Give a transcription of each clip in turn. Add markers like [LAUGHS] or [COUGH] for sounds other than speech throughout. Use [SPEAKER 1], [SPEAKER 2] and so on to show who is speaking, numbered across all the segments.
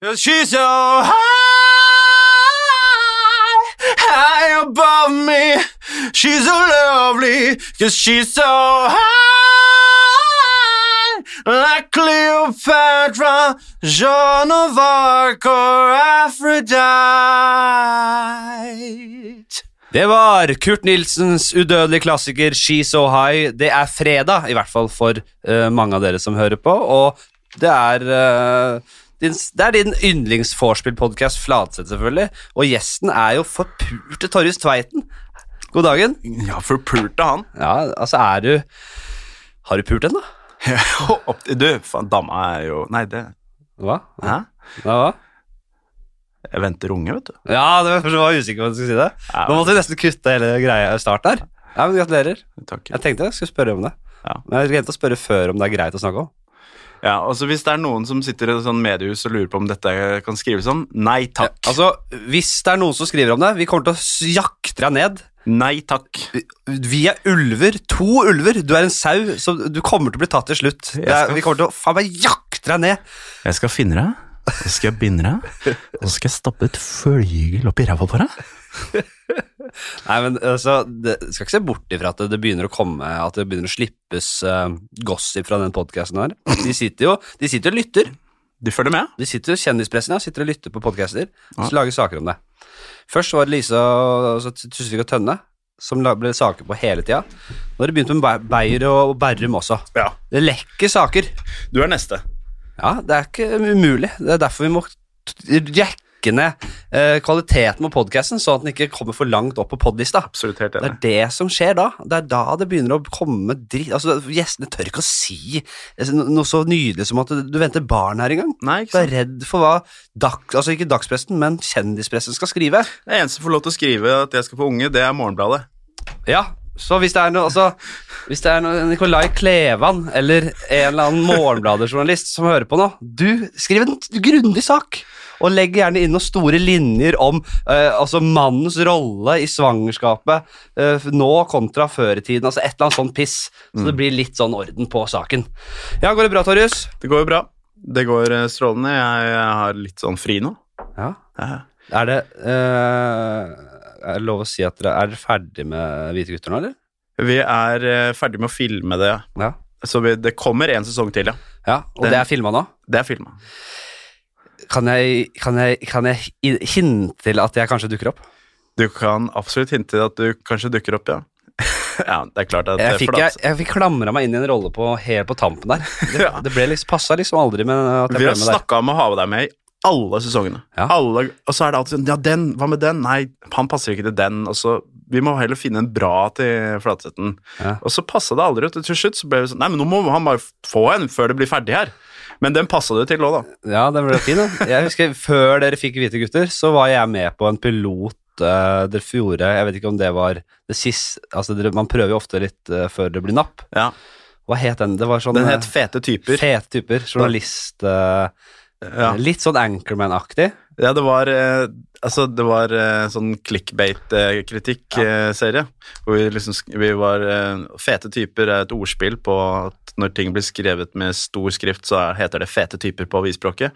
[SPEAKER 1] 'Cause she's so high, high above me. She's so lovely, 'cause she's so high, like Cleopatra, Joan of Arc or Aphrodite. Det var Kurt Nilsens udødelige klassiker She's So High. Det er fredag, i hvert fall for eh, mange av dere som hører på, og det er eh, din, det er din yndlingsvorspill-podkast, Fladseth, selvfølgelig. Og gjesten er jo forpurte Torjus Tveiten. God dagen.
[SPEAKER 2] Ja, forpurte [LAUGHS] han.
[SPEAKER 1] Ja, altså, er du Har du pult den, da?
[SPEAKER 2] Opp- Du, faen, dama er jo Nei, det
[SPEAKER 1] Hva?
[SPEAKER 2] Hæ?
[SPEAKER 1] Ja, hva?
[SPEAKER 2] Jeg venter unge, vet du.
[SPEAKER 1] Ja, det var, jeg var usikker på om jeg skulle si det.
[SPEAKER 2] Ja,
[SPEAKER 1] Nå måtte vi nesten kutte hele greia i start der. Ja, men Gratulerer.
[SPEAKER 2] Takk.
[SPEAKER 1] Jeg tenkte jeg skulle spørre om det.
[SPEAKER 2] Ja.
[SPEAKER 1] Men jeg glemte å spørre før om det er greit å snakke om.
[SPEAKER 2] Ja, altså Hvis det er noen som sitter i et sånn mediehus og lurer på om dette kan skrives om, nei takk.
[SPEAKER 1] Altså, Hvis det er noen som skriver om det, vi kommer til å s- jakte deg ned.
[SPEAKER 2] Nei takk.
[SPEAKER 1] Vi er ulver. To ulver. Du er en sau, så du kommer til å bli tatt til slutt. Det er,
[SPEAKER 2] skal-
[SPEAKER 1] vi kommer til å faen meg jakte deg ned.
[SPEAKER 2] Jeg skal finne deg, så skal jeg binde deg, og så skal jeg stappe et følgegel opp i ræva på deg.
[SPEAKER 1] Nei, men altså, det, Skal ikke se bort ifra at det, det begynner å komme At det begynner å slippes eh, gossip fra den podkasten her. De sitter jo de sitter og lytter.
[SPEAKER 2] Du følger med?
[SPEAKER 1] De sitter jo Kjendispressen ja, sitter og lytter på podcaster
[SPEAKER 2] Ja.
[SPEAKER 1] Så lager saker om det. Først var det Lise og- altså, Tusvik og Tønne som la- ble saker på hele tida. Nå har det begynt med Be- Beyer og og Berrum også.
[SPEAKER 2] Ja.
[SPEAKER 1] Det lekker saker.
[SPEAKER 2] Du er neste.
[SPEAKER 1] Ja, det er ikke umulig. Det er derfor vi må t- jekke ned eh, kvaliteten på podkasten, sånn at den ikke kommer for langt opp på podlista.
[SPEAKER 2] Absolutt helt
[SPEAKER 1] Det er det som skjer da. Det er da det begynner å komme dritt altså, Gjestene tør ikke å si altså, no- noe så nydelig som at du- du venter barn her engang.
[SPEAKER 2] Nei,
[SPEAKER 1] Du
[SPEAKER 2] ikke
[SPEAKER 1] er
[SPEAKER 2] sant?
[SPEAKER 1] redd for hva dag, altså ikke dagspressen, men kjendispressen skal skrive.
[SPEAKER 2] Det eneste som får lov til å skrive at jeg skal få unge, det er Morgenbladet.
[SPEAKER 1] Ja, så hvis det er noe altså, Hvis det er noe Nicolai Klevan eller en eller annen Morgenbladet-journalist som hører på nå, du skriv en grundig sak. Og legg gjerne inn noen store linjer om eh, altså mannens rolle i svangerskapet eh, nå kontra før i tiden. Altså et eller annet sånn piss. Så det blir litt sånn orden på saken. Ja, går det bra, Torjus?
[SPEAKER 2] Det går jo bra. Det går eh, strålende. Jeg jeg har litt sånn fri nå.
[SPEAKER 1] Ja.
[SPEAKER 2] Ja.
[SPEAKER 1] Er det eh, Er det lov å si at dere er dere ferdig med Hvite gutter nå, eller?
[SPEAKER 2] Vi er eh, ferdig med å filme det,
[SPEAKER 1] Ja.
[SPEAKER 2] så vi, det kommer en sesong til, ja.
[SPEAKER 1] ja og
[SPEAKER 2] Den-
[SPEAKER 1] det er filma nå?
[SPEAKER 2] Det er filma.
[SPEAKER 1] Kan jeg, kan jeg, kan jeg hi- hinte til at jeg kanskje dukker opp?
[SPEAKER 2] Du kan absolutt hinte til at du kanskje dukker opp, ja. [LAUGHS] ja, det er klart at eh,
[SPEAKER 1] Jeg fikk,
[SPEAKER 2] for
[SPEAKER 1] jeg,
[SPEAKER 2] at-
[SPEAKER 1] jeg fikk klamra meg inn i en rolle på, helt på tampen
[SPEAKER 2] [LAUGHS]
[SPEAKER 1] der. Det,
[SPEAKER 2] Ja.
[SPEAKER 1] det ble liksom, passa liksom aldri med at jeg
[SPEAKER 2] Vi
[SPEAKER 1] ble
[SPEAKER 2] har
[SPEAKER 1] med der.
[SPEAKER 2] snakka om å ha deg med i alle sesongene.
[SPEAKER 1] Ja.
[SPEAKER 2] Alle, og så er det alltid sånn Ja, den. Hva med den? Nei, han passer ikke til den. Og så Vi må heller finne en bra til Flatseten.
[SPEAKER 1] Ja.
[SPEAKER 2] Og så passa det aldri ut. og Til slutt så ble vi sånn Nei, men nå må han bare få en før det blir ferdig her. Men den passa det til òg, da.
[SPEAKER 1] Ja, den ble fin, da. Jeg husker før dere fikk Hvite gutter, så var jeg med på en pilot eh, dere gjorde. Jeg vet ikke om det var det siste Altså, dere, man prøver jo ofte litt eh, før det blir napp.
[SPEAKER 2] Ja.
[SPEAKER 1] Hva het den? Det var sånn
[SPEAKER 2] Den
[SPEAKER 1] eh,
[SPEAKER 2] het Fete typer.
[SPEAKER 1] Fete typer. Journalist eh,
[SPEAKER 2] Ja.
[SPEAKER 1] Litt sånn Anchorman-aktig.
[SPEAKER 2] Ja, det var eh, Altså, det var eh, sånn clickbait-kritikk-serie. Hvor vi liksom sk- vi var eh, Fete typer er et ordspill på at når ting blir skrevet med stor skrift, så er, heter det fete typer på avisspråket.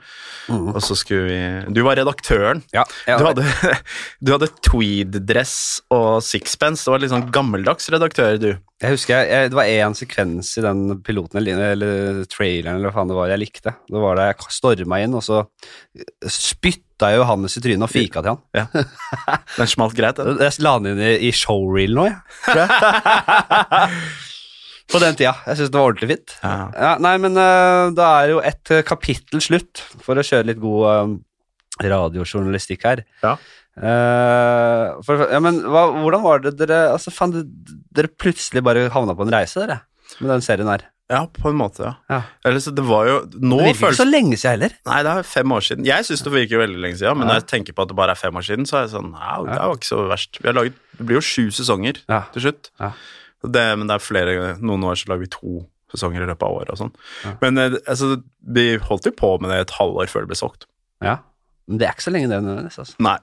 [SPEAKER 2] Og så skulle vi Du var redaktøren.
[SPEAKER 1] Mm. Ja, jeg-
[SPEAKER 2] Du hadde, [LAUGHS] du hadde tweed-dress og sixpence. Det var litt sånn gammeldags redaktør, du.
[SPEAKER 1] Jeg husker jeg, jeg, Det var én sekvens i den piloten eller, eller traileren eller hva faen det var jeg likte. Det var da jeg storma inn, og så spytta jeg Johannes i trynet og fika til han.
[SPEAKER 2] Ja. Den smalt greit, den.
[SPEAKER 1] Jeg la han inn i, i showreel nå, jeg. tror jeg. [LAUGHS] På den tida. Jeg syns det var ordentlig fint.
[SPEAKER 2] Ja.
[SPEAKER 1] Ja, nei, men øh, da er jo et øh, kapittel slutt, for å kjøre litt god øh, radiojournalistikk her.
[SPEAKER 2] Ja.
[SPEAKER 1] Eh, for, ja, men hva, hvordan var det dere altså, faen, det- Dere plutselig bare havna på en reise, dere, med den serien her.
[SPEAKER 2] Ja, på en måte, ja.
[SPEAKER 1] Ja.
[SPEAKER 2] Eller så det var jo Nå
[SPEAKER 1] Det virker
[SPEAKER 2] føles
[SPEAKER 1] ikke så lenge siden heller.
[SPEAKER 2] Nei, det er fem år siden. Jeg syns det virker veldig lenge siden, men når jeg tenker på at det bare er fem år siden, så er jeg sånn Au, det var ikke så verst. Vi har laget, det blir jo sju sesonger
[SPEAKER 1] Ja.
[SPEAKER 2] til slutt.
[SPEAKER 1] Ja.
[SPEAKER 2] Og Det, men det er flere Noen år så lager vi to sesonger i løpet av året og sånn. Men eh, altså, vi holdt jo på med det et halvår før det ble solgt.
[SPEAKER 1] Ja. Men det er ikke så lenge det nødvendigvis. Altså.
[SPEAKER 2] Nei.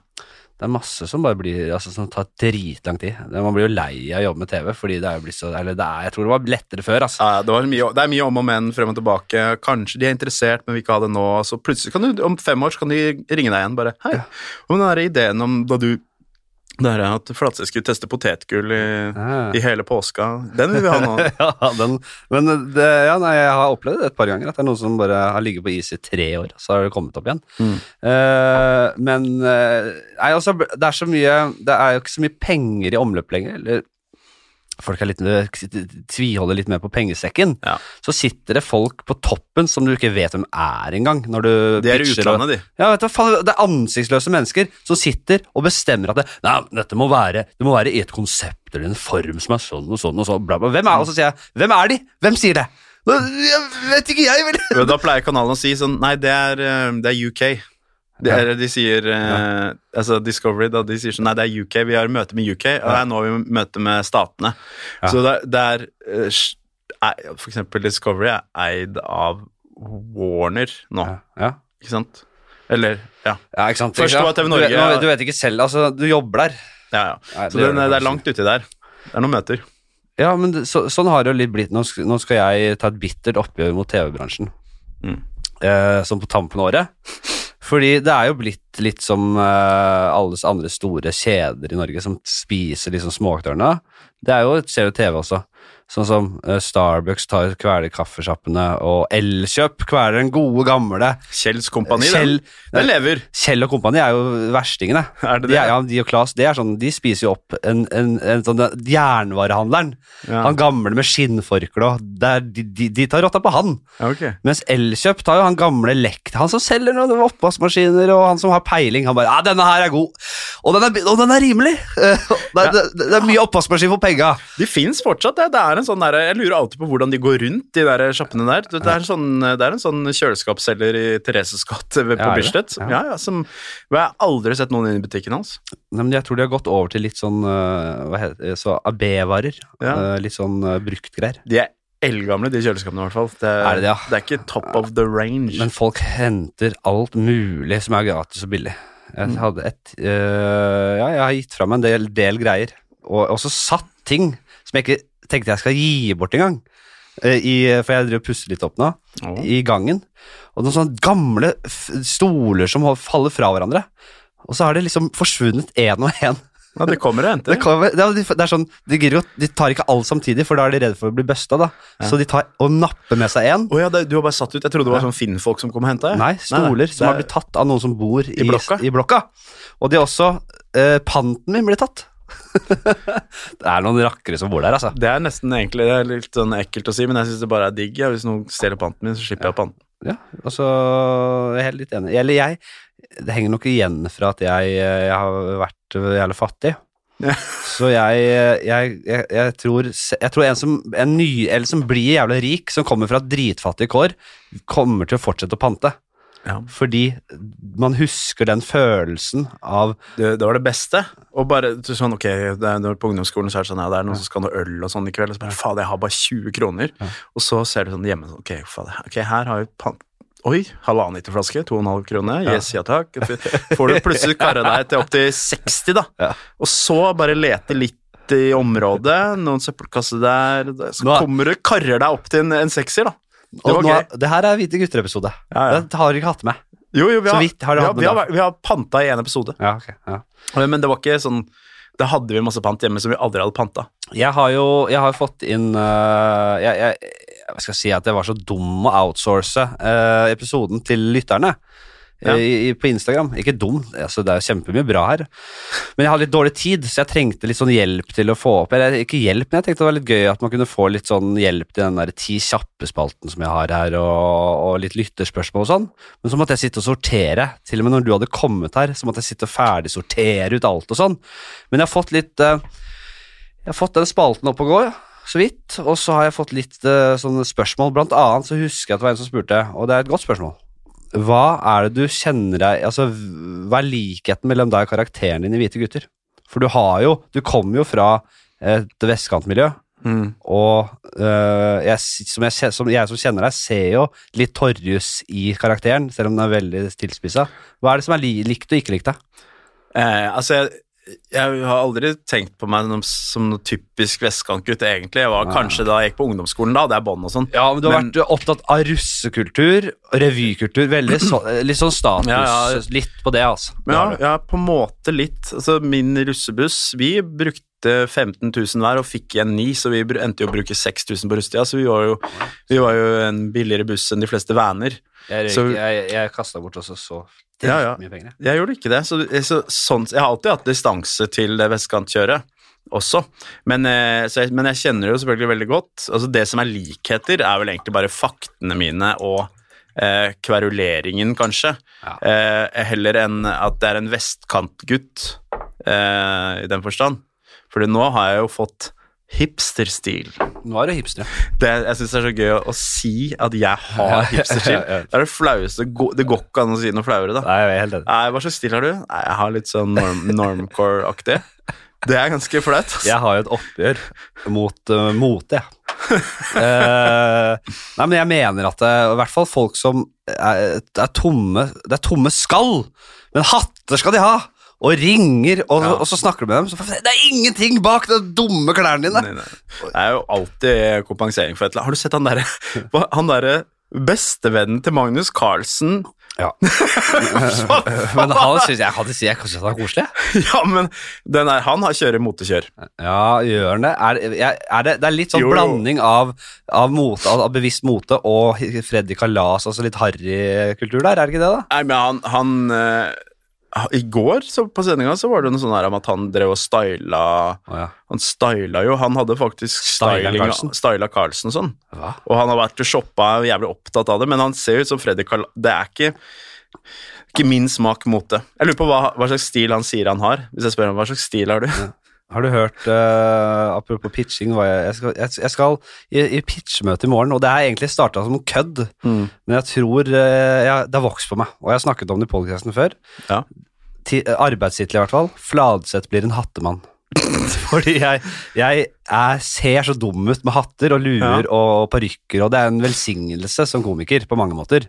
[SPEAKER 1] Det er masse som bare blir, altså, som tar dritlang tid. Det- Man blir jo lei av å jobbe med TV, fordi det er jo blitt så Eller det er, jeg tror det var lettere før, altså.
[SPEAKER 2] Ja, det, var mye, det er mye om og men frem og tilbake. Kanskje de er interessert, men vil ikke ha det nå. Så plutselig kan du, om fem år så kan de ringe deg igjen bare Hei, om den der ideen om da du det her at Flatseth skulle teste potetgull i,
[SPEAKER 1] Ja.
[SPEAKER 2] i hele påska, den vil vi ha nå.
[SPEAKER 1] [LAUGHS] Ja, den, men det, ja, nei, jeg har opplevd det et par ganger, at det er noen som bare har ligget på is i tre år, så har det kommet opp igjen.
[SPEAKER 2] Mm.
[SPEAKER 1] Eh, men eh, nei, altså, det er så mye Det er jo ikke så mye penger i omløp lenger. Eller, folk er litt, tviholder litt mer på pengesekken.
[SPEAKER 2] Ja.
[SPEAKER 1] Så sitter det folk på toppen som du ikke vet hvem er engang. Når du
[SPEAKER 2] De er i
[SPEAKER 1] pitcher og-
[SPEAKER 2] utlandet, de.
[SPEAKER 1] ja, vet du, hva faen, Det er ansiktsløse mennesker som sitter og bestemmer at det, nei, dette må være, det må være i et konsept eller en form som er sånn og sånn. og sånn, bla, bla. Hvem er, og så sier jeg, hvem er de? Hvem sier det? «Nå, Jeg vet ikke jeg, vel.
[SPEAKER 2] [LAUGHS] Og Da pleier kanalen å si sånn Nei, det er, eh, det er UK. Det er, de sier eh, Altså Discovery, da. De sier sånn Nei, det er UK. Vi har møte med UK, og det er nå vi møter med statene.
[SPEAKER 1] Ja.
[SPEAKER 2] Så det, er- det er eh, s- er- For eksempel Discovery er eid av Warner nå,
[SPEAKER 1] Ja,
[SPEAKER 2] ikke sant? Eller Ja,
[SPEAKER 1] ja ikke sant?
[SPEAKER 2] Først
[SPEAKER 1] Ja,
[SPEAKER 2] var TV
[SPEAKER 1] du vet-
[SPEAKER 2] Norge, ja.
[SPEAKER 1] Du, vet ikke selv, altså, du jobber der.
[SPEAKER 2] ja. ja.
[SPEAKER 1] Nei, det
[SPEAKER 2] Så det,
[SPEAKER 1] gjør det
[SPEAKER 2] det er
[SPEAKER 1] kanskje
[SPEAKER 2] langt uti der. Det er noen møter.
[SPEAKER 1] Ja, men det- så, sånn har det jo litt blitt. Nå skal, nå skal jeg ta et bittert oppgjør mot TV-bransjen.
[SPEAKER 2] Mm.
[SPEAKER 1] Eh, som på tampen av året. Fordi det er jo blitt litt som eh, alle andre store kjeder i Norge som spiser liksom småaktørene. Det er jo, ser jo TV også. Sånn som eh, Starbucks tar kveler kaffesjappene, og Elkjøp kveler den gode gamle.
[SPEAKER 2] Kjells kompani,
[SPEAKER 1] Kjell-
[SPEAKER 2] den, den lever.
[SPEAKER 1] Kjell og kompani er jo verstingene.
[SPEAKER 2] [LAUGHS] Er det
[SPEAKER 1] De,
[SPEAKER 2] det?
[SPEAKER 1] er, ja, de og Claes det er sånn, de spiser jo opp en, en, en sånn der jernvarehandleren.
[SPEAKER 2] Ja.
[SPEAKER 1] Han gamle med skinnforkle og der, de, de, de tar rotta på han.
[SPEAKER 2] Ja, ok.
[SPEAKER 1] Mens Elkjøp tar jo han gamle lekt, han som selger noen oppvaskmaskiner og han som har peiling. Han bare 'Ja, denne her er god, og den er, bi- og den er rimelig'. [LAUGHS] Eh, Det er, det, det er mye oppvaskmaskin for penga.
[SPEAKER 2] De fins fortsatt. Det, det er en sånn der, jeg lurer alltid på hvordan de går rundt de der sjappene der. Det, det, er, en sånn, det er en sånn kjøleskapsselger i Thereses gate ved- på
[SPEAKER 1] Ja, er det?
[SPEAKER 2] Bislett.
[SPEAKER 1] Ja.
[SPEAKER 2] Ja, ja, som Jeg har aldri sett noen inn i butikken hans.
[SPEAKER 1] Nei, men jeg tror de har gått over til litt sånn eh, hva heter det, så AB-varer.
[SPEAKER 2] Ja.
[SPEAKER 1] Eh, Litt sånn eh, bruktgreier.
[SPEAKER 2] De er eldgamle, de kjøleskapene, i hvert fall. Det,
[SPEAKER 1] Er det det, ja?
[SPEAKER 2] det er ikke top of the range.
[SPEAKER 1] Men folk henter alt mulig som er gratis og billig. Jeg hadde et øh, Ja, jeg har gitt fra meg en del, del greier. Og også satt ting som jeg ikke tenkte jeg skal gi bort engang. Eh, I, for jeg driver og puster litt opp nå.
[SPEAKER 2] Åh.
[SPEAKER 1] I gangen. Og noen sånne gamle f stoler som har- faller fra hverandre. Og så har det liksom forsvunnet én og én.
[SPEAKER 2] ja, de kommer og henter.
[SPEAKER 1] Det, kan være- det er- det er sånn, de, gidder jo- de tar ikke alt samtidig, for da er de redde for å bli busta. da. Så de tar og napper med seg én.
[SPEAKER 2] Å ja, det, du har bare satt ut. Jeg trodde det var sånn finnfolk som kom og henta.
[SPEAKER 1] Nei, stoler som har blitt tatt av noen som bor i,
[SPEAKER 2] blokka.
[SPEAKER 1] I blokka. Og de har også eh, Panten min ble tatt. [LAUGHS] det er noen rakkere som bor der, altså.
[SPEAKER 2] Det er nesten egentlig det er litt sånn ekkelt å si, men jeg syns det bare er digg. Ja. Hvis noen stjeler panten min, så slipper jeg panten.
[SPEAKER 1] Ja, altså, jeg er helt litt enig. Eller jeg Det henger nok igjen fra at jeg, eh, jeg har vært jævlig fattig.
[SPEAKER 2] Ja.
[SPEAKER 1] Så jeg, jeg, jeg, jeg tror, jeg tror en, som, en ny, eller som blir jævlig rik, som kommer fra dritfattige kår, kommer til å fortsette å pante.
[SPEAKER 2] Ja.
[SPEAKER 1] Fordi man husker den følelsen av
[SPEAKER 2] det, det var det beste. Og bare du, sånn, ok, det er, når På ungdomsskolen så er det sånn, ja, det er noen som skal ha noe øl og sånn i kveld. Og så bare, faen, jeg har bare 20 kroner. Og så ser du sånn hjemme sånn, ok, faen, ok, her har jeg pan... Oi, halvannen liter flaske, 2,5 kroner. Yes, ja takk. Får du plutselig karre deg til opp til 60, da.
[SPEAKER 1] Ja.
[SPEAKER 2] Og så bare lete litt i området, noen søppelkasser der. Så
[SPEAKER 1] Nå er-
[SPEAKER 2] kommer du, karrer deg opp til en, en sekser, da. Det
[SPEAKER 1] Og
[SPEAKER 2] var
[SPEAKER 1] nå,
[SPEAKER 2] gøy.
[SPEAKER 1] det her er Hvite gutter-episode.
[SPEAKER 2] Ja, ja.
[SPEAKER 1] Det har dere ikke hatt med.
[SPEAKER 2] Jo, jo, vi
[SPEAKER 1] Så
[SPEAKER 2] har,
[SPEAKER 1] vidt har du
[SPEAKER 2] vi
[SPEAKER 1] hatt med
[SPEAKER 2] har, vi har,
[SPEAKER 1] da.
[SPEAKER 2] vært- vi har panta i en episode.
[SPEAKER 1] Ja, ok. Ja.
[SPEAKER 2] Men det var ikke sånn Da hadde vi masse pant hjemme som vi aldri hadde panta.
[SPEAKER 1] Jeg har jo jeg har fått inn øh, jeg, jeg, jeg skal si at jeg var så dum å outsource øh, episoden til lytterne. eh,
[SPEAKER 2] Ja.
[SPEAKER 1] I, i, på Instagram. Ikke dum, altså det er jo kjempemye bra her. Men jeg hadde litt dårlig tid, så jeg trengte litt sånn hjelp til å få opp Eller ikke hjelp, men jeg tenkte det var litt gøy at man kunne få litt sånn hjelp til den der ti kjappe-spalten som jeg har her, og, og litt lytterspørsmål og sånn. Men så måtte jeg sitte og sortere. Til og med når du hadde kommet her, så måtte jeg sitte og ferdigsortere ut alt og sånn. Men jeg har fått litt øh, jeg har fått den spalten opp og gå, så vidt. Og så har jeg fått litt eh, sånne spørsmål. Blant annet så husker jeg at det var en som spurte, og det er et godt spørsmål. Hva er det du kjenner deg Altså, hva er likheten mellom deg og karakteren din i Hvite gutter? For du har jo Du kommer jo fra et vestkantmiljø.
[SPEAKER 2] Mm.
[SPEAKER 1] Og øh, jeg, s- som jeg, se- som jeg som kjenner deg, ser jo litt Torjus i karakteren, selv om den er veldig tilspissa. Hva er det som er li likt og ikke likt, da?
[SPEAKER 2] Eh, altså, jeg, jeg har aldri tenkt på meg som, som noe typisk vestkantgutt, egentlig. Jeg var kanskje da jeg gikk på ungdomsskolen, da, det er bånd og sånn.
[SPEAKER 1] Ja, men Du har
[SPEAKER 2] Men-
[SPEAKER 1] vært opptatt av russekultur, revykultur, veldig så, litt sånn status.
[SPEAKER 2] Ja, ja.
[SPEAKER 1] Litt på det, altså. Det
[SPEAKER 2] Ja,
[SPEAKER 1] har du.
[SPEAKER 2] ja, på en måte litt. Altså, min russebuss, vi brukte 15 000 hver og fikk igjen 9, så vi br- endte jo å bruke 6000 på russetida, så vi var, jo, vi var jo en billigere buss enn de fleste vaner.
[SPEAKER 1] Jeg, røyk,
[SPEAKER 2] så-
[SPEAKER 1] jeg, jeg kasta bort også så
[SPEAKER 2] Ja, ja.
[SPEAKER 1] mye penger. jeg.
[SPEAKER 2] Jeg gjorde ikke det. Så, så, sånn, jeg har alltid hatt distanse til det vestkantkjøret også, men, eh, så jeg, men jeg kjenner det jo selvfølgelig veldig godt. Altså, det som er likheter, er vel egentlig bare faktene mine og eh, kveruleringen, kanskje.
[SPEAKER 1] Ja.
[SPEAKER 2] Eh, heller enn at det er en vestkantgutt eh, i den forstand. Fordi nå har jeg jo fått hipsterstil.
[SPEAKER 1] Nå er du hipster, ja.
[SPEAKER 2] Det, jeg syns det er så gøy å, å si at jeg har hipsterstil.
[SPEAKER 1] ja, [LAUGHS] ja.
[SPEAKER 2] Det er det flaueste. gå- Det går ikke an å si noe flauere, da.
[SPEAKER 1] Nei, jeg er helt enig.
[SPEAKER 2] Nei, hva slags stil har du? Nei, jeg har litt sånn norm normcore-aktig. Det er ganske flaut. ass.
[SPEAKER 1] Jeg har jo et oppgjør mot uh, [LAUGHS] mote, jeg. Eh, nei, men jeg mener at det, i hvert fall folk som er, det er tomme Det er tomme skall, men hatter skal de ha! Og ringer, og,
[SPEAKER 2] Ja.
[SPEAKER 1] og så snakker du med dem. Så, for- det er ingenting bak de dumme klærne dine!
[SPEAKER 2] Nei, nei. Det er jo alltid kompensering for et eller annet. Har du sett han derre hva- Han derre bestevennen til Magnus Carlsen? [LAUGHS]
[SPEAKER 1] Ja.
[SPEAKER 2] Hva faen?
[SPEAKER 1] [LAUGHS] Men han syns jeg hadde jeg kanskje han er koselig.
[SPEAKER 2] Ja, men den der, han har kjører motekjør.
[SPEAKER 1] Ja, gjør han det? Er, jeg- er det? Det er litt sånn
[SPEAKER 2] Jo, jo.
[SPEAKER 1] blanding av, av, mote, av av bevisst mote og Freddy Kalas, altså litt harrykultur der, er det ikke det, da?
[SPEAKER 2] Nei, men han, han eh, I går så på sendinga så var det noe sånn her om at han drev og styla
[SPEAKER 1] Å, ja.
[SPEAKER 2] Han styla jo Han hadde faktisk
[SPEAKER 1] Styla
[SPEAKER 2] styling-
[SPEAKER 1] Carlsen?
[SPEAKER 2] styla Carlsen og sånn.
[SPEAKER 1] Hva?
[SPEAKER 2] Og han har vært og shoppa og er jævlig opptatt av det, men han ser ut som Freddy Carl... Det er ikke, ikke min smak mote. Jeg lurer på hva, hva slags stil han sier han har. Hvis jeg spør ham hva slags stil har du?
[SPEAKER 1] Har du hørt eh, Apropos pitching hva jeg, jeg skal, jeg, jeg skal i, i pitchmøte i morgen, og det er egentlig starta som kødd, men jeg tror eh, jeg, det har vokst på meg, og jeg har snakket om det i podcasten før.
[SPEAKER 2] Ja.
[SPEAKER 1] Ti- eh, Arbeidstittel, i hvert fall. Fladseth blir en hattemann. [LAUGHS] Fordi jeg, jeg er, ser så dum ut med hatter og luer og parykker, og det er en velsignelse som komiker på mange måter.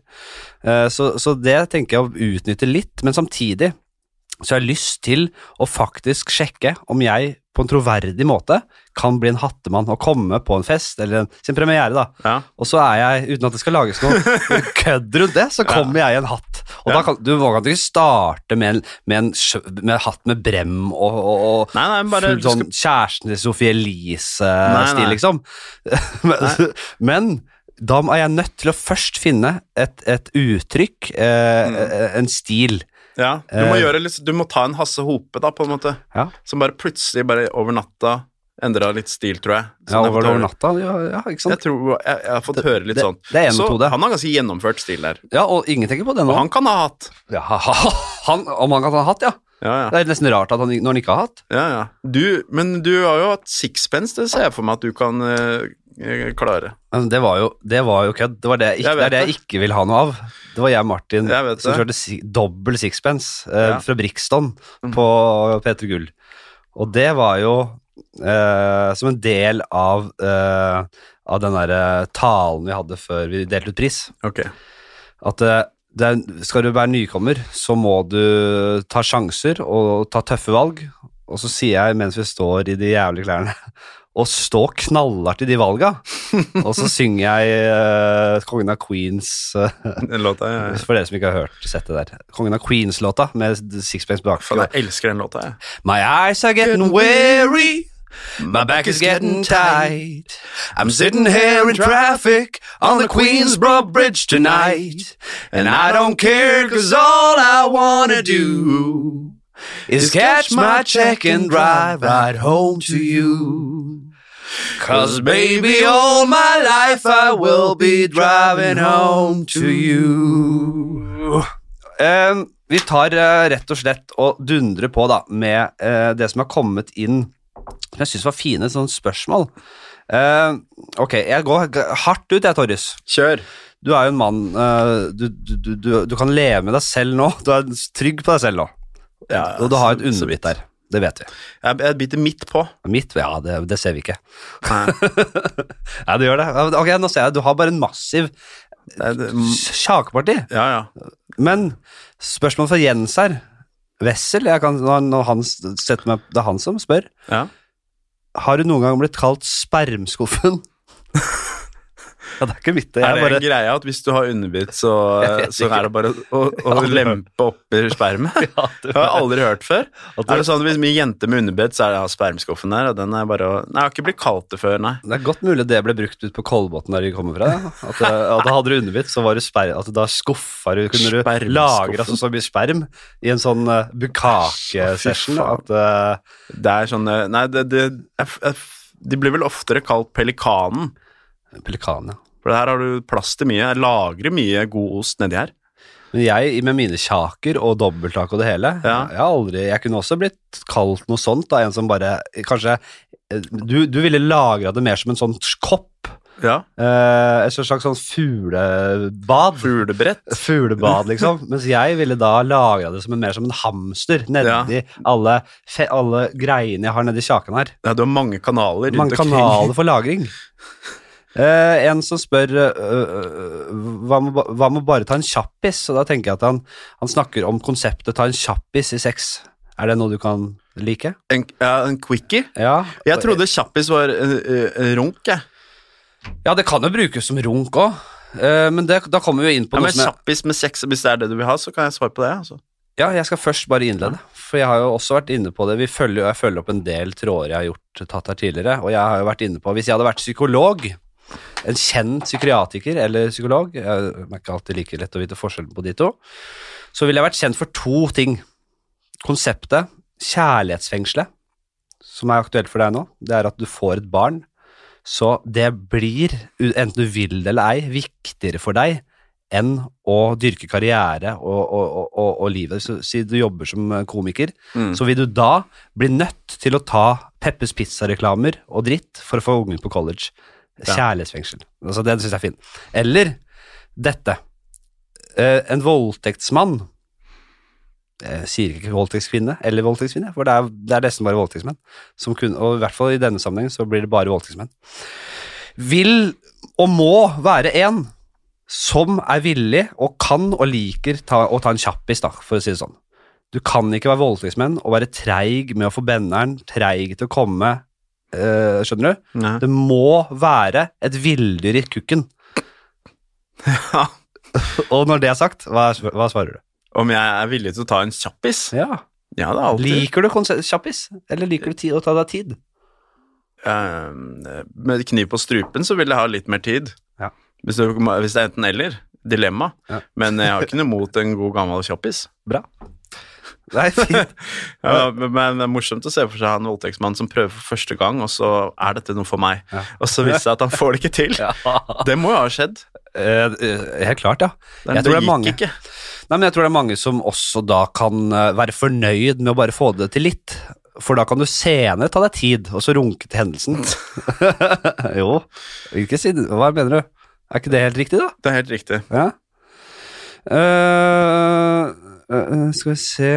[SPEAKER 1] Eh, Så, så det tenker jeg å utnytte litt, men samtidig så jeg har lyst til å faktisk sjekke om jeg på en troverdig måte kan bli en hattemann og komme på en fest eller en, sin premiere, da.
[SPEAKER 2] Ja.
[SPEAKER 1] Og så er jeg, uten at det skal lages noe kødd rundt det, så kommer jeg i en hatt. Og da kan du må kan du ikke starte med en, med en sjø- med en hatt med brem og, og, og
[SPEAKER 2] Nei, nei, men bare
[SPEAKER 1] full sånn kjæresten til Sophie Elise-stil,
[SPEAKER 2] Nei, nei.
[SPEAKER 1] liksom. [LAUGHS] men, men da er jeg nødt til å først finne et, et uttrykk, eh,
[SPEAKER 2] Mm.
[SPEAKER 1] en stil.
[SPEAKER 2] ja. Du,
[SPEAKER 1] Eh.
[SPEAKER 2] må gjøre litt, du må ta en Hasse Hope, da, på en måte.
[SPEAKER 1] Ja.
[SPEAKER 2] Som bare plutselig, bare over natta, endra litt stil, tror jeg.
[SPEAKER 1] Ja,
[SPEAKER 2] Sånn jeg har
[SPEAKER 1] over,
[SPEAKER 2] fått
[SPEAKER 1] over
[SPEAKER 2] høre.
[SPEAKER 1] natta. Ja, ja, ikke sant?
[SPEAKER 2] Jeg, tror, jeg, jeg har fått høre litt
[SPEAKER 1] det-
[SPEAKER 2] sånn.
[SPEAKER 1] det er en
[SPEAKER 2] Så
[SPEAKER 1] metode.
[SPEAKER 2] han har ganske gjennomført stil der.
[SPEAKER 1] Ja, og ingen tenker på det nå.
[SPEAKER 2] Og han kan ha hatt.
[SPEAKER 1] Ja, [LAUGHS] han, om han kan ha hatt, ja.
[SPEAKER 2] Ja, ja.
[SPEAKER 1] Det er nesten rart at han, når han ikke har hatt.
[SPEAKER 2] ja, ja. Du, men du har jo hatt sixpence, det ser jeg for meg at du kan eh, klare.
[SPEAKER 1] Men Altså, det var jo, det var jo kødd. Det, var det, jeg ikke,
[SPEAKER 2] Jeg
[SPEAKER 1] det
[SPEAKER 2] vet
[SPEAKER 1] er det jeg
[SPEAKER 2] det.
[SPEAKER 1] ikke vil ha noe av. Det var jeg og Martin
[SPEAKER 2] Jeg vet
[SPEAKER 1] som
[SPEAKER 2] det.
[SPEAKER 1] kjørte si, dobbel sixpence eh,
[SPEAKER 2] Ja. Mhm.
[SPEAKER 1] fra Brixton på P3 Gull. Og det var jo eh, som en del av, eh, av den derre talen vi hadde før vi delte ut pris.
[SPEAKER 2] Ok.
[SPEAKER 1] At eh, det er, skal du være nykommer, så må du ta sjanser og ta tøffe valg. Og så sier jeg mens vi står i de jævlige klærne [LAUGHS] og stå knallhardt i de valga. Og så synger jeg eh, Kongen av Queens eh, [LAUGHS]
[SPEAKER 2] Den låta, ja, ja.
[SPEAKER 1] For dere som ikke har hørt sett det der. Kongen av Queens-låta med sixpence
[SPEAKER 2] Faen,
[SPEAKER 1] bakfra.
[SPEAKER 2] jeg elsker den låta, jeg.
[SPEAKER 1] My eyes are getting weary. My back is getting tight. I'm sitting here in traffic on the Queensboro Bridge tonight. And I don't care, cause all I wanna do is catch my check and drive right home to you. Cause baby, all my life I will be driving home to you. Eh, vi tar eh, rett og slett og dundrer på da, med eh, det som har kommet inn, som jeg syns var fine sånne spørsmål. Eh, ok, jeg går g- hardt ut, jeg, Torjus.
[SPEAKER 2] Kjør.
[SPEAKER 1] Du er jo en mann eh, du, du, du, du, du kan leve med deg selv nå. Du er trygg på deg selv nå.
[SPEAKER 2] Ja, ja,
[SPEAKER 1] og du har
[SPEAKER 2] så-
[SPEAKER 1] et underbitt der. Det vet vi.
[SPEAKER 2] Jeg, jeg biter midt på.
[SPEAKER 1] Mitt Ja, det, det ser vi ikke.
[SPEAKER 2] Nei,
[SPEAKER 1] [LAUGHS] Ja, du gjør det. Ja, Ok, nå ser jeg. Du har bare en massiv eh,
[SPEAKER 2] det er, det-
[SPEAKER 1] sjakeparti.
[SPEAKER 2] ja, ja.
[SPEAKER 1] Men spørsmål fra Jens her. Wessel, jeg kan, når han- når han s- setter meg, det er han som spør.
[SPEAKER 2] ja.
[SPEAKER 1] Har du noen gang blitt kalt spermskuffen? [LAUGHS] ja, det er ikke mitt, det.
[SPEAKER 2] Er
[SPEAKER 1] Jeg
[SPEAKER 2] det
[SPEAKER 1] bare,
[SPEAKER 2] greia at hvis du har underbitt, så,
[SPEAKER 1] [LAUGHS] Jeg vet
[SPEAKER 2] så
[SPEAKER 1] ikke.
[SPEAKER 2] er det bare å, å
[SPEAKER 1] aldri
[SPEAKER 2] lempe oppi spermet?
[SPEAKER 1] [LAUGHS] ja,
[SPEAKER 2] Det har jeg aldri hørt før.
[SPEAKER 1] At du-
[SPEAKER 2] Er det sånn at Hvis mye jenter med underbitt, så er det ja, spermskuffen der. Og den er bare å... Nei, jeg har ikke blitt kalt det før, nei.
[SPEAKER 1] det er godt mulig det ble brukt ut på Kolbotn der de kommer fra. ja. At, eh, at hadde du underbitt, så var du sperm, at da skuffa du Kunne du
[SPEAKER 2] Spermskuffen.
[SPEAKER 1] lagre altså, så mye sperm i en sånn uh, bukake-session?
[SPEAKER 2] Å,
[SPEAKER 1] At eh,
[SPEAKER 2] Det er sånn eh, Nei, det, det jeg, jeg, De blir vel oftere kalt pelikanen.
[SPEAKER 1] Pelikan, ja.
[SPEAKER 2] For her har du plass til mye. Jeg lagrer mye god ost nedi her.
[SPEAKER 1] Men jeg, med mine kjaker og dobbelttak og det hele,
[SPEAKER 2] Ja.
[SPEAKER 1] jeg, har aldri, jeg kunne også blitt kalt noe sånt, da, en som bare Kanskje eh, Du, du ville lagra det mer som en sånn kopp.
[SPEAKER 2] Ja.
[SPEAKER 1] Eh, et slags sånn fuglebad.
[SPEAKER 2] Fuglebrett.
[SPEAKER 1] Fuglebad, liksom. Mens jeg ville da lagra det som en, mer som en hamster nedi alle, fe, alle greiene jeg har nedi kjaken her.
[SPEAKER 2] Ja, du har mange kanaler rundt
[SPEAKER 1] Mange
[SPEAKER 2] omkring.
[SPEAKER 1] kanaler for [LAUGHS] lagring. Eh, en som spør eh, eh, hva, med, ba- hva med bare ta en kjappis? Og da tenker jeg at han, han snakker om konseptet ta en kjappis i sex. Er det noe du kan like?
[SPEAKER 2] En, ja, en quickie.
[SPEAKER 1] Ja,
[SPEAKER 2] Jeg trodde kjappis var eh, eh, runk, jeg.
[SPEAKER 1] ja det kan jo brukes som runk òg, Eh, men det, da kommer vi jo inn på
[SPEAKER 2] Ja,
[SPEAKER 1] noe
[SPEAKER 2] men
[SPEAKER 1] som jeg,
[SPEAKER 2] kjappis med sex, hvis det er det du vil ha, så kan jeg svare på det. Altså.
[SPEAKER 1] Ja, jeg skal først bare innlede, for jeg har jo også vært inne på det. Vi følger, jeg følger opp en del tråder jeg har gjort tatt her tidligere, og jeg har jo vært inne på Hvis jeg hadde vært psykolog, en kjent psykiatriker eller psykolog jeg, Det er ikke alltid like lett å vite forskjellen på de to. Så ville jeg vært kjent for to ting. Konseptet kjærlighetsfengselet, som er aktuelt for deg nå, det er at du får et barn. Så det blir, u- enten du vil det eller ei, viktigere for deg enn å dyrke karriere og, og, og, og, og livet. Så, si du jobber som eh, komiker, så vil du da bli nødt til å ta Peppes Pizza-reklamer og dritt for å få ungen på college. Kjærlighetsfengsel. Altså, den syns jeg er fin. Eller dette. Eh, en voldtektsmann jeg sier ikke voldtektskvinne eller voldtektskvinne, for det er, det er nesten bare voldtektsmenn. Som kun, og i hvert fall i denne sammenhengen så blir det bare voldtektsmenn. Vil og må være en som er villig og kan og liker ta, å ta en kjappis, da, for å si det sånn. Du kan ikke være voldtektsmenn og være treig med å få benderen, treig til å komme, eh, skjønner du? Det må være et villdyr i kukken.
[SPEAKER 2] Ja.
[SPEAKER 1] [LAUGHS] og når det er sagt, hva, er- hva svarer du?
[SPEAKER 2] Om jeg er villig til å ta en kjappis?
[SPEAKER 1] Ja,
[SPEAKER 2] Ja, det er alltid
[SPEAKER 1] Liker du konse- kjappis, eller liker du ti- å ta deg tid?
[SPEAKER 2] Eh, Med kniv på strupen så vil jeg ha litt mer tid.
[SPEAKER 1] Ja.
[SPEAKER 2] Hvis, det, hvis det er enten-eller. Dilemma.
[SPEAKER 1] Ja.
[SPEAKER 2] Men jeg har ikke noe mot en god gammel
[SPEAKER 1] [LAUGHS]
[SPEAKER 2] kjappis.
[SPEAKER 1] Bra. Nei, fint.
[SPEAKER 2] Ja, men men det er morsomt å se for seg en voldtektsmann som prøver for første gang, og så er dette noe for meg.
[SPEAKER 1] Ja.
[SPEAKER 2] Og så viser det seg at han får det ikke
[SPEAKER 1] [LAUGHS]
[SPEAKER 2] til. Det må jo ha skjedd.
[SPEAKER 1] Eh, eh, helt klart, ja.
[SPEAKER 2] Det,
[SPEAKER 1] Jeg tror det er
[SPEAKER 2] gikk
[SPEAKER 1] mange.
[SPEAKER 2] ikke.
[SPEAKER 1] Nei, men jeg tror det er mange som også da kan eh, være fornøyd med å bare få det til litt. For da kan du senere ta deg tid, og så runke til hendelsen. jo, ikke si Hva mener du? Er ikke det helt riktig, da?
[SPEAKER 2] Det er helt riktig.
[SPEAKER 1] Ja. Eh, eh, skal vi se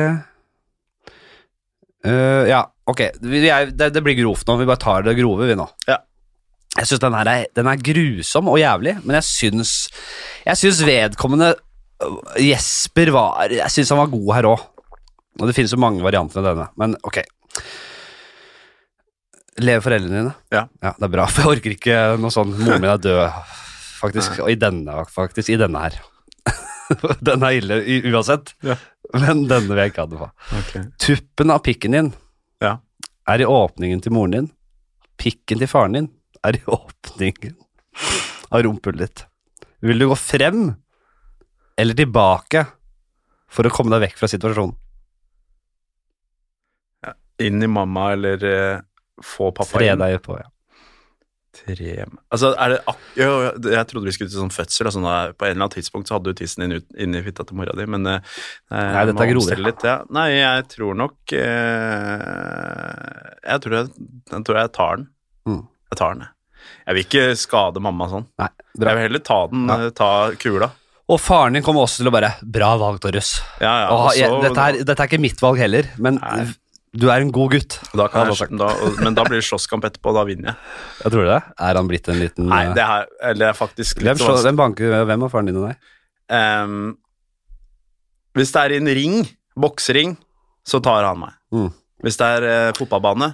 [SPEAKER 1] Eh, Ja, ok. Vi, vi er, det, det blir grovt nå. Vi bare tar det grove, vi nå.
[SPEAKER 2] Ja.
[SPEAKER 1] Jeg syns den her er, den er grusom og jævlig, men jeg syns, jeg syns vedkommende øh, Jesper var Jeg syns han var god her òg. Og det finnes jo mange varianter av denne, men ok. Lever foreldrene dine?
[SPEAKER 2] Ja.
[SPEAKER 1] ja. Det er bra, [LAUGHS] for jeg orker ikke noe sånn Moren min er død, faktisk. Og i denne, faktisk. I denne her. [LAUGHS] den er ille i- uansett,
[SPEAKER 2] Ja.
[SPEAKER 1] men denne vil jeg ikke ha det på. Tuppen av pikken din
[SPEAKER 2] Ja.
[SPEAKER 1] er i åpningen til moren din. Pikken til faren din er i [LAUGHS] åpningen av rumpehullet ditt. Vil du gå frem eller tilbake for å komme deg vekk fra situasjonen?
[SPEAKER 2] Inn i mamma, eller eh, få pappa
[SPEAKER 1] Tre
[SPEAKER 2] inn.
[SPEAKER 1] deg på, ja.
[SPEAKER 2] Tre Altså, er det ak jo, jo, Jeg trodde vi skulle til sånn fødsel. Altså, da, på en eller annen tidspunkt så hadde du tissen din ut, inni fitta til mora di, men eh, jeg
[SPEAKER 1] dette
[SPEAKER 2] må
[SPEAKER 1] er grovere.
[SPEAKER 2] omstille Litt, ja. Nei, jeg tror nok eh, jeg, tror jeg, jeg tror jeg tar den.
[SPEAKER 1] Mm.
[SPEAKER 2] Jeg tar den, jeg. Jeg vil ikke skade mamma sånn.
[SPEAKER 1] Nei, bra.
[SPEAKER 2] Jeg vil heller ta den,
[SPEAKER 1] Ja.
[SPEAKER 2] eh, ta kula.
[SPEAKER 1] Og faren din kommer også til å bare Bra valg, Torjus.
[SPEAKER 2] Ja, ja.
[SPEAKER 1] Åh,
[SPEAKER 2] og så-
[SPEAKER 1] jeg, dette, er- dette er ikke mitt valg heller, men
[SPEAKER 2] Nei.
[SPEAKER 1] Du er en god gutt.
[SPEAKER 2] Da kan
[SPEAKER 1] hadde han
[SPEAKER 2] jeg,
[SPEAKER 1] sagt.
[SPEAKER 2] da, og, men da blir det slåsskamp etterpå, og da vinner jeg.
[SPEAKER 1] Jeg tror det. Er han blitt en liten
[SPEAKER 2] Nei,
[SPEAKER 1] eh,
[SPEAKER 2] det er, eller det er faktisk litt
[SPEAKER 1] hvem, slår,
[SPEAKER 2] vanskelig.
[SPEAKER 1] hvem banker hvem av faren din og deg?
[SPEAKER 2] Ehm, hvis det er i en ring, boksering, så tar han meg.
[SPEAKER 1] Mm.
[SPEAKER 2] Hvis det er eh, fotballbane,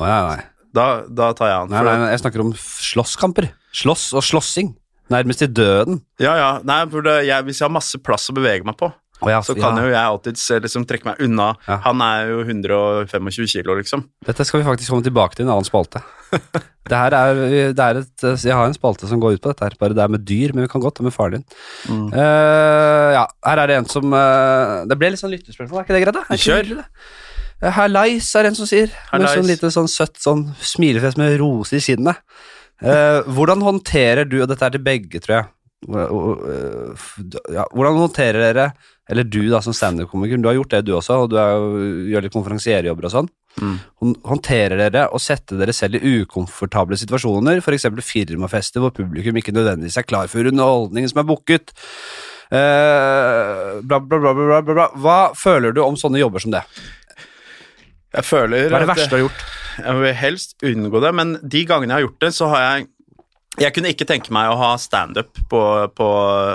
[SPEAKER 1] Å, ja, nei.
[SPEAKER 2] da, da tar jeg han.
[SPEAKER 1] Nei,
[SPEAKER 2] For-
[SPEAKER 1] nei, nei, jeg snakker om f- slåsskamper. Slåss og slåssing. Nærmest til døden.
[SPEAKER 2] Ja, ja. Nei, for det, jeg, hvis jeg har masse plass å bevege meg på,
[SPEAKER 1] Å, ja,
[SPEAKER 2] så
[SPEAKER 1] ja.
[SPEAKER 2] kan jo jeg alltid se- liksom, trekke meg unna.
[SPEAKER 1] Ja.
[SPEAKER 2] Han er jo 125 kilo, liksom.
[SPEAKER 1] Dette skal vi faktisk komme tilbake til i en annen spalte.
[SPEAKER 2] [LAUGHS]
[SPEAKER 1] Det her er, det er et, eh, jeg har en spalte som går ut på dette, her, bare det er med dyr, men vi kan godt ta med faren din.
[SPEAKER 2] Mm.
[SPEAKER 1] Eh, ja, her er det en som eh, Det ble litt sånn lyttespørsmål, er ikke det greit? da? Er ikke
[SPEAKER 2] Kjør.
[SPEAKER 1] det hyggelig, det? Eh, Herleis, er det en som sier. Med
[SPEAKER 2] Herleis.
[SPEAKER 1] sånn lite sånn søtt sånn smilefjes med roser i kinnet. Eh, hvordan håndterer du, og dette er til begge, tror jeg hvor- hvor- eh, f- ja, Hvordan håndterer dere, eller du da som standup-komiker, du har gjort det du også, og du er, jo- gjør litt konferansierjobber og sånn. Hånd- Håndterer dere å sette dere selv i ukomfortable situasjoner, f.eks. firmafester hvor publikum ikke nødvendigvis er klar for underholdningen som er booket? Eh, bla, bla, bla, bla, bla, bla, bla. Hva føler du om sånne jobber som det?
[SPEAKER 2] Jeg føler
[SPEAKER 1] Hva er det
[SPEAKER 2] at-
[SPEAKER 1] verste du har gjort?
[SPEAKER 2] Jeg vil helst unngå det, men de gangene jeg har gjort det, så har jeg Jeg kunne ikke tenke meg å ha standup på, på,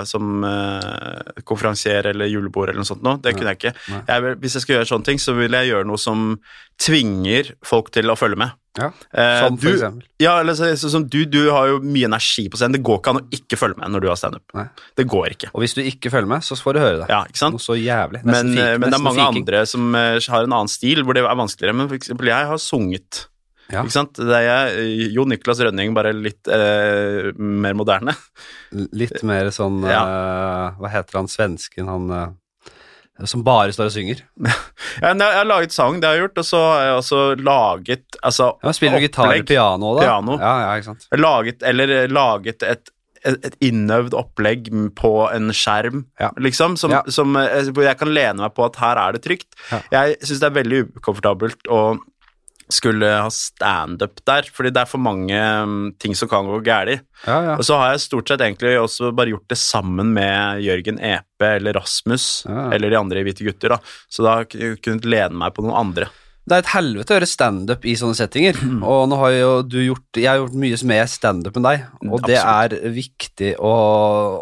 [SPEAKER 2] som eh, konferansier eller julebord eller noe sånt. Nå. Det kunne jeg ikke.
[SPEAKER 1] Nei.
[SPEAKER 2] Jeg vil, hvis jeg skal gjøre sånne ting, så vil jeg gjøre noe som tvinger folk til å følge med.
[SPEAKER 1] Ja.
[SPEAKER 2] Eh,
[SPEAKER 1] Som for
[SPEAKER 2] du,
[SPEAKER 1] eksempel?
[SPEAKER 2] Ja, eller så, så, som du, du har jo mye energi på scenen. Det går ikke an å ikke følge med når du har standup.
[SPEAKER 1] Nei.
[SPEAKER 2] Det går ikke.
[SPEAKER 1] Og hvis du ikke følger med, så får du høre det.
[SPEAKER 2] Ja, ikke sant?
[SPEAKER 1] Noe så jævlig. Nesten
[SPEAKER 2] Men,
[SPEAKER 1] fik-
[SPEAKER 2] eh, men det
[SPEAKER 1] nesten
[SPEAKER 2] er mange
[SPEAKER 1] fiking.
[SPEAKER 2] andre som eh, har en annen stil, hvor det er vanskeligere. Men for eksempel, jeg har sunget.
[SPEAKER 1] Ja.
[SPEAKER 2] Ikke sant? Det er jeg, eh, Jo Niklas Rønning, bare litt eh, mer moderne. [LAUGHS]
[SPEAKER 1] Litt mer sånn eh, Hva heter han svensken han eh, som bare står og synger?
[SPEAKER 2] Jeg, jeg har laget sang, det har jeg gjort, og så har jeg også laget altså,
[SPEAKER 1] Ja, han spiller jo gitar og piano òg, da.
[SPEAKER 2] Piano.
[SPEAKER 1] Ja, ja, ikke sant?
[SPEAKER 2] Laget, eller eh, laget et, et, et innøvd opplegg m- på en skjerm,
[SPEAKER 1] Ja.
[SPEAKER 2] liksom, som,
[SPEAKER 1] Ja.
[SPEAKER 2] som, eh, hvor jeg kan lene meg på at her er det trygt. Jeg syns det er veldig ukomfortabelt å skulle ha standup der, fordi det er for mange mm, ting som kan gå galt.
[SPEAKER 1] Ja, ja.
[SPEAKER 2] Og så har jeg stort sett egentlig også bare gjort det sammen med Jørgen Epe eller Rasmus
[SPEAKER 1] Ja.
[SPEAKER 2] eller de andre i Hvite gutter, da. Så da har jeg kun- kunnet lene meg på noen andre.
[SPEAKER 1] Det er et helvete å gjøre standup i sånne settinger. Og nå har jo du gjort Jeg har gjort mye mer standup enn deg, og det er viktig å,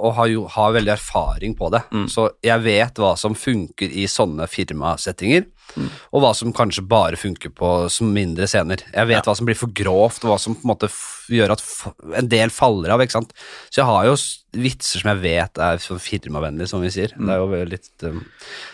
[SPEAKER 1] å ha, jo, ha veldig erfaring på det. Så jeg vet hva som funker i sånne firmasettinger, og hva som kanskje bare funker på som mindre scener. Jeg vet hva som blir for grovt, og hva som på en måte f gjør at f en del faller av, ikke sant. Så jeg har jo s- vitser som jeg vet er sånn firmavennlige, som vi sier. Det er jo litt, um,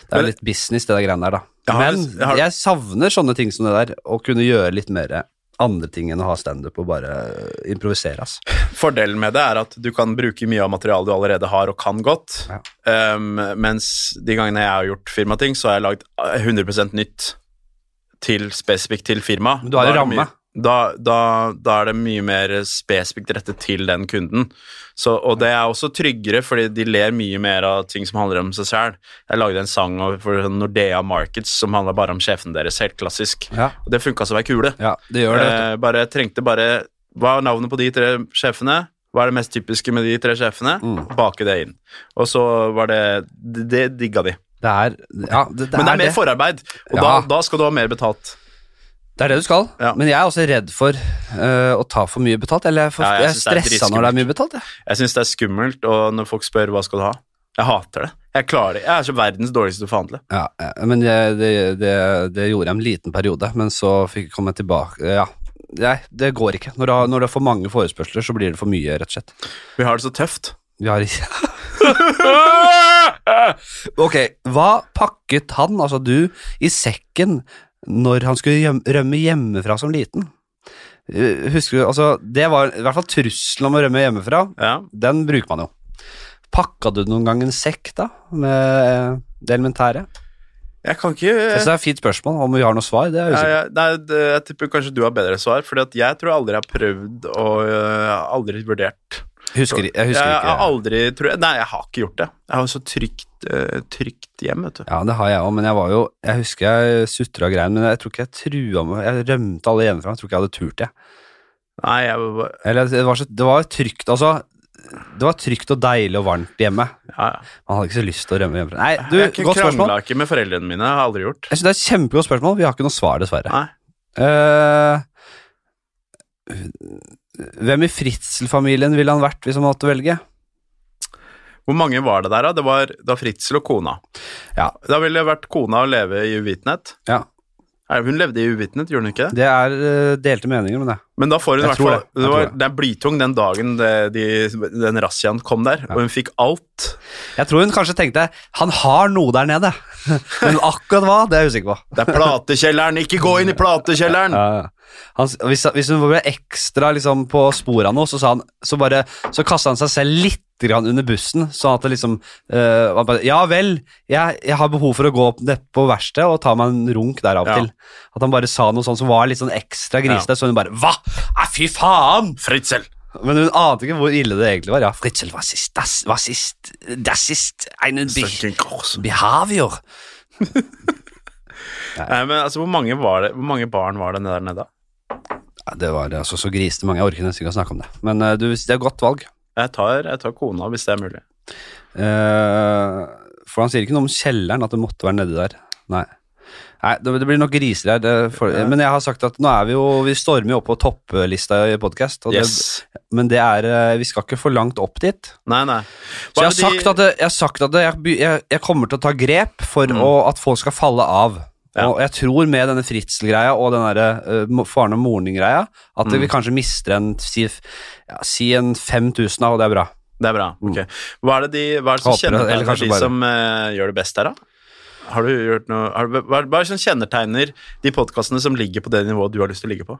[SPEAKER 1] det er
[SPEAKER 2] Men-
[SPEAKER 1] jo litt business, det der greiene der, da.
[SPEAKER 2] Jeg har-
[SPEAKER 1] Men
[SPEAKER 2] jeg har-
[SPEAKER 1] jeg savner sånne ting som det der, å kunne gjøre litt mer andre ting enn å ha standup og bare øh, improvisere, ass.
[SPEAKER 2] Fordelen med det er at du kan bruke mye av materialet du allerede har og kan godt,
[SPEAKER 1] Ja.
[SPEAKER 2] um, mens de gangene jeg har gjort firmating, så har jeg lagd eh, 100 nytt til spesifikt til firma.
[SPEAKER 1] Men du har jo
[SPEAKER 2] Da er det
[SPEAKER 1] ramme.
[SPEAKER 2] mye- Da, da, da er det mye mer spesifikt rettet til den kunden. Så, og det er også tryggere, fordi de ler mye mer av ting som handler om seg selv. Jeg lagde en sang over- for Nordea Markets som handla bare om sjefen deres, helt klassisk.
[SPEAKER 1] Ja.
[SPEAKER 2] Og det funka som ei kule.
[SPEAKER 1] Ja, det gjør det. vet
[SPEAKER 2] Eh, bare jeg trengte bare Hva er navnet på de tre sjefene? Hva er det mest typiske med de tre sjefene? Bake det inn. Og så var det Det, det digga de.
[SPEAKER 1] du. Det er Ja, det, det
[SPEAKER 2] Men det
[SPEAKER 1] er
[SPEAKER 2] er mer
[SPEAKER 1] det.
[SPEAKER 2] forarbeid, og da,
[SPEAKER 1] Ja.
[SPEAKER 2] da skal du ha mer betalt.
[SPEAKER 1] Det er det du skal.
[SPEAKER 2] Ja.
[SPEAKER 1] Men jeg er også redd for eh, å ta for mye betalt. Eller jeg, får,
[SPEAKER 2] Ja, jeg
[SPEAKER 1] jeg, er
[SPEAKER 2] synes det er
[SPEAKER 1] stressa når det er mye betalt, jeg.
[SPEAKER 2] Jeg syns det er skummelt, og når folk spør hva skal du ha Jeg hater det. Jeg klarer det. Jeg er så verdens dårligste til å forhandle.
[SPEAKER 1] Ja, ja, men jeg, det, det, det gjorde jeg en liten periode, men så fikk kom jeg tilbake Ja. Nei, det går ikke. Når du, har, når du har for mange forespørsler, så blir det for mye, rett og slett.
[SPEAKER 2] Vi har det så tøft.
[SPEAKER 1] Vi har ikke Ok, hva pakket han, altså du, i sekken når han skulle hjem, rømme hjemmefra som liten? Eh, Husker du, altså, det var i hvert fall trusselen om å rømme hjemmefra,
[SPEAKER 2] Ja.
[SPEAKER 1] den bruker man jo. Pakka du noen gang en sekk da, med eh, det elementære?
[SPEAKER 2] Jeg kan ikke
[SPEAKER 1] Jeg synes det er et fint spørsmål, om vi har noe svar, det er
[SPEAKER 2] Ja,
[SPEAKER 1] usikkert.
[SPEAKER 2] ja, nei, det, jeg tipper kanskje du har bedre svar, for jeg tror aldri jeg har prøvd og øh, aldri vurdert.
[SPEAKER 1] Husker, jeg husker
[SPEAKER 2] jeg, har
[SPEAKER 1] ikke.
[SPEAKER 2] aldri, tror jeg, nei, jeg har ikke gjort det. Jeg har jo så trygt, øh, trygt hjem, vet du.
[SPEAKER 1] Ja, det har jeg òg, men jeg var jo Jeg husker jeg sutra og grein, men jeg tror ikke jeg trua meg Jeg rømte alle hjemmefra, jeg tror ikke jeg hadde turt det.
[SPEAKER 2] Nei, jeg, var-
[SPEAKER 1] Eller det var, så, det var trygt, altså. det var trygt og deilig og varmt hjemme.
[SPEAKER 2] Ja, ja.
[SPEAKER 1] Man hadde ikke så lyst til å rømme hjemmefra. Nei, du,
[SPEAKER 2] jeg
[SPEAKER 1] godt spørsmål.
[SPEAKER 2] krangla ikke med foreldrene mine. Har jeg aldri gjort.
[SPEAKER 1] Jeg synes det er et kjempegodt spørsmål. Vi har ikke noe svar, dessverre.
[SPEAKER 2] Nei.
[SPEAKER 1] Eh, hvem i Fritzel-familien ville han vært hvis han måtte velge?
[SPEAKER 2] Hvor mange var det der, da? Det var da Fritzel og kona.
[SPEAKER 1] Ja.
[SPEAKER 2] Da ville det vært kona å leve i uvitenhet.
[SPEAKER 1] Ja,
[SPEAKER 2] Nei, Hun levde i uvitenhet, gjorde hun ikke det?
[SPEAKER 1] Det er eh, delte meninger om det.
[SPEAKER 2] Men da får hun i
[SPEAKER 1] Jeg
[SPEAKER 2] hvert
[SPEAKER 1] tror
[SPEAKER 2] fall
[SPEAKER 1] det.
[SPEAKER 2] det,
[SPEAKER 1] Jeg
[SPEAKER 2] var,
[SPEAKER 1] tror det.
[SPEAKER 2] det er blytung den dagen det, de, den razziaen kom der, og hun fikk alt.
[SPEAKER 1] Jeg tror hun kanskje tenkte han har noe der nede, [LAUGHS] men akkurat hva, det er jeg usikker på.
[SPEAKER 2] Det er platekjelleren! Ikke gå inn i platekjelleren!
[SPEAKER 1] Han, s- hvis, hvis hun ble ekstra liksom, på sporet av noe, så, sa han, så, bare- så kasta han seg selv litt grann under bussen, sånn at det liksom eh, han bare, Ja vel, jeg, jeg har behov for å gå opp ned på verkstedet og ta meg en runk der av og
[SPEAKER 2] Ja.
[SPEAKER 1] til. At han bare sa noe sånt som var litt sånn ekstra grisete, så hun bare Hva?! Nei, fy faen!
[SPEAKER 2] Fritzel!
[SPEAKER 1] Men hun ante ikke hvor ille det egentlig var. Ja, Fritzel var sist, das, var sist, das ist eine Bi-
[SPEAKER 2] Søkken Kors.
[SPEAKER 1] Behavior.
[SPEAKER 2] Nei, men altså, hvor mange, var det, hvor mange barn var det der nede? da?
[SPEAKER 1] Ja, det var altså så grisete mange. Jeg orker nesten ikke å snakke om det. Men eh, du, det er godt valg.
[SPEAKER 2] Jeg tar, jeg tar kona, hvis det er mulig.
[SPEAKER 1] Eh, for han sier ikke noe om kjelleren, at det måtte være nedi der. Nei. Nei, det, det blir nok griser her. Det får- Men jeg har sagt at nå er vi jo Vi stormer jo opp på topplista i podkast,
[SPEAKER 2] Yes.
[SPEAKER 1] men det er eh, Vi skal ikke for langt opp dit.
[SPEAKER 2] Nei, nei.
[SPEAKER 1] Så jeg har
[SPEAKER 2] Hva med de-
[SPEAKER 1] sagt at, det- jeg, har sagt at det- jeg, by- jeg, jeg kommer til å ta grep for å, at folk skal falle av.
[SPEAKER 2] Mm. Ja.
[SPEAKER 1] Og jeg tror med denne Fritzel-greia og den der, eh, mo- faren og moren din-greia, at
[SPEAKER 2] Mm.
[SPEAKER 1] vi kanskje mister en si, f- ja, si en 5000 av, og det er bra.
[SPEAKER 2] Det er bra. ok. Hva er det, de, hva er det som
[SPEAKER 1] Mm. Håper det, eller
[SPEAKER 2] kjennetegner
[SPEAKER 1] kanskje
[SPEAKER 2] de
[SPEAKER 1] bare-
[SPEAKER 2] som eh, gjør det best her, da? Har du gjort noe, har du, hva, er- hva er det som kjennetegner de podkastene som ligger på det nivået du har lyst til å ligge på?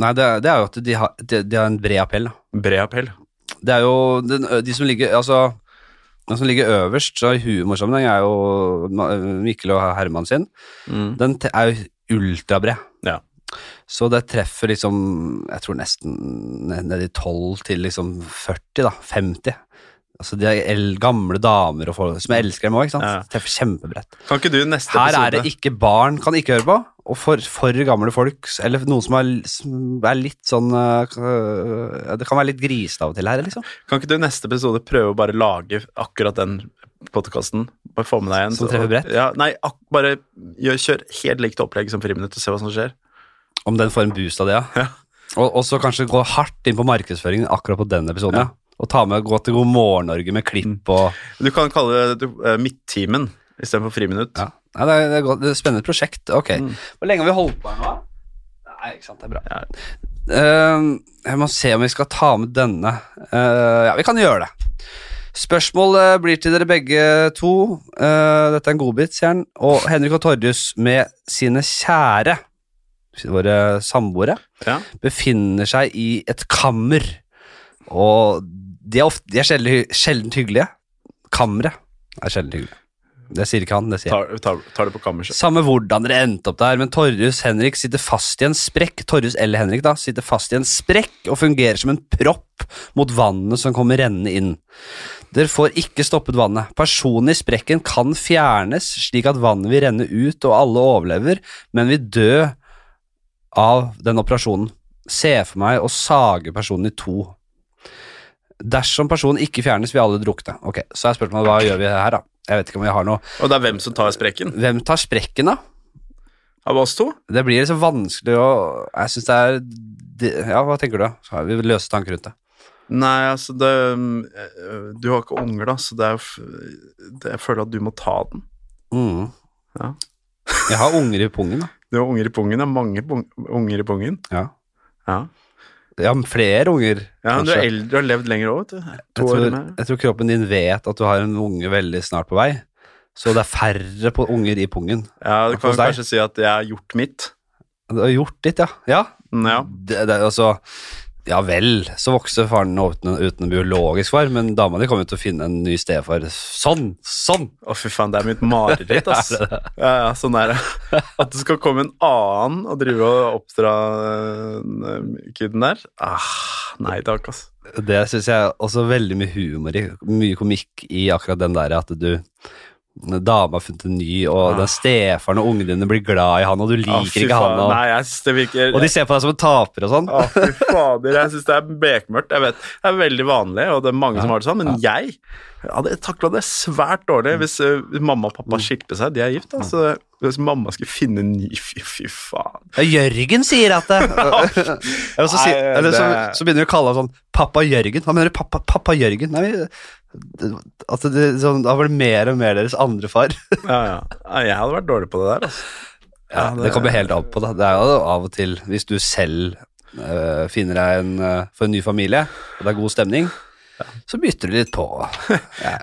[SPEAKER 1] Nei, det, er- det er jo at de har, de, de har en bred appell. Da.
[SPEAKER 2] Bred appell.
[SPEAKER 1] Det er jo den, ø- de som ligger Altså den som ligger øverst så i humorsammenheng, er jo Ma- Mikkel og Herman sin.
[SPEAKER 2] Mm.
[SPEAKER 1] Den te- er jo ultrabred.
[SPEAKER 2] Ja.
[SPEAKER 1] Så det treffer liksom Jeg tror nesten ned ned i 12 til liksom 40, da. 50. Altså de er el gamle damer og folk som elsker dem òg, ikke sant.
[SPEAKER 2] Ja.
[SPEAKER 1] Treffer kjempebredt.
[SPEAKER 2] Kan ikke du i neste
[SPEAKER 1] Her er
[SPEAKER 2] episode
[SPEAKER 1] det ikke barn kan ikke høre på, og for, for gamle folk, eller noen som er, som er litt sånn øh, øh, Det kan være litt grisete av og til her, liksom.
[SPEAKER 2] Kan ikke du i neste episode prøve å bare lage akkurat den podkasten? Bare få med deg en
[SPEAKER 1] Som treffer bredt?
[SPEAKER 2] Ja, nei, ak bare gjør, kjør helt likt opplegg som Friminutt og se hva som skjer.
[SPEAKER 1] Om den får en boost av det, ja.
[SPEAKER 2] Ja.
[SPEAKER 1] Og, og så kanskje gå hardt inn på markedsføringen akkurat på den episoden, ja. Og ta med gå til God morgen Norge med klipp og
[SPEAKER 2] Du kan kalle det eh, Midttimen istedenfor Friminutt.
[SPEAKER 1] Ja. Nei, det, er, det, er godt. det er et spennende prosjekt. Ok. Hvor lenge har vi holdt på her nå? Nei, ikke sant, det er bra.
[SPEAKER 2] Ja.
[SPEAKER 1] Ehm, jeg må se om vi skal ta med denne. Eh, ja, vi kan gjøre det. Spørsmålet blir til dere begge to. Eh, dette er en godbit, sier han. Og Henrik og Torjus med sine kjære, våre samboere,
[SPEAKER 2] Ja.
[SPEAKER 1] befinner seg i et kammer. Og de er, ofte, de er sjelden, hy- sjelden hyggelige. Kammeret er sjelden hyggelig. Det sier ikke han, det sier jeg.
[SPEAKER 2] Tar, tar, tar det på kammerset.
[SPEAKER 1] Samme hvordan dere endte opp der, men Torjus Henrik sitter fast i en sprekk Torjus eller Henrik da, sitter fast i en sprekk og fungerer som en propp mot vannet som kommer rennende inn. Dere får ikke stoppet vannet. Personen i sprekken kan fjernes slik at vannet vil renne ut og alle overlever, men vil dø av den operasjonen. Se for meg å sage personen i to. Dersom personen ikke fjernes, vil alle drukne. Ok, Så er spørsmålet hva gjør vi her, da? Jeg vet ikke om vi har noe
[SPEAKER 2] Og det er hvem som tar sprekken?
[SPEAKER 1] Hvem tar sprekken, da?
[SPEAKER 2] Av oss to?
[SPEAKER 1] Det blir liksom vanskelig å Jeg syns det er det- Ja, hva tenker du? Så har vi løse tanker rundt det.
[SPEAKER 2] Nei, altså det øh, Du har ikke unger, da, så det er, jo f- det, jeg føler at du må ta den.
[SPEAKER 1] Mm.
[SPEAKER 2] Ja.
[SPEAKER 1] Jeg har unger i pungen, da.
[SPEAKER 2] Du har unger i pungen. Det er mange pung- unger i pungen.
[SPEAKER 1] Ja.
[SPEAKER 2] Ja,
[SPEAKER 1] Jeg har flere unger.
[SPEAKER 2] ja men du er
[SPEAKER 1] kanskje.
[SPEAKER 2] eldre og har levd lenger òg, vet du.
[SPEAKER 1] jeg,
[SPEAKER 2] To år
[SPEAKER 1] tror,
[SPEAKER 2] mer.
[SPEAKER 1] jeg tror kroppen din vet at du har en unge veldig snart på vei, så det er færre på unger i pungen.
[SPEAKER 2] Ja, du kan
[SPEAKER 1] Hos deg?
[SPEAKER 2] kanskje si at jeg har gjort mitt.
[SPEAKER 1] Du har gjort ditt, ja. Ja,
[SPEAKER 2] Mm, Ja.
[SPEAKER 1] det, det, er altså, ja vel, så vokser faren uten, uten en biologisk far, men dama di kommer jo til å finne en ny stefar. Sånn! Sånn!
[SPEAKER 2] Å, fy faen, det er mitt mareritt,
[SPEAKER 1] [LAUGHS]
[SPEAKER 2] ass.
[SPEAKER 1] Ja, det
[SPEAKER 2] ja, ja, sånn er det. At det skal komme en annen og drive og oppdra øh, kiden der. Ah, nei takk, ass.
[SPEAKER 1] Det syns jeg er også veldig mye humor i. Mye komikk i akkurat den der at du dama har funnet en ny, og den stefaren og ungene dine blir glad i han, og du liker
[SPEAKER 2] Ah, fy
[SPEAKER 1] ikke han,
[SPEAKER 2] faen.
[SPEAKER 1] og,
[SPEAKER 2] Nei, Ah. jeg synes det virker
[SPEAKER 1] og de ser på deg som en taper og sånn.
[SPEAKER 2] Å, fy fader, jeg syns det er bekmørkt. Jeg vet, Det er veldig vanlig, og det er mange som har det sånn, men jeg hadde takla det svært dårlig hvis eh, mamma og
[SPEAKER 1] Mm.
[SPEAKER 2] pappa skilte seg. De er gift, altså. Hvis mamma skulle finne en ny Fy, fy faen.
[SPEAKER 1] Ja, Jørgen sier at det
[SPEAKER 2] [LAUGHS]
[SPEAKER 1] [LAUGHS] Eller så, sier,
[SPEAKER 2] Nei,
[SPEAKER 1] eller så,
[SPEAKER 2] det-
[SPEAKER 1] så begynner vi å kalle han sånn Pappa Jørgen. Hva mener du, pappa, pappa Jørgen? Nei, vi, at det, sånn, da var det mer og mer deres andre far.
[SPEAKER 2] Ja, ja. Nei, Jeg hadde vært dårlig på det der, altså.
[SPEAKER 1] Ja,
[SPEAKER 2] Ja,
[SPEAKER 1] det,
[SPEAKER 2] det-
[SPEAKER 1] kommer helt an på det. Det er jo av og til, hvis du selv eh, finner deg en, eh, for en ny familie, og det er god stemning, så bytter du litt på.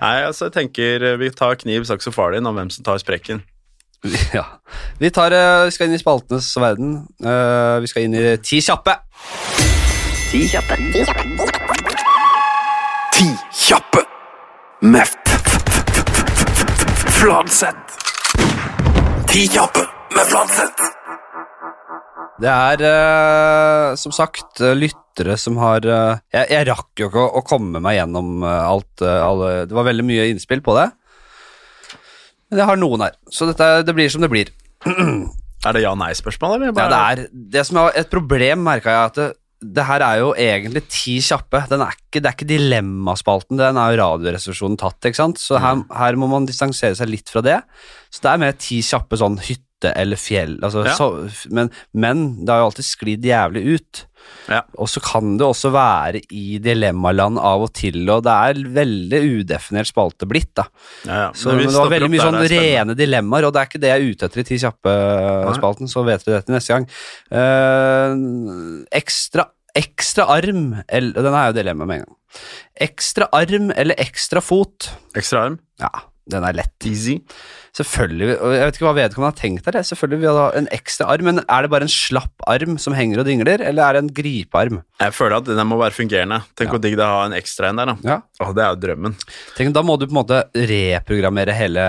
[SPEAKER 2] Nei, altså, jeg tenker eh, vi tar kniv, saks og farlig om hvem som tar sprekken.
[SPEAKER 1] ja. Vi tar, eh, vi skal inn i spaltenes verden. Eh, vi skal inn i Ti kjappe.
[SPEAKER 3] Ti kjappe. Ti kjappe.
[SPEAKER 4] Ti kjappe med f- f- f- f- f- Fladseth. Ti kjappe med Fladseth.
[SPEAKER 1] Det er eh, som sagt eh, lyttere som har eh, jeg, jeg rakk jo ikke å, å komme meg gjennom eh, alt. eh, alle, det var veldig mye innspill på det. Men jeg har noen her, så dette, er- det blir som det blir.
[SPEAKER 2] Er det ja-nei-spørsmål, eller?
[SPEAKER 1] Ja, det, er, det som er et problem, merka jeg, at det, det her er jo egentlig ti kjappe. Den er ikke, det er ikke dilemmaspalten, den er jo Radioresepsjonen tatt, ikke sant. Så her,
[SPEAKER 2] Mm.
[SPEAKER 1] her må man distansere seg litt fra det. Så det er mer ti kjappe sånn hytte eller fjell, altså,
[SPEAKER 2] Ja.
[SPEAKER 1] så, men, men det har jo alltid sklidd jævlig ut.
[SPEAKER 2] Ja.
[SPEAKER 1] Og så kan det også være i dilemmaland av og til, og det er veldig udefinert spalte blitt, da.
[SPEAKER 2] Ja, ja.
[SPEAKER 1] Så,
[SPEAKER 2] Men
[SPEAKER 1] men det
[SPEAKER 2] vi
[SPEAKER 1] var
[SPEAKER 2] stopper
[SPEAKER 1] veldig
[SPEAKER 2] opp
[SPEAKER 1] mye
[SPEAKER 2] der,
[SPEAKER 1] sånn
[SPEAKER 2] det er spennende.
[SPEAKER 1] rene dilemmaer, og det er ikke det jeg er ute etter i Ti kjappe-spalten, så vet dere det til neste gang. Eh, ekstra, ekstra arm eller, Den er jo dilemma med en gang. Ekstra arm eller ekstra fot?
[SPEAKER 2] Ekstra arm.
[SPEAKER 1] Ja, den er lett.
[SPEAKER 2] Easy.
[SPEAKER 1] Selvfølgelig, og Jeg vet ikke hva vedkommende har tenkt der. jeg. Selvfølgelig vil jeg ha en ekstra arm, men er det bare en slapp arm som henger og dingler, eller er det en gripearm?
[SPEAKER 2] Jeg føler at den må være fungerende. Tenk hvor digg det er å ha en ekstra en der, da.
[SPEAKER 1] Ja.
[SPEAKER 2] Åh, det er jo drømmen.
[SPEAKER 1] Tenk, da må du på en måte reprogrammere hele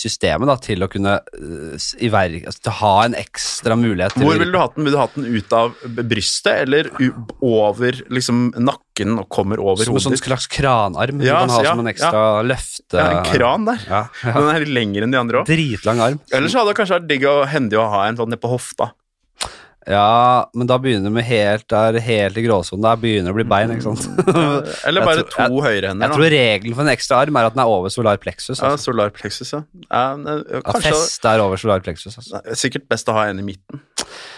[SPEAKER 1] systemet da, til å kunne øh, s- iverk, altså, til å ha en ekstra mulighet til
[SPEAKER 2] Hvor ville du hatt den? Ville du hatt den ut av b- brystet, eller u over liksom, nakken og kommer over
[SPEAKER 1] Som en
[SPEAKER 2] hodet?
[SPEAKER 1] sånn
[SPEAKER 2] ditt?
[SPEAKER 1] slags kranarm
[SPEAKER 2] Ja,
[SPEAKER 1] du kan ha
[SPEAKER 2] så- ja,
[SPEAKER 1] som en ekstra løfte...
[SPEAKER 2] ja, en kran der.
[SPEAKER 1] Ja, ja.
[SPEAKER 2] Den er litt lengre enn de andre òg.
[SPEAKER 1] Dritlang arm.
[SPEAKER 2] Ellers hadde det kanskje vært digg og hendig å ha en sånn nede på hofta.
[SPEAKER 1] Ja, men da begynner vi helt, der, helt i gråsonen. Der begynner det å bli bein, ikke
[SPEAKER 2] [LAUGHS]
[SPEAKER 1] sant?
[SPEAKER 2] Eller
[SPEAKER 1] Jeg
[SPEAKER 2] bare
[SPEAKER 1] tror-
[SPEAKER 2] to høyrehender.
[SPEAKER 1] [LAUGHS] Jeg
[SPEAKER 2] da.
[SPEAKER 1] tror regelen for en ekstra arm er at den er over solar plexus.
[SPEAKER 2] Ja,
[SPEAKER 1] Altså.
[SPEAKER 2] solar plexus, ja. ja men, eh,
[SPEAKER 1] At
[SPEAKER 2] kanskje
[SPEAKER 1] festet er over solar plexus. Altså.
[SPEAKER 2] Nei, Sikkert best å ha en i midten.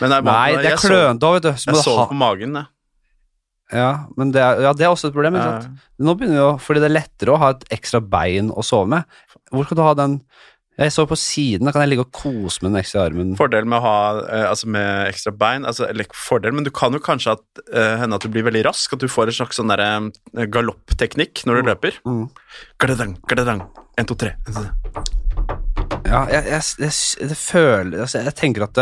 [SPEAKER 2] Men jeg,
[SPEAKER 1] Nei, det er
[SPEAKER 2] jeg sov-
[SPEAKER 1] klønete òg, vet du. Så
[SPEAKER 2] Jeg
[SPEAKER 1] må du
[SPEAKER 2] sover på
[SPEAKER 1] ha,
[SPEAKER 2] magen, jeg.
[SPEAKER 1] ja, men det er, ja, det er også et problem, ikke sant?
[SPEAKER 2] Eh,
[SPEAKER 1] Nå begynner vi å, fordi det er lettere å ha et ekstra bein å sove med. Hvor skal du ha den? Jeg sover på siden, da kan jeg ligge og kose med den ekstra armen.
[SPEAKER 2] Fordel med å ha eh, altså med ekstra bein altså, eller ikke fordel, Men du kan jo kanskje at, eh, hende at du blir veldig rask, at du får en slags sånn der, eh, galoppteknikk når du løper.
[SPEAKER 1] Mm.
[SPEAKER 2] Gladadang, gladadang. En, to, tre. En, to, tre.
[SPEAKER 1] Ja, jeg, jeg, jeg, det føler altså, Jeg tenker at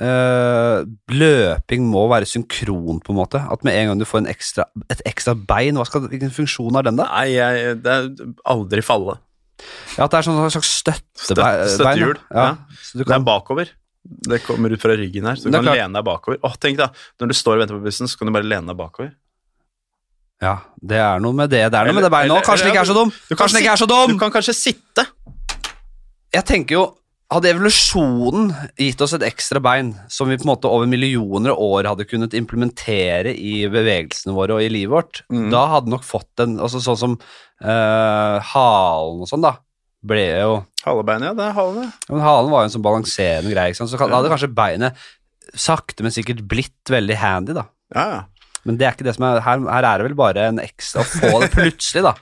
[SPEAKER 1] eh, løping må være synkron, på en måte. At med en gang du får en ekstra, et ekstra bein, hva skal, hvilken funksjon har den da?
[SPEAKER 2] Nei, jeg, det er aldri falle.
[SPEAKER 1] Ja, at det er sånn slags støttebein.
[SPEAKER 2] Støtt- støttehjul,
[SPEAKER 1] Ja.
[SPEAKER 2] ja.
[SPEAKER 1] Så du
[SPEAKER 2] Det er
[SPEAKER 1] kan,
[SPEAKER 2] bakover. Det kommer ut fra ryggen her, så du
[SPEAKER 1] Det er
[SPEAKER 2] kan
[SPEAKER 1] klart.
[SPEAKER 2] lene deg bakover. Åh, tenk da, Når du står og venter på bussen, så kan du bare lene deg bakover.
[SPEAKER 1] ja, det er noe med det. Det er noe med
[SPEAKER 2] Eller-
[SPEAKER 1] det beinet
[SPEAKER 2] eller-
[SPEAKER 1] òg. Kanskje den
[SPEAKER 2] eller-
[SPEAKER 1] ikke er så dum!
[SPEAKER 2] Du kan
[SPEAKER 1] Kanskje den ikke er så
[SPEAKER 2] Du
[SPEAKER 1] dum!
[SPEAKER 2] kan kanskje sitte.
[SPEAKER 1] Jeg tenker jo hadde evolusjonen gitt oss et ekstra bein som vi på en måte over millioner av år hadde kunnet implementere i bevegelsene våre og i livet vårt,
[SPEAKER 2] Mm.
[SPEAKER 1] da hadde nok fått en altså Sånn som eh, halen og sånn, da. Ble jo
[SPEAKER 2] Halebeinet, ja. Det er halen, ja.
[SPEAKER 1] ja, Men halen var jo en sånn balanserende greie, ikke sant. Så kan, da hadde kanskje beinet sakte, men sikkert blitt veldig handy, da.
[SPEAKER 2] ja. ja.
[SPEAKER 1] Men det er ikke det som er Her, her er det vel bare en ekstra Å få det plutselig, da.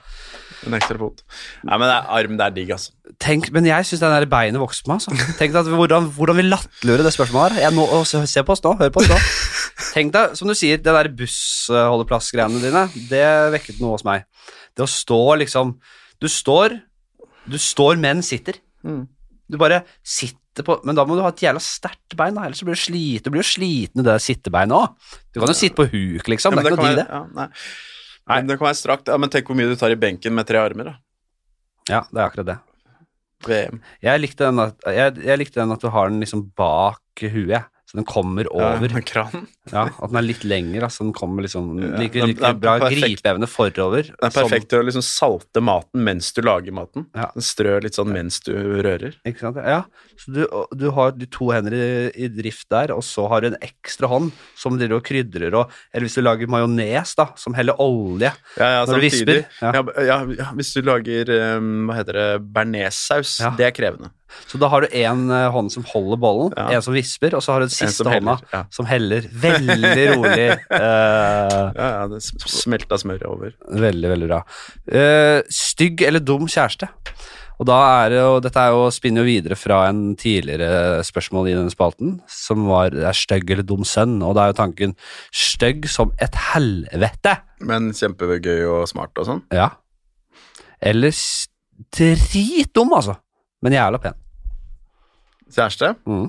[SPEAKER 2] En ekstra fot. Nei, men det er, arm, det er digg, altså.
[SPEAKER 1] Tenk, men jeg syns det der beinet vokser på meg. Altså. Tenk deg at hvordan, hvordan vi latterliggjør det spørsmålet her. Jeg nå, å, se- se på oss nå, hør
[SPEAKER 2] [LAUGHS]
[SPEAKER 1] på oss nå. Tenk deg, som du sier, det der bussholdeplassgreiene dine, det vekket noe hos meg. Det å stå liksom Du står, du står men sitter.
[SPEAKER 2] Mm.
[SPEAKER 1] Du bare sitter på Men da må du ha et jævla sterkt bein, da, ellers så blir du sliten. Du blir jo sliten i det der sittebeinet òg. Du kan jo sitte på huk, liksom.
[SPEAKER 2] Ja,
[SPEAKER 1] det er ikke noe
[SPEAKER 2] men
[SPEAKER 1] digg,
[SPEAKER 2] det
[SPEAKER 1] det.
[SPEAKER 2] kan være- Ja, nei. Nei, det kan være strakt. Ja, men tenk hvor mye du tar i benken med tre armer, da.
[SPEAKER 1] Ja, det er akkurat det.
[SPEAKER 2] VM.
[SPEAKER 1] Jeg likte den at, jeg, jeg likte den at du har den liksom bak huet. Så den kommer over.
[SPEAKER 2] Ja, kran.
[SPEAKER 1] Ja, At den er litt lengre. Altså, den kommer liksom
[SPEAKER 2] Ja,
[SPEAKER 1] like,
[SPEAKER 2] den-
[SPEAKER 1] like
[SPEAKER 2] den er
[SPEAKER 1] bra
[SPEAKER 2] perfekt.
[SPEAKER 1] gripeevne forover.
[SPEAKER 2] Det er perfekt til å liksom salte maten mens du lager maten.
[SPEAKER 1] Sånn. Ja.
[SPEAKER 2] Den strør litt sånn mens du rører.
[SPEAKER 1] Som, ikke sant? Ja, så du, og du har de to hender i, i drift der, og så har du en ekstra hånd som driver og krydrer og Eller hvis du lager majones, da, som heller olje.
[SPEAKER 2] Ja, ja,
[SPEAKER 1] Når du
[SPEAKER 2] samtidig.
[SPEAKER 1] visper, ja.
[SPEAKER 2] Ja, b- ja, ja, hvis du lager um, hva heter det, bearnéssaus,
[SPEAKER 1] Ja.
[SPEAKER 2] det er krevende.
[SPEAKER 1] Så da har du én hånd som holder bollen,
[SPEAKER 2] Ja.
[SPEAKER 1] en som visper, og så har du den
[SPEAKER 2] En
[SPEAKER 1] siste
[SPEAKER 2] som heller,
[SPEAKER 1] hånda
[SPEAKER 2] ja.
[SPEAKER 1] som heller veldig rolig.
[SPEAKER 2] [LAUGHS]
[SPEAKER 1] eh,
[SPEAKER 2] Ja, ja, det s- smelta smøret over.
[SPEAKER 1] Veldig, veldig bra. Eh, stygg eller dum kjæreste? Og da er det jo, dette er jo, spinner jo videre fra en tidligere spørsmål i denne spalten, som var er stygg eller dum sønn, og da er jo tanken stygg som et helvete.
[SPEAKER 2] Men kjempegøy og smart og sånn.
[SPEAKER 1] Ja. Eller s- dritdum, altså. Men jævla pen.
[SPEAKER 2] Kjæreste?
[SPEAKER 1] Mm.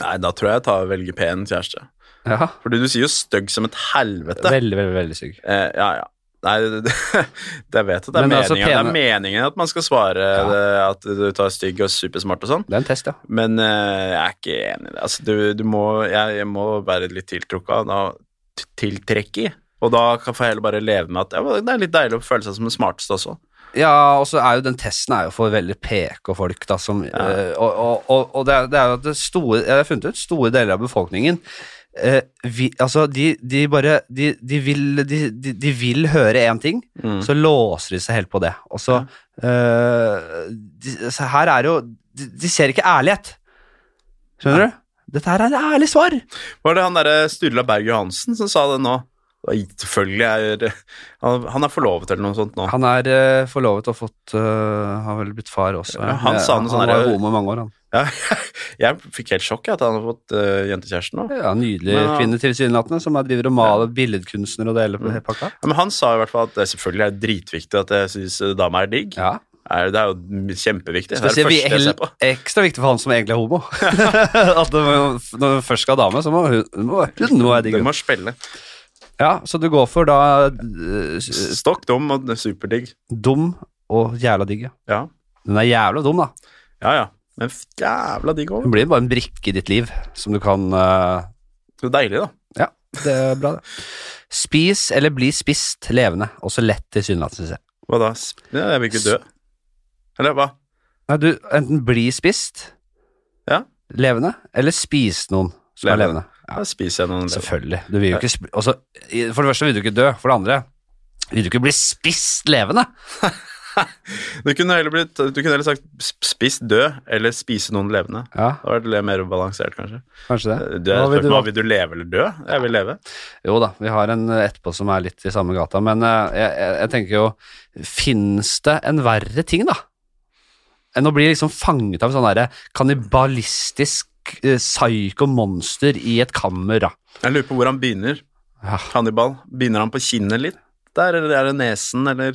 [SPEAKER 2] Nei, da tror jeg jeg tar velger pen kjæreste.
[SPEAKER 1] Ja.
[SPEAKER 2] Fordi du sier jo stygg som et helvete.
[SPEAKER 1] Veldig, veldig, veldig stygg.
[SPEAKER 2] Eh, ja, ja. Nei, det, [LAUGHS] det, jeg vet at det er,
[SPEAKER 1] Men
[SPEAKER 2] meningen.
[SPEAKER 1] altså,
[SPEAKER 2] det er
[SPEAKER 1] pene-
[SPEAKER 2] meningen at man skal svare
[SPEAKER 1] Ja.
[SPEAKER 2] det, at du tar stygg og supersmart og sånn.
[SPEAKER 1] Det er en test, ja.
[SPEAKER 2] Men eh, jeg er ikke enig i det. Altså, du, du må, jeg, jeg må være litt tiltrukket av da- t- tiltrekk i. Og da kan får jeg heller bare leve med at ja, men det er litt deilig å føle seg som den smarteste også.
[SPEAKER 1] Ja, og så er jo den testen er jo for veldig PK-folk, da, som eh, Og, og, og, og det, er, det er jo at det store Jeg har funnet ut store deler av befolkningen eh, vi, Altså, de, de bare de, de, vil, de, de, de vil høre én ting,
[SPEAKER 2] Mm.
[SPEAKER 1] så låser de seg helt på det. Og så eh, de, så Her er jo de, de ser ikke ærlighet. Skjønner du? Dette her er et ærlig svar.
[SPEAKER 2] Var det han derre Sturla Berg Johansen som sa det nå? Oi, Selvfølgelig er han- Han er forlovet eller noe sånt nå.
[SPEAKER 1] Han er eh, forlovet og fått eh, Har vel blitt far også. Eh,
[SPEAKER 2] Ja, han sa noe sånn
[SPEAKER 1] han var
[SPEAKER 2] der-
[SPEAKER 1] homo i mange år, han.
[SPEAKER 2] Ja, [LAUGHS] jeg fikk helt sjokk jeg, at han har fått eh, jentekjæreste nå.
[SPEAKER 1] Ja, Nydelig
[SPEAKER 2] Men, ja. Mm.
[SPEAKER 1] kvinne tilsynelatende, som er driver og maler billedkunstner og det hele på- pakka.
[SPEAKER 2] Ja, men han sa i hvert fall at det selvfølgelig er dritviktig at jeg syns dama er digg.
[SPEAKER 1] Ja.
[SPEAKER 2] Er, det er jo kjempeviktig. Det er det
[SPEAKER 1] Spesielt vi-
[SPEAKER 2] første jeg ser på.
[SPEAKER 1] ekstra viktig for han som egentlig er
[SPEAKER 2] [LAUGHS]
[SPEAKER 1] homo. [LAUGHS] At når når hun først skal ha dame, så må hun, hun må, hun må være digg.
[SPEAKER 2] Du må spille.
[SPEAKER 1] Ja, så du går for da eh, s-
[SPEAKER 2] Stokk dum og superdigg.
[SPEAKER 1] dum og jævla digg. ja.
[SPEAKER 2] Ja,
[SPEAKER 1] Den er jævla dum, da.
[SPEAKER 2] ja. ja. Men f- jævla digg òg.
[SPEAKER 1] Hun blir bare en brikke i ditt liv som du kan eh,
[SPEAKER 2] Så deilig, da.
[SPEAKER 1] Ja, det er bra, det. Spis eller bli spist levende, også lett tilsynelatende. synes jeg.
[SPEAKER 2] Hva da? S- Ja, jeg vil ikke dø. Eller hva?
[SPEAKER 1] Nei, du, enten bli spist
[SPEAKER 2] Ja.
[SPEAKER 1] levende, eller spis noen som er
[SPEAKER 2] Levende.
[SPEAKER 1] levende. Ja.
[SPEAKER 2] Da spiser jeg noen lever.
[SPEAKER 1] Selvfølgelig. Du vil jo ikke sp og så- i- for det første vil du ikke dø. For det andre vil du ikke bli spist levende.
[SPEAKER 2] Du kunne heller, blitt, du kunne heller sagt sp- spis død eller spise noen levende.
[SPEAKER 1] Ja,
[SPEAKER 2] Da var det litt mer balansert, kanskje.
[SPEAKER 1] kanskje det.
[SPEAKER 2] Det er
[SPEAKER 1] Hva vil du
[SPEAKER 2] spørsmål,
[SPEAKER 1] valg-
[SPEAKER 2] vil du leve eller dø? Jeg vil leve.
[SPEAKER 1] Jo da, vi har en eh, etterpå som er litt i samme gata, men eh, jeg, jeg, jeg tenker jo Fins det en verre ting, da? Enn å bli liksom fanget av sånn derre kannibalistisk eh, psyko-monster i et kammer, da.
[SPEAKER 2] Jeg lurer på hvor han begynner.
[SPEAKER 1] Ja,
[SPEAKER 2] Hannibal. Begynner han på kinnet litt? Der, eller er det nesen, eller,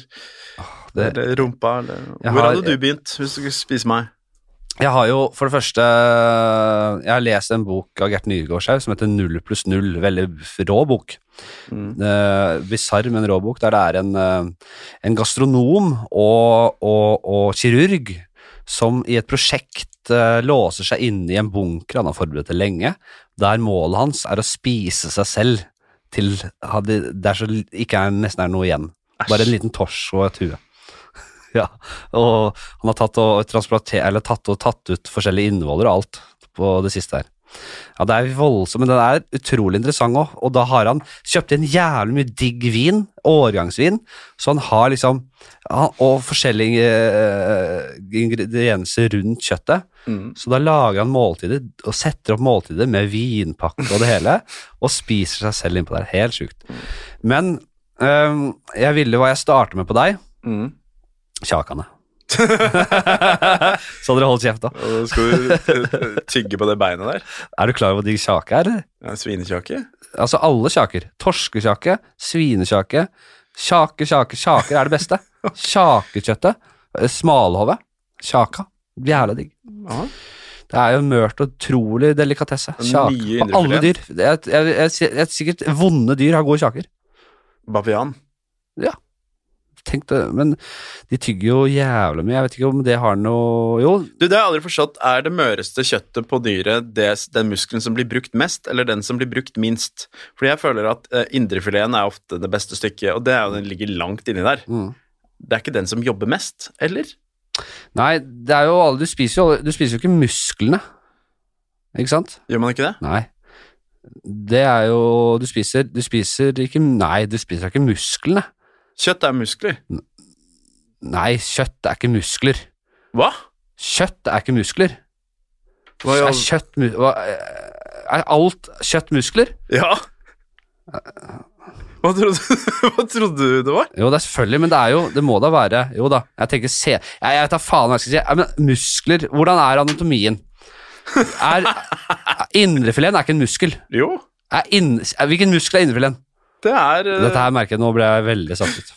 [SPEAKER 1] det,
[SPEAKER 2] eller rumpa? Eller?
[SPEAKER 1] Jeg
[SPEAKER 2] Hvor
[SPEAKER 1] har-
[SPEAKER 2] hadde du begynt hvis du skulle spise meg?
[SPEAKER 1] jeg har jo for det første Jeg har lest en bok av Gert Nygaardshaug som heter 0 pluss 0. Veldig rå bok.
[SPEAKER 2] Mm.
[SPEAKER 1] uh, bisarr, men rå bok, der det er en, eh, en gastronom og, og, og kirurg som i et prosjekt eh, låser seg inne i en bunker han har forberedt det lenge, der målet hans er å spise seg selv til ha det- det er så l- ikke er, nesten er noe igjen. Bare en liten torso og et hue. [LAUGHS] ja, og han har tatt og, transplanter- eller tatt, og tatt ut forskjellige innvoller og alt på det siste her. Ja, det er voldsomt, men den er utrolig interessant òg. Og da har han kjøpt inn jævlig mye digg vin, årgangsvin, så han har liksom ja, Og forskjellige eh, ingredienser rundt kjøttet.
[SPEAKER 2] Mm.
[SPEAKER 1] Så da lager han måltider, og setter opp måltider med vinpakke og det hele, og spiser seg selv innpå der. Helt sjukt. Men eh, jeg ville hva jeg starter med på deg.
[SPEAKER 2] Mm.
[SPEAKER 1] Kjakane. [LAUGHS] så dere holder kjeft, da.
[SPEAKER 2] Og da skal du tygge på det beinet der.
[SPEAKER 1] Er du klar over hvor digg kjake er? eller?
[SPEAKER 2] Ja, Svinekjake.
[SPEAKER 1] Altså alle kjaker. Torskekjake, svinekjake, kjake, kjake, kjaker er det beste. Kjakekjøttet, eh, smalhove, kjaka. Jævla digg.
[SPEAKER 2] Ja.
[SPEAKER 1] Det er jo en mørt og utrolig delikatesse.
[SPEAKER 2] Den nye
[SPEAKER 1] Kjake på alle
[SPEAKER 2] indrefileten.
[SPEAKER 1] dyr. Jeg, jeg, jeg, jeg, sikkert vonde dyr har gode kjaker.
[SPEAKER 2] Bavian.
[SPEAKER 1] tenkt det, men de tygger jo jævla mye. Jeg vet ikke om det har noe Jo,
[SPEAKER 2] Du, det har jeg aldri forstått. Er det møreste kjøttet på dyret det, den muskelen som blir brukt mest, eller den som blir brukt minst? Fordi jeg føler at eh, indrefileten er ofte det beste stykket, og det er jo den ligger langt inni der.
[SPEAKER 1] Mm.
[SPEAKER 2] Det er ikke den som jobber mest, eller?
[SPEAKER 1] Nei, det er jo alle Du spiser jo, alle- du spiser jo ikke musklene. Ikke sant?
[SPEAKER 2] Gjør man ikke det?
[SPEAKER 1] Nei. Det er jo Du spiser, du spiser ikke Nei, du spiser ikke musklene.
[SPEAKER 2] Kjøtt er muskler.
[SPEAKER 1] Nei, kjøtt er ikke muskler.
[SPEAKER 2] Hva?
[SPEAKER 1] Kjøtt er ikke muskler.
[SPEAKER 2] Hva i all-
[SPEAKER 1] Er kjøtt mu- hva, Er alt kjøtt muskler?
[SPEAKER 2] Ja. Hva trodde, [LAUGHS] hva trodde du det var?
[SPEAKER 1] Jo, det er selvfølgelig, men det er jo Det må da være Jo da, jeg tenker se Jeg, jeg vet da faen hva jeg skal si. Ja, men muskler Hvordan er anatomien?
[SPEAKER 2] [LAUGHS]
[SPEAKER 1] Er, er Indrefileten er ikke en muskel.
[SPEAKER 2] Jo,
[SPEAKER 1] Er inn, er, hvilken muskel er indrefileten?
[SPEAKER 2] det er eh,
[SPEAKER 1] Dette her merker jeg Nå ble jeg veldig satt ut.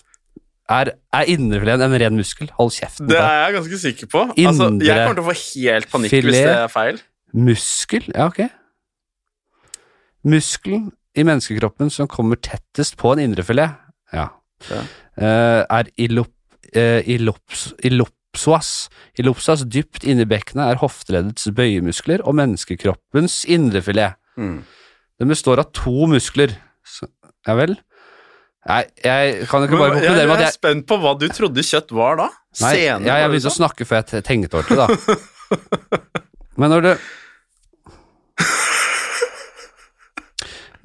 [SPEAKER 1] Er, er indrefileten en ren muskel? Hold kjeft. mot
[SPEAKER 2] Det
[SPEAKER 1] deg.
[SPEAKER 2] er jeg ganske sikker på. Altså, jeg
[SPEAKER 1] Indre-
[SPEAKER 2] kommer til å få helt panikk hvis
[SPEAKER 1] Filet.
[SPEAKER 2] det er feil.
[SPEAKER 1] Muskel? Ja, ok. Muskelen i menneskekroppen som kommer tettest på en indrefilet, ja,
[SPEAKER 2] Ja.
[SPEAKER 1] Eh, er ilop, eh, ilops, ilopsoas. Ilopsoas dypt inni bekkenet er hofteleddets bøyemuskler og menneskekroppens indrefilet.
[SPEAKER 2] Mm.
[SPEAKER 1] Den består av to muskler. Så, ja vel? Nei, jeg kan jo ikke bare
[SPEAKER 2] Men, jeg,
[SPEAKER 1] konkludere
[SPEAKER 2] jeg
[SPEAKER 1] med at jeg
[SPEAKER 2] er spent på hva du trodde kjøtt var da.
[SPEAKER 1] Nei,
[SPEAKER 2] Senere,
[SPEAKER 1] ja, jeg
[SPEAKER 2] var det
[SPEAKER 1] begynte å
[SPEAKER 2] sånn?
[SPEAKER 1] snakke før jeg te- tenkte ordentlig, da.
[SPEAKER 2] [LAUGHS]
[SPEAKER 1] Men når du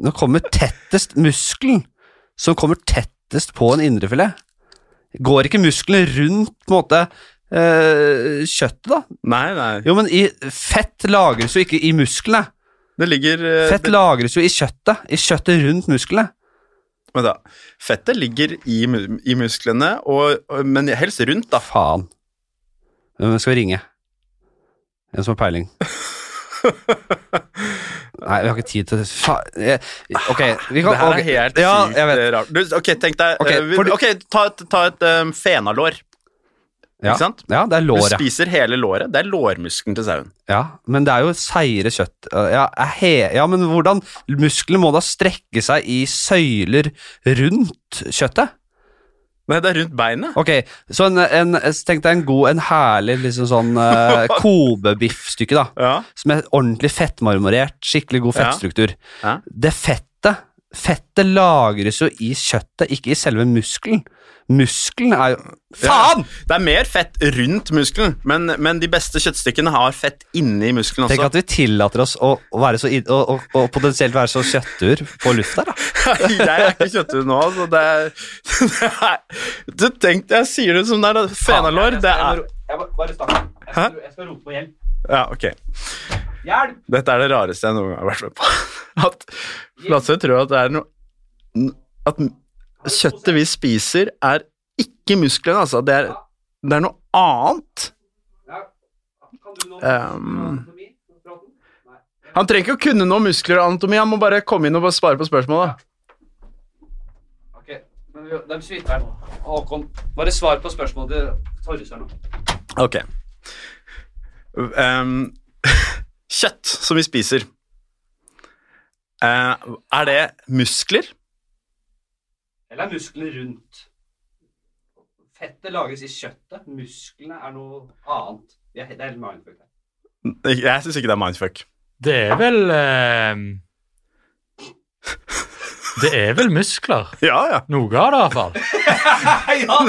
[SPEAKER 1] Nå kommer tettest muskelen, som kommer tettest på en indrefilet. Går ikke muskelen rundt på en måte eh, kjøttet, da?
[SPEAKER 2] Nei, nei.
[SPEAKER 1] Jo, men i, fett lagres jo ikke i musklene.
[SPEAKER 2] Det ligger eh,
[SPEAKER 1] Fett
[SPEAKER 2] det,
[SPEAKER 1] lagres jo i kjøttet. I kjøttet rundt musklene.
[SPEAKER 2] men da, Fettet ligger i, mu- i musklene, og, og, men helst rundt, da.
[SPEAKER 1] Faen. Hvem skal vi ringe? En som har
[SPEAKER 2] [LAUGHS]
[SPEAKER 1] peiling. Nei, vi har ikke tid til det. Faen. jeg- Ok, vi kan
[SPEAKER 2] Det her
[SPEAKER 1] ok.
[SPEAKER 2] er helt
[SPEAKER 1] ja,
[SPEAKER 2] sykt
[SPEAKER 1] jeg vet.
[SPEAKER 2] eh, rart. Du, ok, tenk deg
[SPEAKER 1] Ok,
[SPEAKER 2] eh, vi-
[SPEAKER 1] for du-
[SPEAKER 2] ok, ta et, ta et eh, fenalår.
[SPEAKER 1] Ja.
[SPEAKER 2] Ikke sant?
[SPEAKER 1] Ja, det er
[SPEAKER 2] Du
[SPEAKER 1] låret.
[SPEAKER 2] spiser hele låret. Det er lårmuskelen til sauen.
[SPEAKER 1] Ja, men det er jo seire kjøtt. Ja, er he ja, men hvordan Musklene må da strekke seg i søyler rundt kjøttet?
[SPEAKER 2] Nei, det er rundt beinet.
[SPEAKER 1] Ok, så en, en, tenk deg en god, en herlig liksom sånn
[SPEAKER 2] [LAUGHS]
[SPEAKER 1] eh, kobebiffstykke, da.
[SPEAKER 2] Ja.
[SPEAKER 1] som er ordentlig fettmarmorert, skikkelig god
[SPEAKER 2] Ja.
[SPEAKER 1] fettstruktur.
[SPEAKER 2] Ja.
[SPEAKER 1] Det fettet, fettet lagres jo i kjøttet, ikke i selve muskelen. Muskelen er jo Faen!
[SPEAKER 2] Det er mer fett rundt muskelen, men, men de beste kjøttstykkene har fett inni muskelen
[SPEAKER 1] Tenk
[SPEAKER 2] også.
[SPEAKER 1] at vi tillater oss å, å, være så, id- å, å, å potensielt være så kjøttur på lufta, da.
[SPEAKER 2] jeg er ikke kjøtthue nå, så det er, det er [LAUGHS] Du tenk, jeg sier det som det er. da. [LAUGHS] Fenalår, det er
[SPEAKER 1] Bare snakk.
[SPEAKER 2] Hæ?
[SPEAKER 1] Jeg skal rope på hjelp.
[SPEAKER 2] Ja, ok.
[SPEAKER 1] Hjelp!
[SPEAKER 2] Dette er det rareste jeg noen gang har vært med på. [LAUGHS] At Lasse tror at det er noe At kjøttet vi spiser, er ikke musklene, altså. Det er, det er noe annet. Ehm, han trenger ikke å kunne noe om muskler og anatomi, han må bare komme inn og bare svare på spørsmålet.
[SPEAKER 1] Ok, men vi- de svirper nå. Håkon, bare svar på spørsmålet til Torjus her nå.
[SPEAKER 2] Ok. Ehm, [LAUGHS] kjøtt som vi spiser, eh, er det muskler?
[SPEAKER 1] Eller er musklene rundt? Fettet lages i kjøttet. Musklene er noe annet. Det er helt mindfuck.
[SPEAKER 2] Jeg syns ikke det er mindfuck. [LAUGHS]
[SPEAKER 5] Det er vel eh, Det er vel muskler.
[SPEAKER 2] Ja, ja.
[SPEAKER 5] Noe av det, i hvert fall.
[SPEAKER 2] Nei, nei,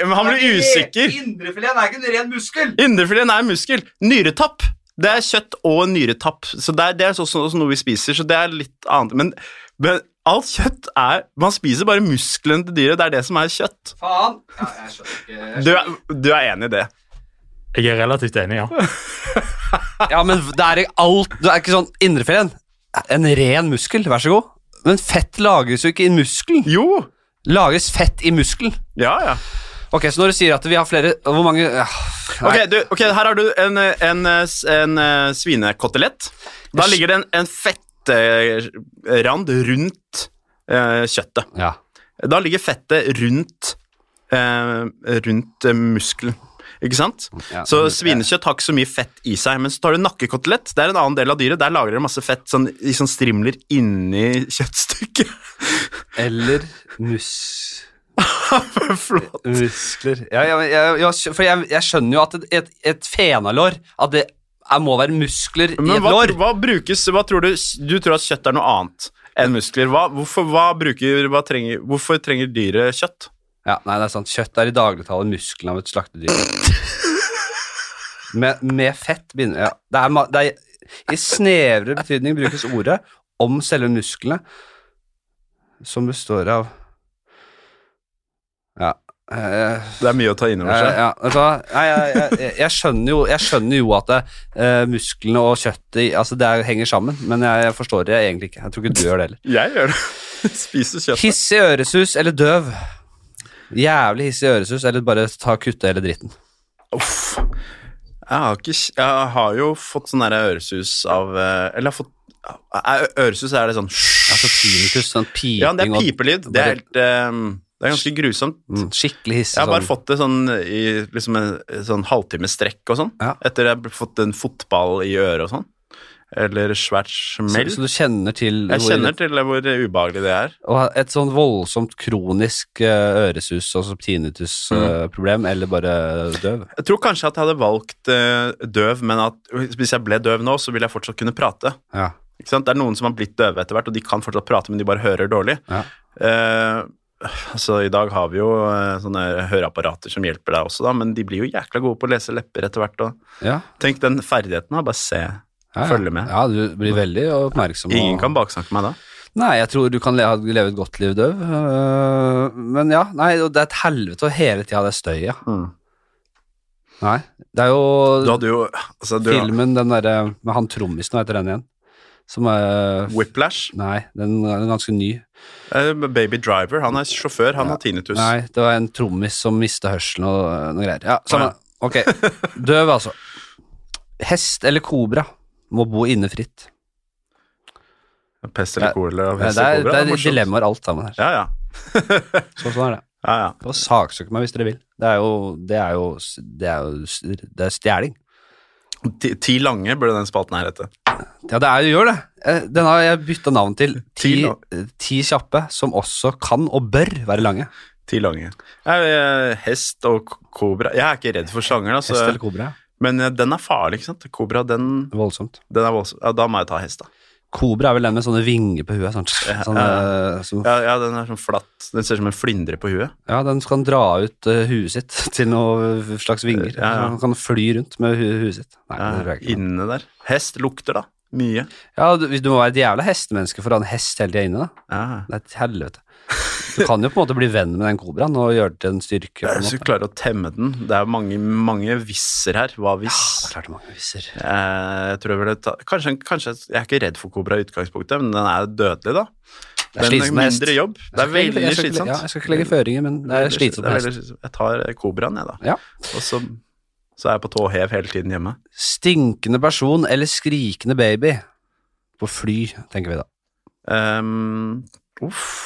[SPEAKER 2] men han blir usikker.
[SPEAKER 1] Indrefileten er ikke en ren muskel.
[SPEAKER 2] Indrefileten er muskel. Nyretapp. Det er kjøtt og nyretapp. Så det er, det er så- så- også noe vi spiser, så det er litt annet. Men, men alt kjøtt er Man spiser bare musklene til dyret. Det er det som er kjøtt.
[SPEAKER 1] Faen. Ja, jeg skjønner ikke. jeg
[SPEAKER 2] Du er, du er enig i det?
[SPEAKER 5] Jeg er relativt enig, ja.
[SPEAKER 1] skjønner- Ja, men det er ikke alt Det er ikke sånn indrefileten. er En ren muskel, vær så god. Men fett lagres jo ikke i muskelen.
[SPEAKER 2] Jo.
[SPEAKER 1] Lagres fett i muskelen.
[SPEAKER 2] Ja, ja.
[SPEAKER 1] Ok, så når du sier at vi har flere Hvor mange ja, nei.
[SPEAKER 2] Ok, du, ok, her har du en, en, en, eh, svinekotelett. Da ligger det en, en fettrand rundt eh, kjøttet.
[SPEAKER 1] Ja.
[SPEAKER 2] Da ligger fettet rundt, eh, rundt eh, muskelen. Ikke sant?
[SPEAKER 1] Ja.
[SPEAKER 2] så svinekjøtt har ikke så mye fett i seg. Men så tar du nakkekotelett. Det er en annen del av dyret. Der lagrer det masse fett sånn, i sånn strimler inni kjøttstykket.
[SPEAKER 1] Eller mus...
[SPEAKER 2] [LAUGHS] Flott.
[SPEAKER 1] Muskler. Ja, ja, men jeg, jeg, for jeg, jeg skjønner jo at et, et, et fenalår At det er, må være muskler i
[SPEAKER 2] Men
[SPEAKER 1] et
[SPEAKER 2] hva,
[SPEAKER 1] lår.
[SPEAKER 2] hva brukes Hva tror du Du tror at kjøtt er noe annet enn muskler. Hva, hvorfor, hva bruker, hva trenger, hvorfor trenger dyret kjøtt?
[SPEAKER 1] Ja, nei, det er sant. Kjøtt er i dagligtale muskelen av et slaktedyr. Med, med fett begynner ja. det er, ma- det er, I snevrere betydning brukes ordet om selve musklene, som består av Ja. eh,
[SPEAKER 2] Det er mye å ta inn over
[SPEAKER 1] Ja,
[SPEAKER 2] seg.
[SPEAKER 1] ja, altså, nei, jeg, jeg, jeg- jeg, skjønner jo, jeg skjønner jo at det, eh, musklene og kjøttet altså det er, henger sammen, men jeg, jeg forstår det egentlig ikke. Jeg tror ikke du gjør det heller.
[SPEAKER 2] Jeg gjør det. [LAUGHS] Spiser kjøtt.
[SPEAKER 1] Hissig øresus eller døv? Jævlig hissig øresus, eller bare ta kutte hele dritten.
[SPEAKER 2] Uff. Jeg har, ikke, jeg har jo fått sånn der øresus av eh, Eller jeg har fått er- Øresus er det sånn
[SPEAKER 1] Altså tinnitus, sånn piping
[SPEAKER 2] Ja, det er
[SPEAKER 1] og-
[SPEAKER 2] pipelyd. Det er, helt, eh, det er ganske grusomt.
[SPEAKER 1] Mm, skikkelig hissig.
[SPEAKER 2] Jeg har bare
[SPEAKER 1] sånn.
[SPEAKER 2] fått det sånn i liksom en en sånn halvtime strekk og sånn.
[SPEAKER 1] Ja.
[SPEAKER 2] Etter jeg har fått en fotball i øret og sånn. Eller svært
[SPEAKER 1] så,
[SPEAKER 2] smell.
[SPEAKER 1] så du kjenner til
[SPEAKER 2] Jeg
[SPEAKER 1] hvor-
[SPEAKER 2] kjenner til hvor ubehagelig det er.
[SPEAKER 1] og et sånn voldsomt kronisk eh, øresus, altså
[SPEAKER 2] Mm.
[SPEAKER 1] tinnitus-problem, eller bare døv?
[SPEAKER 2] Jeg tror kanskje at jeg hadde valgt eh, døv, men at hvis jeg ble døv nå, så ville jeg fortsatt kunne prate.
[SPEAKER 1] Ja.
[SPEAKER 2] Ikke sant? Det er noen som har blitt døve etter hvert, og de kan fortsatt prate, men de bare hører dårlig.
[SPEAKER 1] Ja.
[SPEAKER 2] Eh, altså, I dag har vi jo eh, sånne høreapparater som hjelper deg også, da, men de blir jo jækla gode på å lese lepper etter hvert. Og...
[SPEAKER 1] ja.
[SPEAKER 2] Tenk den ferdigheten, da. Bare se.
[SPEAKER 1] Ja, ja.
[SPEAKER 2] Følge med.
[SPEAKER 1] Ja, du blir veldig oppmerksom. og-
[SPEAKER 2] Ingen kan baksnakke meg da.
[SPEAKER 1] Nei, jeg tror du kan le ha- leve et godt liv døv. øh, men ja, nei, og det er et helvete å hele tida det støyet.
[SPEAKER 2] Mm.
[SPEAKER 1] Nei, det er
[SPEAKER 2] Du
[SPEAKER 1] jo
[SPEAKER 2] hadde jo altså, du,
[SPEAKER 1] filmen den derre med han trommisen, hva heter den igjen? Som er
[SPEAKER 2] Whiplash.
[SPEAKER 1] Nei, den er ganske ny.
[SPEAKER 2] Eh, Baby Driver. Han er sjåfør, han har tinnitus.
[SPEAKER 1] Nei, det var en trommis som mista hørselen og øh, noe greier. Ja,
[SPEAKER 2] Ja.
[SPEAKER 1] samme. Ok.
[SPEAKER 2] [LAUGHS]
[SPEAKER 1] Døv, altså. Hest eller kobra må bo inne fritt.
[SPEAKER 2] Pest eller kolera.
[SPEAKER 1] Det er, det er dilemmaer alt sammen her.
[SPEAKER 2] Ja, ja.
[SPEAKER 1] Så, sånn er det.
[SPEAKER 2] ja, ja.
[SPEAKER 1] Og saksøk meg hvis dere vil. Det er jo Det er jo Det er, jo, det er stjeling.
[SPEAKER 2] Ti, ti lange burde den spalten her hete.
[SPEAKER 1] Ja, det er jo gjør det. Eh, Den har jeg bytta navn til. Ti,
[SPEAKER 2] Ti nå.
[SPEAKER 1] eh, ti kjappe som også kan og bør være lange.
[SPEAKER 2] Ti lange. Jeg, jeg, hest og k- kobra Jeg er ikke redd for slanger, da,
[SPEAKER 1] Hest
[SPEAKER 2] så,
[SPEAKER 1] eller kobra?
[SPEAKER 2] men eh, den er farlig, ikke sant? Kobra, den,
[SPEAKER 1] Voldsomt.
[SPEAKER 2] den er voldsom. Ja, da må jeg ta hest, da.
[SPEAKER 1] Kobra er vel den med sånne vinger på huet. Sånn, sånn, eh, som,
[SPEAKER 2] Ja, ja, den er sånn flatt. Den ser ut som en flyndre på huet.
[SPEAKER 1] ja, den kan dra ut eh, huet sitt [LAUGHS] til noe slags vinger.
[SPEAKER 2] Ja, ja.
[SPEAKER 1] Så Den kan fly rundt med hu huet sitt. Nei, det tror
[SPEAKER 2] Ja,
[SPEAKER 1] jeg ikke.
[SPEAKER 2] Eh, inne der. Hest lukter, da. Mye.
[SPEAKER 1] Ja, du, du må være et jævla hestemenneske for å ha en hest hele tida inne. da.
[SPEAKER 2] Ja.
[SPEAKER 1] Det er et helvete. Du kan jo på en måte bli venn med den kobraen og gjøre det til en styrke. på en
[SPEAKER 2] Hvis du
[SPEAKER 1] måte.
[SPEAKER 2] klarer å temme den Det er mange, mange visser her. Hva hvis?
[SPEAKER 1] Ah, Det er klart det er mange viser.
[SPEAKER 2] Eh, Jeg tror jeg ville ta Kanskje, kanskje Jeg er ikke redd for kobra i utgangspunktet, men den er dødelig, da.
[SPEAKER 1] Det er
[SPEAKER 2] Den er
[SPEAKER 1] slitsomt med hest.
[SPEAKER 2] mindre jobb. Det er
[SPEAKER 1] Jeg skal ikke-
[SPEAKER 2] veldig
[SPEAKER 1] jeg skal ikke-
[SPEAKER 2] slitsomt.
[SPEAKER 1] Ja, jeg skal ikke legge føringer, men det er
[SPEAKER 2] Veldig-
[SPEAKER 1] slitsomt
[SPEAKER 2] det
[SPEAKER 1] med
[SPEAKER 2] er
[SPEAKER 1] hest.
[SPEAKER 2] veldig slitsomt. Jeg tar eh, kobraen, jeg, da.
[SPEAKER 1] Ja.
[SPEAKER 2] Og så, så er jeg på tå hev hele tiden hjemme.
[SPEAKER 1] Stinkende person eller skrikende baby? På fly, tenker vi da.
[SPEAKER 2] Ehm, uff.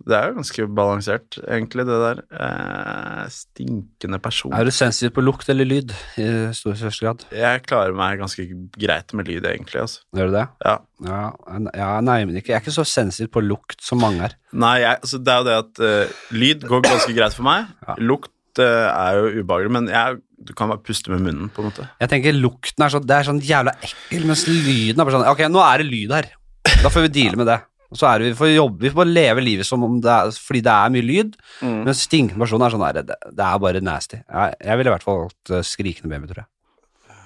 [SPEAKER 2] Det er jo ganske balansert, egentlig, det der. Eh, stinkende person.
[SPEAKER 1] Er du sensitiv på lukt eller lyd i stor største grad?
[SPEAKER 2] Jeg klarer meg ganske greit med lyd, egentlig. Altså.
[SPEAKER 1] Gjør du det?
[SPEAKER 2] Ja.
[SPEAKER 1] Ja, n- ja, nei, men ikke. Jeg er ikke så sensitiv på lukt som mange er.
[SPEAKER 2] Nei, jeg, altså, det er jo det at eh, lyd går ganske greit for meg.
[SPEAKER 1] Ja.
[SPEAKER 2] Lukt eh, er jo ubehagelig, men jeg, du kan bare puste med munnen, på en måte.
[SPEAKER 1] Jeg tenker lukten er sånn, det er sånn jævla ekkel, mens lyden er bare sånn, ok, nå er det lyd her. Da får vi deale med det. Og så er det, vi får jobbe, vi får leve livet som om det er, fordi det er mye lyd,
[SPEAKER 2] Mm.
[SPEAKER 1] men stinkende person er sånn, der, det, det er bare nasty. Jeg, jeg ville i hvert fall valgt eh, skrikende baby, tror jeg.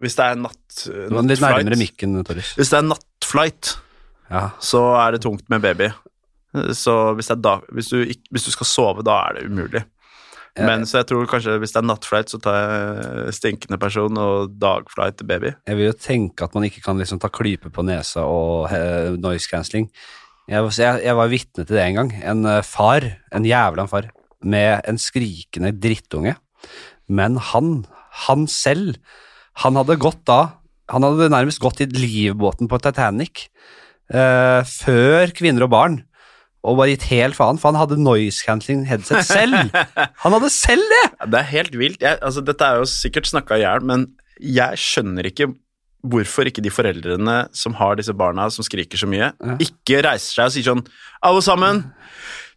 [SPEAKER 2] Hvis det er natt,
[SPEAKER 1] Du var litt nærmere
[SPEAKER 2] nattflight
[SPEAKER 1] mikken, Torjus.
[SPEAKER 2] Hvis det er nattflight,
[SPEAKER 1] Ja.
[SPEAKER 2] så er det tungt med baby. Eh, Så hvis, det er da, hvis, du, ikk- hvis du skal sove, da er det umulig.
[SPEAKER 1] Ja.
[SPEAKER 2] Men så jeg tror kanskje hvis det er nattflight, så tar jeg eh, stinkende person og dagflight til baby.
[SPEAKER 1] Jeg vil jo tenke at man ikke kan liksom ta klype på nesa og eh, noise cancelling. Jeg, var- jeg, jeg var vitne til det en gang. En eh, far, en jævla far, med en skrikende drittunge. Men han, han selv, han hadde gått da Han hadde nærmest gått i livbåten på Titanic eh, før kvinner og barn. Og bare gitt helt faen, for han hadde noise cancelling headset [LAUGHS] selv. Han hadde selv det!
[SPEAKER 2] Det er helt vilt. Jeg, altså, dette er jo sikkert snakka i hjel, men jeg skjønner ikke hvorfor ikke de foreldrene som har disse barna som skriker så mye,
[SPEAKER 1] Ja.
[SPEAKER 2] ikke reiser seg og sier sånn Alle sammen,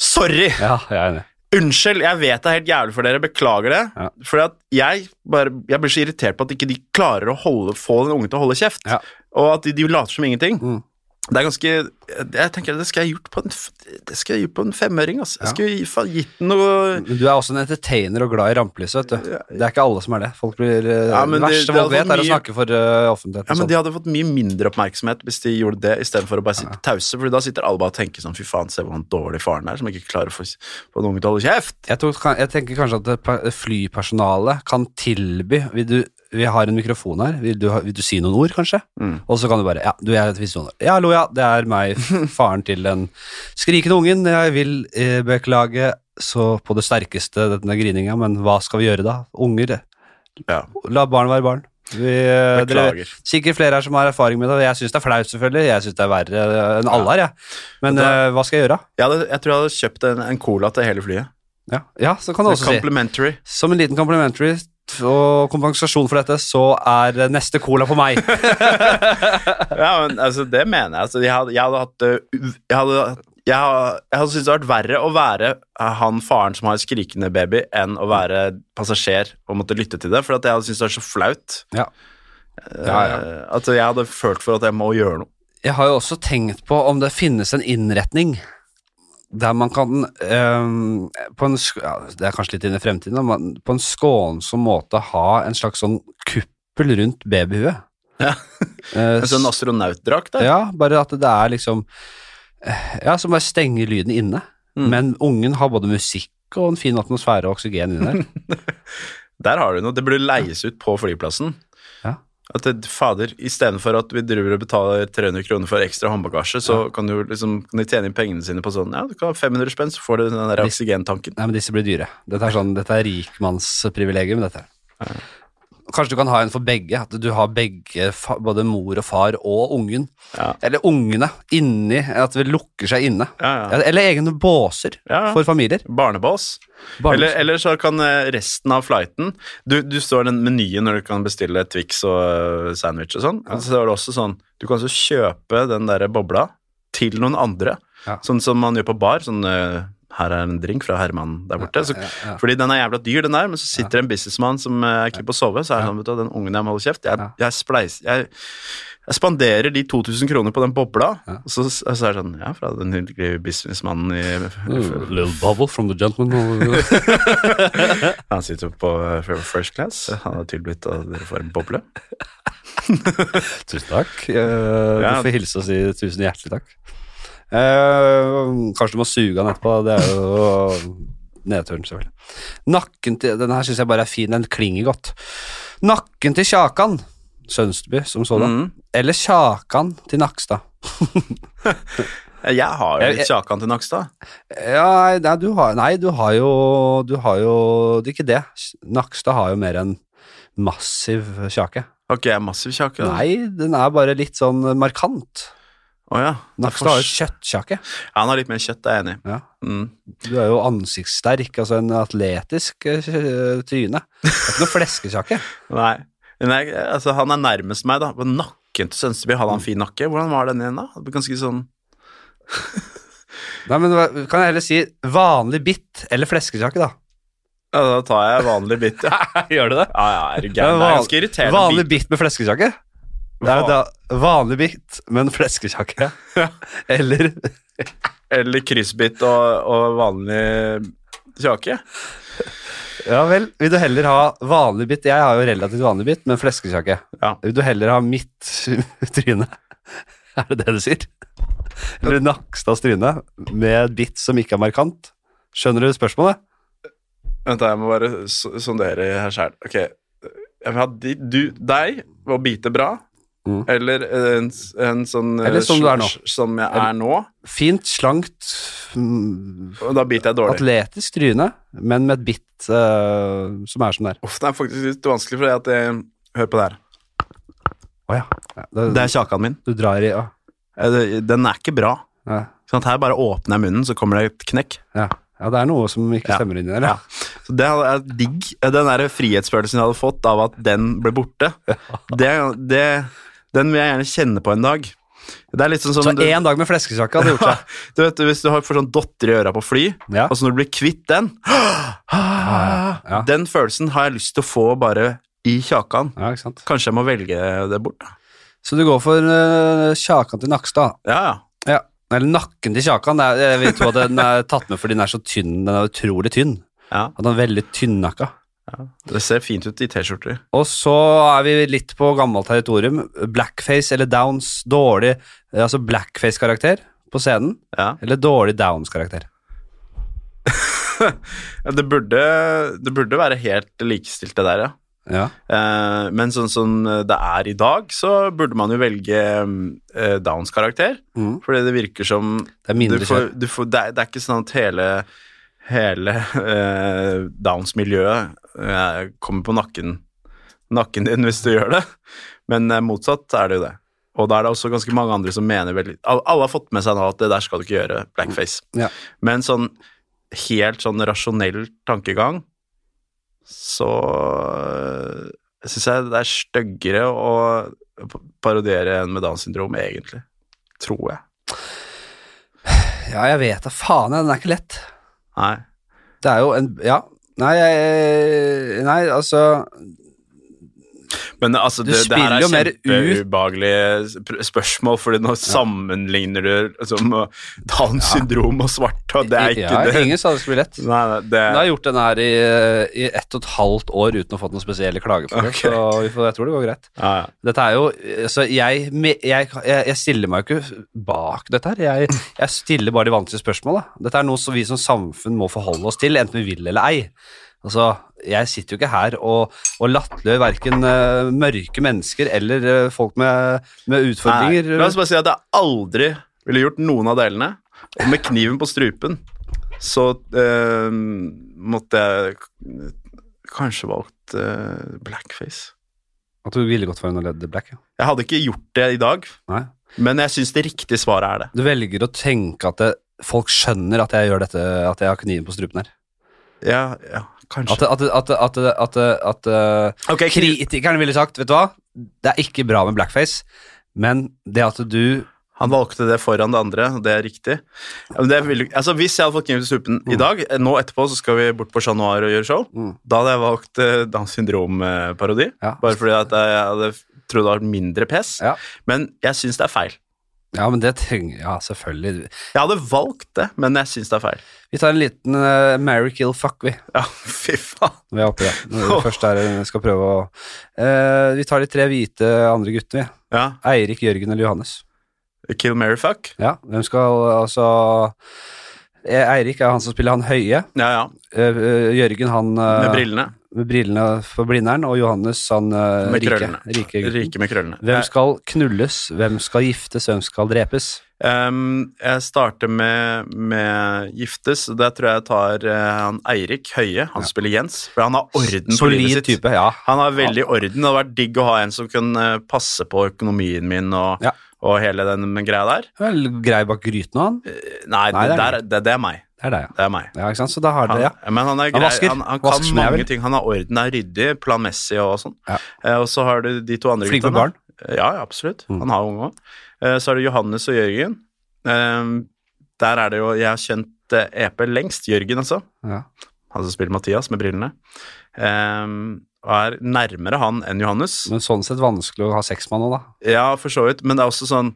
[SPEAKER 2] sorry!
[SPEAKER 1] Ja, jeg er enig.
[SPEAKER 2] Unnskyld, jeg vet det er helt jævlig for dere, beklager det.
[SPEAKER 1] Ja.
[SPEAKER 2] Fordi at jeg, bare, jeg blir så irritert på at ikke de klarer å holde, få den ungen til å holde kjeft.
[SPEAKER 1] Ja.
[SPEAKER 2] Og at de, de later som ingenting.
[SPEAKER 1] Mm.
[SPEAKER 2] Det er ganske Jeg tenker det skal jeg gjort på en, f- det skal jeg gjort på en femøring, altså.
[SPEAKER 1] Ja.
[SPEAKER 2] Jeg skulle gi- faen gitt den noe
[SPEAKER 1] Men du er også en entertainer og glad i rampelyset, vet du. Det er ikke alle som er det. Folk blir, eh,
[SPEAKER 2] Ja, men
[SPEAKER 1] det
[SPEAKER 2] det-
[SPEAKER 1] verste
[SPEAKER 2] det er
[SPEAKER 1] folk vet,
[SPEAKER 2] altså
[SPEAKER 1] er å
[SPEAKER 2] mye-
[SPEAKER 1] snakke for eh, offentligheten.
[SPEAKER 2] Ja, men
[SPEAKER 1] sånn.
[SPEAKER 2] De hadde fått mye mindre oppmerksomhet hvis de gjorde det istedenfor å bare sitte tause. Fordi da sitter alle bare og tenker sånn Fy faen, se hvor dårlig faren er som ikke klarer å få, få noen til å holde kjeft.
[SPEAKER 1] Jeg, tror, kan- jeg tenker kanskje at det pa- flypersonalet kan tilby vil du, Vi har en mikrofon her, vil du, ha- vil du si noen ord, kanskje?
[SPEAKER 2] Mm.
[SPEAKER 1] Og så kan du bare Ja, du, jeg visste noen ord. Ja, hallo, ja, det er
[SPEAKER 2] [LAUGHS]
[SPEAKER 1] meg, faren til den skrikende ungen. Jeg vil eh, beklage så på det sterkeste denne grininga, men hva skal vi gjøre da? Unger,
[SPEAKER 2] Ja.
[SPEAKER 1] la barn være barn. Vi, eh,
[SPEAKER 2] Beklager.
[SPEAKER 1] dere- Sikkert flere her som har erfaring med det. og Jeg syns det er flaut, selvfølgelig. Jeg syns det er verre enn alle her, jeg. Men
[SPEAKER 2] Da-
[SPEAKER 1] eh, hva skal jeg gjøre?
[SPEAKER 2] Jeg, hadde, jeg tror jeg hadde kjøpt en, en cola til hele flyet. Sånn
[SPEAKER 1] Ja, ja så kan du også si.
[SPEAKER 2] Complimentary.
[SPEAKER 1] Som en liten complimentary og kompensasjon for dette, så er neste cola på
[SPEAKER 2] [LAUGHS]
[SPEAKER 1] meg.
[SPEAKER 2] Ja, men altså, det mener jeg. Altså, jeg, hadde, jeg hadde hatt uh, Jeg hadde, jeg hadde, jeg hadde syntes det hadde vært verre å være han faren som har skrikende baby, enn å være passasjer og måtte lytte til det. For at jeg hadde syntes det var så flaut.
[SPEAKER 1] Ja. Ja, ja.
[SPEAKER 2] Eh, At jeg hadde følt for at jeg må gjøre noe.
[SPEAKER 1] Jeg har jo også tenkt på om det finnes en innretning der man kan øhm, på en, sk- ja, Det er kanskje litt inn i fremtiden, da, men på en skånsom måte ha en slags sånn kuppel rundt babyhuet.
[SPEAKER 2] Ja.
[SPEAKER 1] [LAUGHS] Eh,
[SPEAKER 2] En sånn astronautdrakt der.
[SPEAKER 1] Ja, bare at det er liksom eh, Ja, som bare stenger lyden inne.
[SPEAKER 2] Mm.
[SPEAKER 1] Men ungen har både musikk og en fin atmosfære og oksygen inni der.
[SPEAKER 2] Der har du noe. Det burde leies ut på flyplassen.
[SPEAKER 1] Ja.
[SPEAKER 2] At det, fader, Istedenfor at vi driver og betaler 300 kroner for ekstra håndbagasje, så kan du liksom, kan de tjene inn pengene sine på sånn Ja, du kan ha 500 spenn, så får du den der
[SPEAKER 1] Hvis-
[SPEAKER 2] oksygentanken.
[SPEAKER 1] Nei, men disse blir dyre. Dette er, sånn, dette er rikmannsprivilegium, dette. her. Kanskje du kan ha en for begge, at du har begge, fa- både mor og far og ungen.
[SPEAKER 2] Ja.
[SPEAKER 1] Eller ungene inni, at det lukker seg inne.
[SPEAKER 2] Ja, ja.
[SPEAKER 1] Eller egne båser
[SPEAKER 2] Ja, ja.
[SPEAKER 1] for familier.
[SPEAKER 2] Barnebås.
[SPEAKER 1] Barnes-
[SPEAKER 2] Eller, eller så kan eh, resten av flighten Du, du står i den menyen når du kan bestille Twix og eh, sandwich og sånn. Og så er det også sånn Du kan også kjøpe den derre bobla til noen andre.
[SPEAKER 1] Ja.
[SPEAKER 2] Sånn som man gjør på bar. Sånn eh, Her er en drink fra Herman der borte. Så,
[SPEAKER 1] ja, ja.
[SPEAKER 2] Fordi den er jævla dyr, den der, men så sitter det en businessmann som eh, er keen på å sove, så er det sånn, vet du, den ungen jeg må holde kjeft. Jeg,
[SPEAKER 1] Ja.
[SPEAKER 2] jeg, spleis, jeg, jeg spanderer de 2000 kroner på den bobla,
[SPEAKER 1] Ja.
[SPEAKER 2] og så, så er det sånn Ja, fra den hyggelige businessmannen i
[SPEAKER 1] Mm, little bubble from the gentleman.
[SPEAKER 2] [LAUGHS] Han sitter på eh, first class. Han har tilbudt at dere får en boble.
[SPEAKER 1] Tusen takk. Eh,
[SPEAKER 2] Ja.
[SPEAKER 1] Du får hilse og si tusen hjertelig takk. Eh, kanskje du må suge han etterpå, da. det er jo nedturen, selvfølgelig. Nakken til Den her syns jeg bare er fin, den klinger godt. Nakken til Kjakan Sønsteby, som sådan.
[SPEAKER 2] Mm.
[SPEAKER 1] Eller Kjakan til Nakstad.
[SPEAKER 2] Jeg har jo
[SPEAKER 1] Jeg-
[SPEAKER 2] litt Kjakan til Nakstad.
[SPEAKER 1] Ja, nei, du har, nei, du har jo Du har jo det er ikke det. Nakstad har jo mer en massiv kjake.
[SPEAKER 2] Har ikke jeg massiv kjake? da?
[SPEAKER 1] Nei, den er bare litt sånn markant.
[SPEAKER 2] Å ja.
[SPEAKER 1] Nakstad har jo kjøttkjake.
[SPEAKER 2] Ja, Han har litt mer kjøtt, det er jeg enig i.
[SPEAKER 1] Ja.
[SPEAKER 2] Mm.
[SPEAKER 1] Du er jo ansiktssterk, altså en atletisk eh, tryne. Det er ikke noe
[SPEAKER 2] [LAUGHS]
[SPEAKER 1] fleskekjakke.
[SPEAKER 2] Nei. Men jeg, altså, han er nærmest meg, da. På nakken til Sønsteby
[SPEAKER 1] Mm.
[SPEAKER 2] hadde han fin nakke. Hvordan var den igjen, da? Det ble Ganske sånn
[SPEAKER 1] Nei, men hva- kan jeg heller si vanlig bitt eller fleskekjakke, da?
[SPEAKER 2] ja, Da tar jeg vanlig bit, ja.
[SPEAKER 1] [LAUGHS] Gjør du det?
[SPEAKER 2] [LAUGHS] ja, ja er du gæren? Det er ganske irriterende.
[SPEAKER 1] Vanlig bitt med fleskekjakke? Det er jo da vanlig bitt, men fleskekjakke. [LAUGHS] Eller
[SPEAKER 2] bit. Eller kryssbit og, og vanlig kjake.
[SPEAKER 1] Ja vel, vil du heller ha vanlig bitt? Jeg har jo relativt vanlig bitt, men fleskekjakke.
[SPEAKER 2] Ja.
[SPEAKER 1] Vil du heller ha mitt [LAUGHS] tryne? Er det det du sier? Eller Nakstads tryne med bitt som ikke er markant? Skjønner du spørsmålet?
[SPEAKER 2] Vent, da, jeg må bare s- sondere her sjæl. Ok. Jeg vil ha de, du, deg og bite bra,
[SPEAKER 1] Mm.
[SPEAKER 2] eller en, s- en sånn eh,
[SPEAKER 1] Eller som du er nå.
[SPEAKER 2] sj- Som jeg er nå.
[SPEAKER 1] Fint, slankt, mm,
[SPEAKER 2] Og da biter jeg dårlig.
[SPEAKER 1] atletisk tryne, men med et bitt eh, som er som det er.
[SPEAKER 2] Uff, det er faktisk litt vanskelig, for at jeg Hør på det her.
[SPEAKER 1] Å ja. ja. Det,
[SPEAKER 2] Det er kjakan min.
[SPEAKER 1] Du drar i ja.
[SPEAKER 2] Eh, det- Den er ikke bra.
[SPEAKER 1] Ja.
[SPEAKER 2] Sånn at her bare åpner jeg munnen, så kommer det et knekk.
[SPEAKER 1] ja. Ja, det er noe som ikke
[SPEAKER 2] Ja.
[SPEAKER 1] stemmer inni der.
[SPEAKER 2] Ja. Så det er digg. Den der frihetsfølelsen jeg hadde fått av at den ble borte, det, det Den vil jeg gjerne kjenne på en dag. Det er litt sånn som
[SPEAKER 1] Så
[SPEAKER 2] du-
[SPEAKER 1] én dag med fleskesakk hadde gjort seg.
[SPEAKER 2] du vet, Hvis du har- får sånn dotter i øra på fly, [LAUGHS]
[SPEAKER 1] Ja.
[SPEAKER 2] og så Ah. når du blir kvitt den
[SPEAKER 1] ja.
[SPEAKER 2] Den følelsen har jeg lyst til å få bare i kjakan.
[SPEAKER 1] Ja, ikke sant?
[SPEAKER 2] Kanskje jeg må velge det bort. da.
[SPEAKER 1] Så du går for uh, kjakan til Nakstad?
[SPEAKER 2] Ja, ja.
[SPEAKER 1] Ja. Eller nakken til kjakan. det er- Jeg vil tro at den er tatt med fordi den er så tynn. Den er utrolig tynn.
[SPEAKER 2] ja.
[SPEAKER 1] At den er veldig tynnnakka.
[SPEAKER 2] Det ser fint ut i T-skjorter.
[SPEAKER 1] Og så er vi litt på gammelt territorium. Blackface eller Downs. Dårlig eh, Altså blackface-karakter på scenen.
[SPEAKER 2] Ja.
[SPEAKER 1] Eller dårlig Downs-karakter.
[SPEAKER 2] Det burde, det burde være helt likestilt, det der, ja.
[SPEAKER 1] Ja.
[SPEAKER 2] Eh, Men sånn som det er i dag, så burde man jo velge mm, eh, Downs karakter.
[SPEAKER 1] Mm.
[SPEAKER 2] Fordi det virker som
[SPEAKER 1] Det er mindre
[SPEAKER 2] du får, du får, det, er, det er ikke sånn at hele, hele eh, Downs-miljøet eh, kommer på nakken, nakken din hvis du gjør det, men eh, motsatt er det jo det. Og da er det også ganske mange andre som mener veldig al- Alle har fått med seg nå at det der skal du ikke gjøre, blackface.
[SPEAKER 1] Ja.
[SPEAKER 2] Men sånn helt sånn rasjonell tankegang, så syns jeg det er styggere å parodiere enn med Downs syndrom, egentlig. Tror jeg.
[SPEAKER 1] ja, jeg vet da faen. jeg, Den er ikke lett.
[SPEAKER 2] Nei.
[SPEAKER 1] Det er jo en Ja. Nei, jeg, nei altså
[SPEAKER 2] Men altså,
[SPEAKER 1] Du
[SPEAKER 2] det, det her
[SPEAKER 1] spiller
[SPEAKER 2] er
[SPEAKER 1] jo mer ut-
[SPEAKER 2] kjempeubehagelige sp- spørsmål, fordi nå sammenligner du liksom, uh, Downs syndrom og svarte, og det er ikke
[SPEAKER 1] ja,
[SPEAKER 2] det.
[SPEAKER 1] Ingen sa det skulle bli lett.
[SPEAKER 2] Nei, nei, det
[SPEAKER 1] Nå har jeg gjort den her i, i ett og et halvt år uten å fått noen spesielle klager på det,
[SPEAKER 2] Ok.
[SPEAKER 1] så vi får, jeg tror det går greit.
[SPEAKER 2] ja, ja.
[SPEAKER 1] Dette er jo, så jeg, me- jeg, jeg jeg stiller meg jo ikke bak dette her. Jeg, jeg stiller bare de vanskelige spørsmåla. Dette er noe som vi som samfunn må forholde oss til, enten vi vil eller ei. Altså, Jeg sitter jo ikke her og, og latterliggjør verken eh, mørke mennesker eller eh, folk med, med
[SPEAKER 2] Nei,
[SPEAKER 1] utfordringer.
[SPEAKER 2] La oss bare si at jeg aldri ville gjort noen av delene. Og med kniven på strupen så eh, måtte jeg k- kanskje valgt eh, blackface.
[SPEAKER 1] At du ville gått for en Led Black. Ja.
[SPEAKER 2] Jeg hadde ikke gjort det i dag,
[SPEAKER 1] Nei.
[SPEAKER 2] men jeg syns det riktige svaret er det.
[SPEAKER 1] Du velger å tenke at det, folk skjønner at jeg gjør dette, at jeg har kniven på strupen her.
[SPEAKER 2] Ja, ja kanskje.
[SPEAKER 1] At, at, at, at, at, at, eh, at
[SPEAKER 2] Ok, kniv-
[SPEAKER 1] kritikerne ville sagt, vet du hva, det er ikke bra med blackface, men det at du
[SPEAKER 2] Han valgte det foran det andre, og det er riktig. Ja, men Det ville, altså hvis jeg hadde fått kniven til strupen i dag, eh, nå etterpå så skal vi bort på Chat Noir og gjøre show,
[SPEAKER 1] Mm.
[SPEAKER 2] da hadde jeg valgt eh, Downs syndrom-parodi.
[SPEAKER 1] Ja.
[SPEAKER 2] Bare fordi at jeg hadde trodd det var mindre pes.
[SPEAKER 1] Ja.
[SPEAKER 2] Men jeg syns det er feil.
[SPEAKER 1] Ja, men det trenger Ja, selvfølgelig.
[SPEAKER 2] Jeg hadde valgt det, men jeg syns det er feil.
[SPEAKER 1] Vi tar en liten eh, Mary Kill Fuck, vi. [LAUGHS]
[SPEAKER 2] Ja, fy faen.
[SPEAKER 1] Når vi er oppe i det. Når vi først er, skal prøve å Eh, Vi tar de tre hvite andre guttene, vi.
[SPEAKER 2] Ja,
[SPEAKER 1] Eirik, Jørgen eller Johannes.
[SPEAKER 2] Kill Mary Fuck.
[SPEAKER 1] Ja, hvem skal altså Eh, Eirik er han som spiller han høye.
[SPEAKER 2] Ja, ja.
[SPEAKER 1] Eh, eh, Jørgen han eh,
[SPEAKER 2] Med brillene.
[SPEAKER 1] med brillene for blinderen, og Johannes han eh,
[SPEAKER 2] Med
[SPEAKER 1] rike,
[SPEAKER 2] krøllene.
[SPEAKER 1] rike gutten.
[SPEAKER 2] Rike med krøllene.
[SPEAKER 1] Hvem skal knulles, hvem skal giftes, hvem skal drepes?
[SPEAKER 2] Ehm, jeg starter med, med Giftes. og Der tror jeg jeg tar eh, han Eirik Høie. Han spiller Jens. For han har orden på livet
[SPEAKER 1] Solid
[SPEAKER 2] sitt.
[SPEAKER 1] type, ja.
[SPEAKER 2] Han har veldig orden. Det hadde vært digg å ha en som kunne eh, passe på økonomien min og,
[SPEAKER 1] Ja.
[SPEAKER 2] og hele den greia der.
[SPEAKER 1] Vel, grei bak gryten han. Det
[SPEAKER 2] Eh, Nei,
[SPEAKER 1] Nei,
[SPEAKER 2] det,
[SPEAKER 1] det er
[SPEAKER 2] der, det, det er meg.
[SPEAKER 1] er deg, ja.
[SPEAKER 2] Det er meg.
[SPEAKER 1] Ja, ikke sant? Så da har
[SPEAKER 2] Han,
[SPEAKER 1] dere, ja.
[SPEAKER 2] Men han er
[SPEAKER 1] Han
[SPEAKER 2] grei.
[SPEAKER 1] vasker.
[SPEAKER 2] Han, han
[SPEAKER 1] Vasker
[SPEAKER 2] kan
[SPEAKER 1] som jeg
[SPEAKER 2] mange
[SPEAKER 1] vil.
[SPEAKER 2] ting. Han har orden, er ryddig, planmessig og sånn.
[SPEAKER 1] Ja.
[SPEAKER 2] Eh, og så har du de to andre
[SPEAKER 1] Flink med
[SPEAKER 2] guttene.
[SPEAKER 1] barn.
[SPEAKER 2] Eh, Ja, ja, absolutt.
[SPEAKER 1] Mm.
[SPEAKER 2] Han har unge òg. Eh, så er det Johannes og Jørgen. Eh, der er det jo Jeg har kjent eh, EP lengst. Jørgen, altså.
[SPEAKER 1] ja.
[SPEAKER 2] Han som spiller Mathias med brillene. Eh, og er nærmere han enn Johannes.
[SPEAKER 1] Men sånn sett vanskelig å ha sex med han nå, da.
[SPEAKER 2] Ja, for så vidt. Men det er også sånn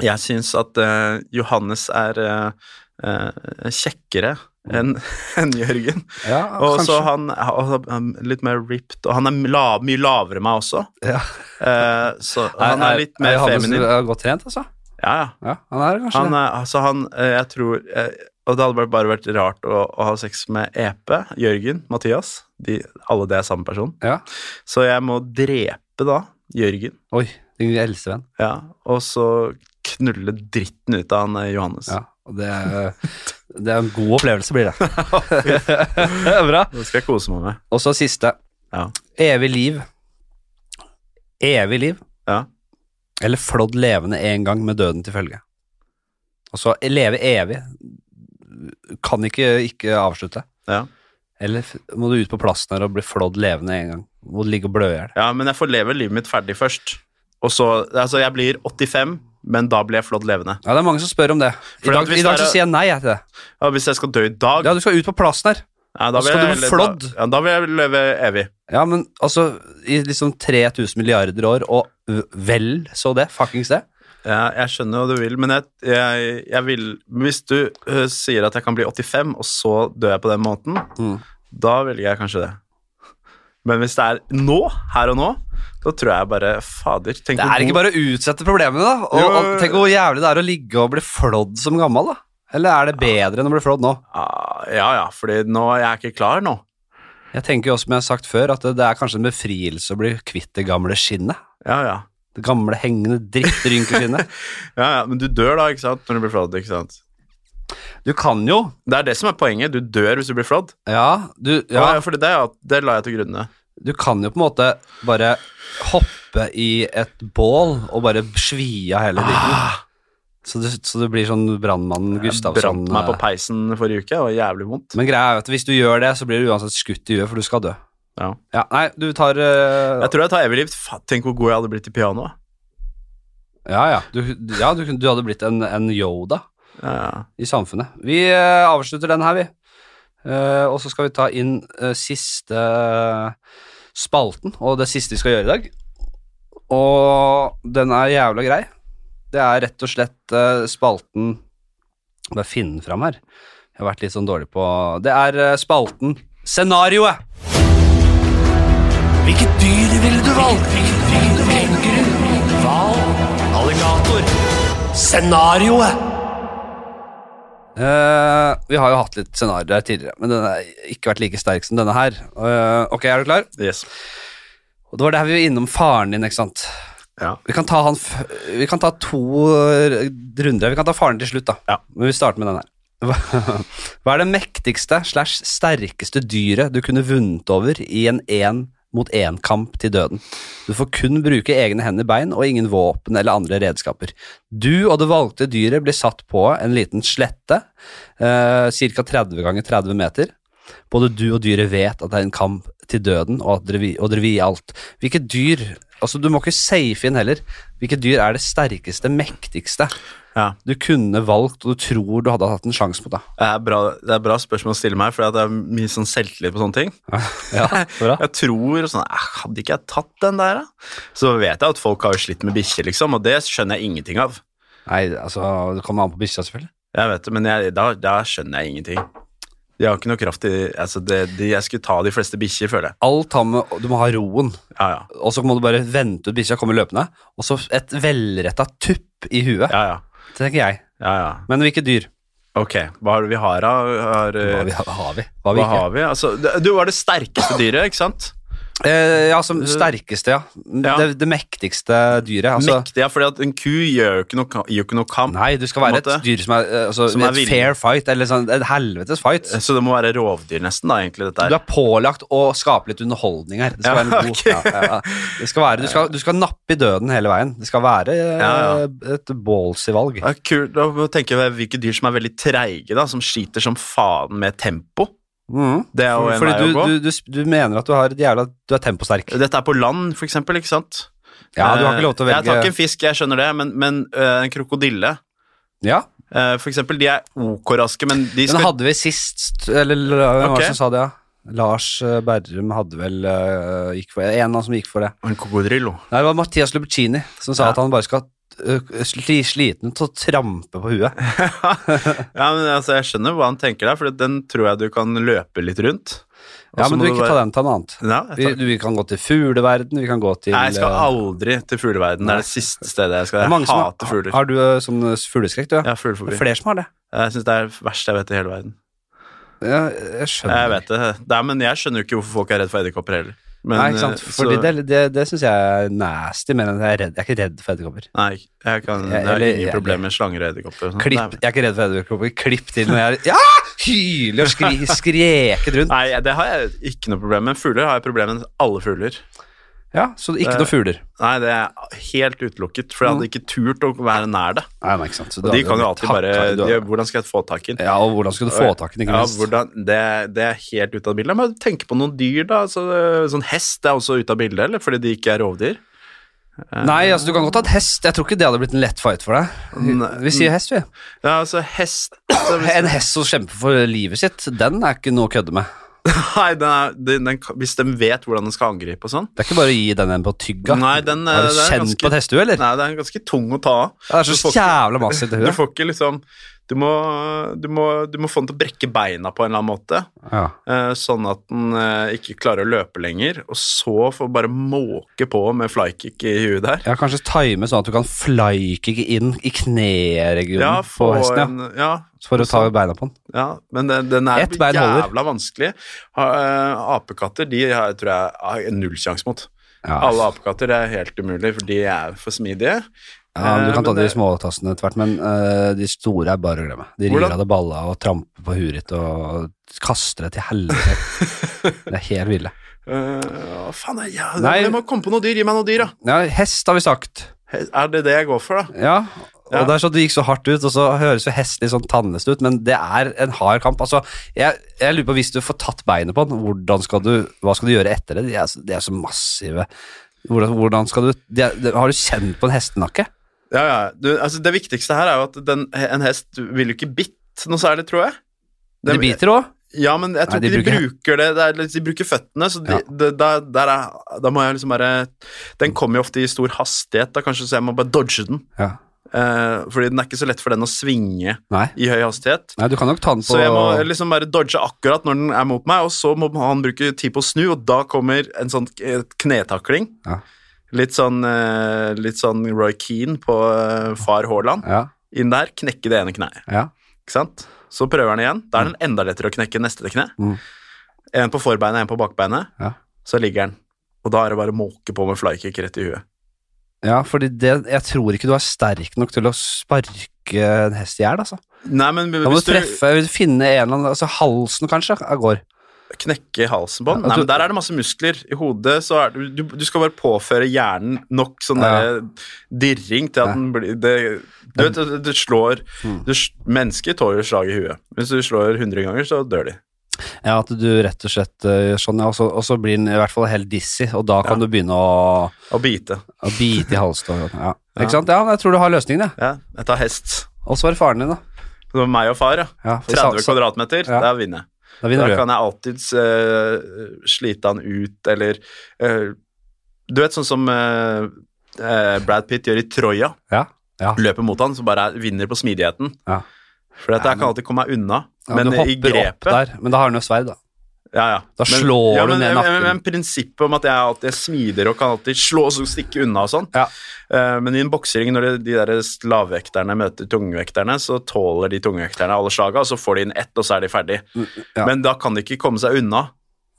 [SPEAKER 2] Jeg syns at eh, Johannes er eh, eh, kjekkere enn [LAUGHS] enn Jørgen.
[SPEAKER 1] Mm. Ja,
[SPEAKER 2] Og så
[SPEAKER 1] kanskje.
[SPEAKER 2] han, og han er litt mer ripped, og han er la, mye lavere enn meg også.
[SPEAKER 1] Ja.
[SPEAKER 2] Eh, så han er litt mer
[SPEAKER 1] Johannes
[SPEAKER 2] feminin.
[SPEAKER 1] er godt trent, altså.
[SPEAKER 2] Ja, ja.
[SPEAKER 1] Ja, han er kanskje
[SPEAKER 2] Han
[SPEAKER 1] det.
[SPEAKER 2] er, altså han, eh, jeg tror eh, Og det hadde bare- bare vært rart å, å ha sex med EP, Jørgen, Mathias. De, alle det er samme person.
[SPEAKER 1] Ja.
[SPEAKER 2] Så jeg må drepe da Jørgen.
[SPEAKER 1] Oi, din eldste venn.
[SPEAKER 2] Ja, og så knulle dritten ut av han eh, Johannes.
[SPEAKER 1] Ja. og Det, er- det er en god opplevelse, blir
[SPEAKER 2] [LAUGHS]
[SPEAKER 1] det. [LAUGHS] Bra.
[SPEAKER 2] Det skal jeg kose meg med.
[SPEAKER 1] Og så siste.
[SPEAKER 2] Ja.
[SPEAKER 1] Evig liv. Evig liv.
[SPEAKER 2] Ja.
[SPEAKER 1] Eller flådd levende en gang med døden til følge. Og så leve evig. Kan ikke ikke avslutte.
[SPEAKER 2] Ja.
[SPEAKER 1] Eller f- må du ut på plassen her og bli flådd levende en gang. Må du ligge og blø i hjel.
[SPEAKER 2] ja, men jeg får leve livet mitt ferdig først. Og så, altså Jeg blir 85, men da blir jeg flådd levende.
[SPEAKER 1] Ja, det er mange som spør om det. I
[SPEAKER 2] Fordi
[SPEAKER 1] dag,
[SPEAKER 2] at hvis
[SPEAKER 1] i dag
[SPEAKER 2] det er-
[SPEAKER 1] så sier jeg nei jeg, til det.
[SPEAKER 2] Ja, hvis jeg skal dø i dag
[SPEAKER 1] Ja, du skal ut på plassen her.
[SPEAKER 2] ja, da
[SPEAKER 1] skal
[SPEAKER 2] vil jeg
[SPEAKER 1] du bli
[SPEAKER 2] heller-
[SPEAKER 1] flådd.
[SPEAKER 2] Da, ja, da vil jeg leve evig.
[SPEAKER 1] Ja, men altså, i liksom 3000 milliarder år, og vel så det, fuckings det.
[SPEAKER 2] Ja, jeg skjønner hva du vil, men jeg, jeg, jeg vil Hvis du øh, sier at jeg kan bli 85, og så dør jeg på den måten,
[SPEAKER 1] Mm.
[SPEAKER 2] da velger jeg kanskje det. Men hvis det er nå, her og nå, da tror jeg bare Fader. Tenk
[SPEAKER 1] Det
[SPEAKER 2] hvor
[SPEAKER 1] er ikke
[SPEAKER 2] god-
[SPEAKER 1] bare å utsette problemene, da. Og,
[SPEAKER 2] Jo.
[SPEAKER 1] og tenk hvor jævlig det er å ligge og bli flådd som gammel, da. Eller er det bedre enn å bli flådd nå?
[SPEAKER 2] Ah, Ja, ja, fordi nå jeg er ikke klar nå.
[SPEAKER 1] Jeg tenker jo også, som jeg har sagt før, at det, det er kanskje en befrielse å bli kvitt det gamle skinnet.
[SPEAKER 2] Ja, ja.
[SPEAKER 1] Det gamle hengende
[SPEAKER 2] [LAUGHS]
[SPEAKER 1] drittrynkeskinnet.
[SPEAKER 2] ja, ja men du dør da, ikke sant, når du blir flådd. ikke sant?
[SPEAKER 1] Du kan jo
[SPEAKER 2] Det er det som er poenget. Du dør hvis du blir flådd.
[SPEAKER 1] Ja, du,
[SPEAKER 2] Ja.
[SPEAKER 1] ja,
[SPEAKER 2] fordi det, er at- det la jeg til grunne.
[SPEAKER 1] du kan jo på en måte bare hoppe i et bål og bare svi av hele
[SPEAKER 2] Ah.
[SPEAKER 1] dritten. Så, du- så du blir sånn brannmannen Gustavsson.
[SPEAKER 2] Brant meg på
[SPEAKER 1] eh,
[SPEAKER 2] peisen forrige uke. Det var jævlig vondt.
[SPEAKER 1] Men greia er jo at hvis du gjør det, så blir du uansett skutt i huet, for du skal dø.
[SPEAKER 2] Ja.
[SPEAKER 1] Ja, nei, du tar eh,
[SPEAKER 2] Jeg tror jeg tar evig liv. Fa- Tenk hvor god jeg hadde blitt i pianoet.
[SPEAKER 1] Ja, ja. Du, ja du, kunne- du hadde blitt en, en Yoda
[SPEAKER 2] Ja, ja.
[SPEAKER 1] i samfunnet. Vi eh, avslutter den her, vi. Eh, og så skal vi ta inn eh, siste spalten, og det siste vi skal gjøre i dag. Og den er jævla grei. Det er rett og slett eh, spalten Bare finne den fram her. Jeg har vært litt sånn dårlig på Det er eh, spalten Scenarioet!
[SPEAKER 4] Hvilket dyr ville du valgt? Kenguru, hval, alligator. Scenarioet.
[SPEAKER 1] Eh, vi har jo hatt litt scenarioer her tidligere, men den har ikke vært like sterk som denne her. Eh, ok, er du klar?
[SPEAKER 2] Yes.
[SPEAKER 1] Og det var der vi var innom faren din, ikke sant?
[SPEAKER 2] Ja.
[SPEAKER 1] Vi kan ta, han f vi kan ta to eh, runder. Vi kan ta faren til slutt, da.
[SPEAKER 2] Ja.
[SPEAKER 1] Men vi starter med den her. Hva- [LAUGHS] Hva er det mektigste slash sterkeste dyret du kunne vunnet over i en én mot én-kamp til døden? Du får kun bruke egne hender, bein og ingen våpen eller andre redskaper. Du og det valgte dyret blir satt på en liten slette, eh, ca. 30 ganger 30 meter. Både du og dyret vet at det er en kamp til døden, og, at dere, vi- og dere vil gi alt. Hvilket dyr Altså, du må ikke safe inn heller. Hvilket dyr er det sterkeste, mektigste
[SPEAKER 2] Ja.
[SPEAKER 1] du kunne valgt, og du tror du hadde hatt en sjanse mot, da?
[SPEAKER 2] Det er, bra, det er bra spørsmål å stille meg, for det er mye sånn selvtillit på sånne ting.
[SPEAKER 1] Ja, bra.
[SPEAKER 2] [LAUGHS] Jeg tror sånn, «Eh, Hadde ikke jeg tatt den der, da? Så vet jeg at folk har jo slitt med bikkjer, liksom, og det skjønner jeg ingenting av.
[SPEAKER 1] Nei, altså, det kommer an på bikkja, selvfølgelig.
[SPEAKER 2] Jeg vet det, Men jeg, da, da skjønner jeg ingenting. De har ikke noe kraft i altså det, de, Jeg skulle ta de fleste bikkjer, føler jeg.
[SPEAKER 1] Alt har med Du må ha roen.
[SPEAKER 2] Ja, ja.
[SPEAKER 1] og så må du bare vente ut bikkja kommer løpende, og så et velretta tupp i huet,
[SPEAKER 2] ja, ja.
[SPEAKER 1] tenker jeg.
[SPEAKER 2] Ja, ja.
[SPEAKER 1] Men hvilke dyr?
[SPEAKER 2] Ok, hva har vi har av? Har,
[SPEAKER 1] Hva
[SPEAKER 2] eh,
[SPEAKER 1] vi- hva har vi? Hva har vi
[SPEAKER 2] Hva
[SPEAKER 1] ikke?
[SPEAKER 2] har vi? Altså, det- du var det sterkeste dyret, ikke sant?
[SPEAKER 1] Eh, ja, som sterkeste, ja. Det, det mektigste dyret. Altså,
[SPEAKER 2] Mektig, ja, fordi at en ku gjør jo ikke noe, gjør ikke noe kamp.
[SPEAKER 1] nei, du skal
[SPEAKER 2] på en
[SPEAKER 1] være et
[SPEAKER 2] måte.
[SPEAKER 1] dyr som er, eh, altså,
[SPEAKER 2] Som er
[SPEAKER 1] et
[SPEAKER 2] villig.
[SPEAKER 1] fair fight, eller sånn, et helvetes fight.
[SPEAKER 2] Eh, Så det må være rovdyr nesten, da, egentlig, dette
[SPEAKER 1] Du
[SPEAKER 2] her.
[SPEAKER 1] er pålagt å skape litt underholdning her. Det skal
[SPEAKER 2] Ja,
[SPEAKER 1] være en god
[SPEAKER 2] ok.
[SPEAKER 1] ja, ja, ja. Det skal være, du, skal, du skal nappe i døden hele veien. Det skal være eh,
[SPEAKER 2] Ja,
[SPEAKER 1] et ballsy valg.
[SPEAKER 2] Ja, kult. Da må jeg tenke på hvilke dyr som er veldig treige, da, som skiter som faen med tempo.
[SPEAKER 1] Mhm.
[SPEAKER 2] Det er jo en
[SPEAKER 1] Fordi
[SPEAKER 2] vei
[SPEAKER 1] du,
[SPEAKER 2] å gå.
[SPEAKER 1] du, du, du mener at du har et jævla Du er temposterk.
[SPEAKER 2] Dette er på land, for eksempel, ikke sant?
[SPEAKER 1] Ja, du har ikke lov til å
[SPEAKER 2] Eh,
[SPEAKER 1] velge
[SPEAKER 2] Jeg tar ikke en fisk, jeg skjønner det, men, men eh, en krokodille
[SPEAKER 1] Ja,
[SPEAKER 2] eh, for eksempel, de er ok raske, men de
[SPEAKER 1] Den
[SPEAKER 2] skal
[SPEAKER 1] hadde vi sist Eller la- hvem var
[SPEAKER 2] Ok.
[SPEAKER 1] det som sa det, ja? Lars eh, Berrum hadde vel eh, gikk for, En eller annen som gikk for det.
[SPEAKER 2] En krokodillo. [LAUGHS]
[SPEAKER 1] Nei, det var Mathias Lubecini som sa
[SPEAKER 2] Ja.
[SPEAKER 1] at han bare skal eh, sli, sliten til å trampe på huet.
[SPEAKER 2] Ja, men altså, jeg skjønner hva han tenker der, for den tror jeg du kan løpe litt rundt. Og
[SPEAKER 1] Ja,
[SPEAKER 2] så
[SPEAKER 1] men
[SPEAKER 2] må
[SPEAKER 1] du ikke
[SPEAKER 2] bare-
[SPEAKER 1] ta den, ta en annen.
[SPEAKER 2] Ja, jeg
[SPEAKER 1] Vi,
[SPEAKER 2] tar...
[SPEAKER 1] du, vi kan gå til fugleverden, vi kan gå til
[SPEAKER 2] Nei, jeg skal
[SPEAKER 1] eh,
[SPEAKER 2] aldri til fugleverden. Det er det siste stedet jeg skal.
[SPEAKER 1] det er mange
[SPEAKER 2] Jeg
[SPEAKER 1] som har-
[SPEAKER 2] hater fugler.
[SPEAKER 1] Har du eh, sånn eh, fugleskrekk, du?
[SPEAKER 2] Jeg
[SPEAKER 1] Ja?
[SPEAKER 2] har
[SPEAKER 1] Det
[SPEAKER 2] fuglefobi.
[SPEAKER 1] er flere som har det.
[SPEAKER 2] Jeg syns det er det verste jeg vet i hele verden.
[SPEAKER 1] Ja, jeg skjønner.
[SPEAKER 2] Jeg vet det. det er, men jeg skjønner jo ikke hvorfor folk er redd for edderkopper heller. Men,
[SPEAKER 1] Nei, ikke sant?
[SPEAKER 2] eh,
[SPEAKER 1] Fordi
[SPEAKER 2] så-
[SPEAKER 1] Det, det, det syns jeg er nasty, men jeg er, redd, jeg er ikke redd for edderkopper.
[SPEAKER 2] Nei, jeg, kan,
[SPEAKER 1] Jeg-
[SPEAKER 2] jeg, har
[SPEAKER 1] eller-
[SPEAKER 2] ingen problemer med slanger og edderkopper. og sånt.
[SPEAKER 1] Klipp,
[SPEAKER 2] Nei,
[SPEAKER 1] jeg er ikke redd for edderkopper. Klipp til når jeg ja! hyler og skri, skreket rundt.
[SPEAKER 2] Nei, det har jeg ikke noe problem med. Fugler har jeg problemer med. Alle fugler.
[SPEAKER 1] Ja, Så ikke
[SPEAKER 2] Eh.
[SPEAKER 1] noen fugler.
[SPEAKER 2] Nei, det er helt utelukket, for jeg hadde ikke turt å være nær det.
[SPEAKER 1] Nei, men ikke sant. Så du
[SPEAKER 2] Og
[SPEAKER 1] Mm. hadde
[SPEAKER 2] de kan jo
[SPEAKER 1] blitt
[SPEAKER 2] alltid bare
[SPEAKER 1] hakka- du
[SPEAKER 2] de,
[SPEAKER 1] hadde-
[SPEAKER 2] Hvordan skal jeg få tak i den?
[SPEAKER 1] Ja, og hvordan skulle du få tak i den, ikke
[SPEAKER 2] Ja,
[SPEAKER 1] minst?
[SPEAKER 2] hvordan, det, det er helt ute av bildet. Altså, eh, Men tenk på noen dyr, da. Så, sånn hest er også ute av bildet, eller? Fordi de ikke er rovdyr.
[SPEAKER 1] Nei, altså du kan godt ha et hest. Jeg tror ikke det hadde blitt en lett fight for deg.
[SPEAKER 2] Nei.
[SPEAKER 1] Vi sier hest, vi.
[SPEAKER 2] Ja, altså hest så hvis-
[SPEAKER 1] En hest som kjemper for livet sitt, den er ikke noe å kødde med.
[SPEAKER 2] Nei, den er, den, den, kan- hvis de vet hvordan den skal angripe og sånn.
[SPEAKER 1] Det er ikke bare å gi den en på tygga.
[SPEAKER 2] Nei, den, eh,
[SPEAKER 1] er du
[SPEAKER 2] det er
[SPEAKER 1] kjent
[SPEAKER 2] ganske-
[SPEAKER 1] på et hestehue, eller?
[SPEAKER 2] Nei, den er ganske tung å ta av.
[SPEAKER 1] det er
[SPEAKER 2] Du
[SPEAKER 1] så
[SPEAKER 2] får ikke-
[SPEAKER 1] jævla massivt i
[SPEAKER 2] Du
[SPEAKER 1] huet.
[SPEAKER 2] får ikke liksom du må, du, må, du må få den til å brekke beina på en eller annen måte,
[SPEAKER 1] Ja.
[SPEAKER 2] eh, sånn at den eh, ikke klarer å løpe lenger, og så få bare måke på med flykick i huet der.
[SPEAKER 1] ja, kanskje time sånn at du kan flykicke inn i kneregionen
[SPEAKER 2] Ja,
[SPEAKER 1] på
[SPEAKER 2] få
[SPEAKER 1] hesten, ja.
[SPEAKER 2] en Ja,
[SPEAKER 1] For å ta beina på den.
[SPEAKER 2] Ja, men den, den er
[SPEAKER 1] Ett bein
[SPEAKER 2] jævla
[SPEAKER 1] holder.
[SPEAKER 2] vanskelig. Ha- eh, apekatter de har, tror jeg har jeg null sjanse mot.
[SPEAKER 1] Ja.
[SPEAKER 2] Alle apekatter er helt umulig, for de er for smidige.
[SPEAKER 1] Ja, men
[SPEAKER 2] Eh,
[SPEAKER 1] du kan ta
[SPEAKER 2] men
[SPEAKER 1] det i
[SPEAKER 2] det-
[SPEAKER 1] småtassene etter hvert, men eh, de store er bare å glemme. De rir
[SPEAKER 2] Hvordan-
[SPEAKER 1] av deg balla og tramper på huet ditt og kaster det til helvete.
[SPEAKER 2] [LAUGHS]
[SPEAKER 1] det er helt ville.
[SPEAKER 2] Uh, faen, ja,
[SPEAKER 1] Nei.
[SPEAKER 2] Jeg må komme på noe dyr. Gi meg noe dyr, da.
[SPEAKER 1] Ja, hest har vi sagt.
[SPEAKER 2] He- Er det det jeg går for, da?
[SPEAKER 1] Ja, og
[SPEAKER 2] Ja.
[SPEAKER 1] det er sånn du gikk så hardt ut, og så høres jo hest litt sånn tannløst ut, men det er en hard kamp. Altså, jeg, jeg lurer på hvis du får tatt beinet på den, hvordan skal du, hva skal du gjøre etter det? De er, så- de er så massive. Hvordan, hvordan skal du de er, de, Har du kjent på en hestenakke?
[SPEAKER 2] Ja, ja. Du, altså, det viktigste her er jo at den, en hest vil jo ikke bitt noe særlig, tror jeg.
[SPEAKER 1] De
[SPEAKER 2] Dem-
[SPEAKER 1] biter òg.
[SPEAKER 2] Ja, men jeg tror
[SPEAKER 1] Nei, de
[SPEAKER 2] ikke de
[SPEAKER 1] bruker-
[SPEAKER 2] bruker det. det er, litt- de bruker føttene, så de,
[SPEAKER 1] Ja.
[SPEAKER 2] det, der, der er, da må jeg liksom bare Den kommer jo ofte i stor hastighet, da kanskje, så jeg må bare dodge den.
[SPEAKER 1] Ja.
[SPEAKER 2] Eh, fordi den er ikke så lett for den å svinge
[SPEAKER 1] Nei.
[SPEAKER 2] i høy hastighet.
[SPEAKER 1] Nei, du kan nok ta den på
[SPEAKER 2] Så jeg må liksom bare dodge akkurat når den er mot meg, og så må han bruke tid på å snu, og da kommer en sånn eh, knetakling.
[SPEAKER 1] Ja.
[SPEAKER 2] Litt sånn, eh, litt sånn Roy Keane på eh, far Haaland.
[SPEAKER 1] ja,
[SPEAKER 2] Inn der, knekke det ene kneet.
[SPEAKER 1] ja.
[SPEAKER 2] Ikke sant? Så prøver han igjen. Da er den enda lettere å knekke neste kne.
[SPEAKER 1] Mm.
[SPEAKER 2] En på forbeinet, en på bakbeinet.
[SPEAKER 1] Ja.
[SPEAKER 2] Så ligger den. Og da er det bare å måke på med flykick rett i huet.
[SPEAKER 1] Ja, fordi det, jeg tror ikke du er sterk nok til å sparke en hest i hjel, altså.
[SPEAKER 2] Nei, men
[SPEAKER 1] Da må
[SPEAKER 2] hvis
[SPEAKER 1] du treffe, finne en eller annen, altså halsen kanskje, av gård.
[SPEAKER 2] knekke halsen på den.
[SPEAKER 1] Ja, altså-
[SPEAKER 2] Nei,
[SPEAKER 1] du-
[SPEAKER 2] men Der er det masse muskler. I hodet så er det, du, du skal bare påføre hjernen nok sånn
[SPEAKER 1] Ja.
[SPEAKER 2] der dirring til at
[SPEAKER 1] Ja. Mm.
[SPEAKER 2] den blir det, Du vet, det, det slår du, s- Mennesker tåler slag i huet. Hvis du slår 100 ganger, så dør de.
[SPEAKER 1] Ja, at du rett og slett eh, gjør sånn, ja, og så, og så blir den i hvert fall helt dizzy, og da kan du begynne å,
[SPEAKER 2] Og bite.
[SPEAKER 1] å bite i halsen. og- Ja. Ikke sant? Ja, jeg tror du har løsningen, jeg.
[SPEAKER 2] Ja, jeg tar hest.
[SPEAKER 1] Og så var det faren din, da.
[SPEAKER 2] Det var meg og far, ja.
[SPEAKER 1] Ja, for
[SPEAKER 2] 30
[SPEAKER 1] sa- sa-
[SPEAKER 2] kvadratmeter,
[SPEAKER 1] Ja.
[SPEAKER 2] der vinner jeg.
[SPEAKER 1] Da
[SPEAKER 2] Da
[SPEAKER 1] vinner du.
[SPEAKER 2] kan jeg alltids eh, slite han ut, eller eh, Du vet sånn som eh, eh, Brad Pitt gjør i Troja.
[SPEAKER 1] Ja. ja.
[SPEAKER 2] løper mot han, så bare jeg vinner på smidigheten.
[SPEAKER 1] Ja.
[SPEAKER 2] For dette, jeg kan alltid komme meg unna,
[SPEAKER 1] ja
[SPEAKER 2] men eh,
[SPEAKER 1] du
[SPEAKER 2] i
[SPEAKER 1] hopper opp
[SPEAKER 2] grepet
[SPEAKER 1] der, men da har han jo sverd, da.
[SPEAKER 2] ja, ja.
[SPEAKER 1] Da
[SPEAKER 2] men,
[SPEAKER 1] slår
[SPEAKER 2] ja,
[SPEAKER 1] du
[SPEAKER 2] men,
[SPEAKER 1] ned
[SPEAKER 2] men-
[SPEAKER 1] nakken.
[SPEAKER 2] Men, men prinsippet om at jeg alltid er smider og kan alltid slå og så stikke unna og sånn.
[SPEAKER 1] Ja.
[SPEAKER 2] Eh, men i en boksering, når de, de der lavvekterne møter tungvekterne, så tåler de tungvekterne alle slaga, og så får de inn ett, og så er de ferdig.
[SPEAKER 1] Mm, ja.
[SPEAKER 2] Men da kan de ikke komme seg unna.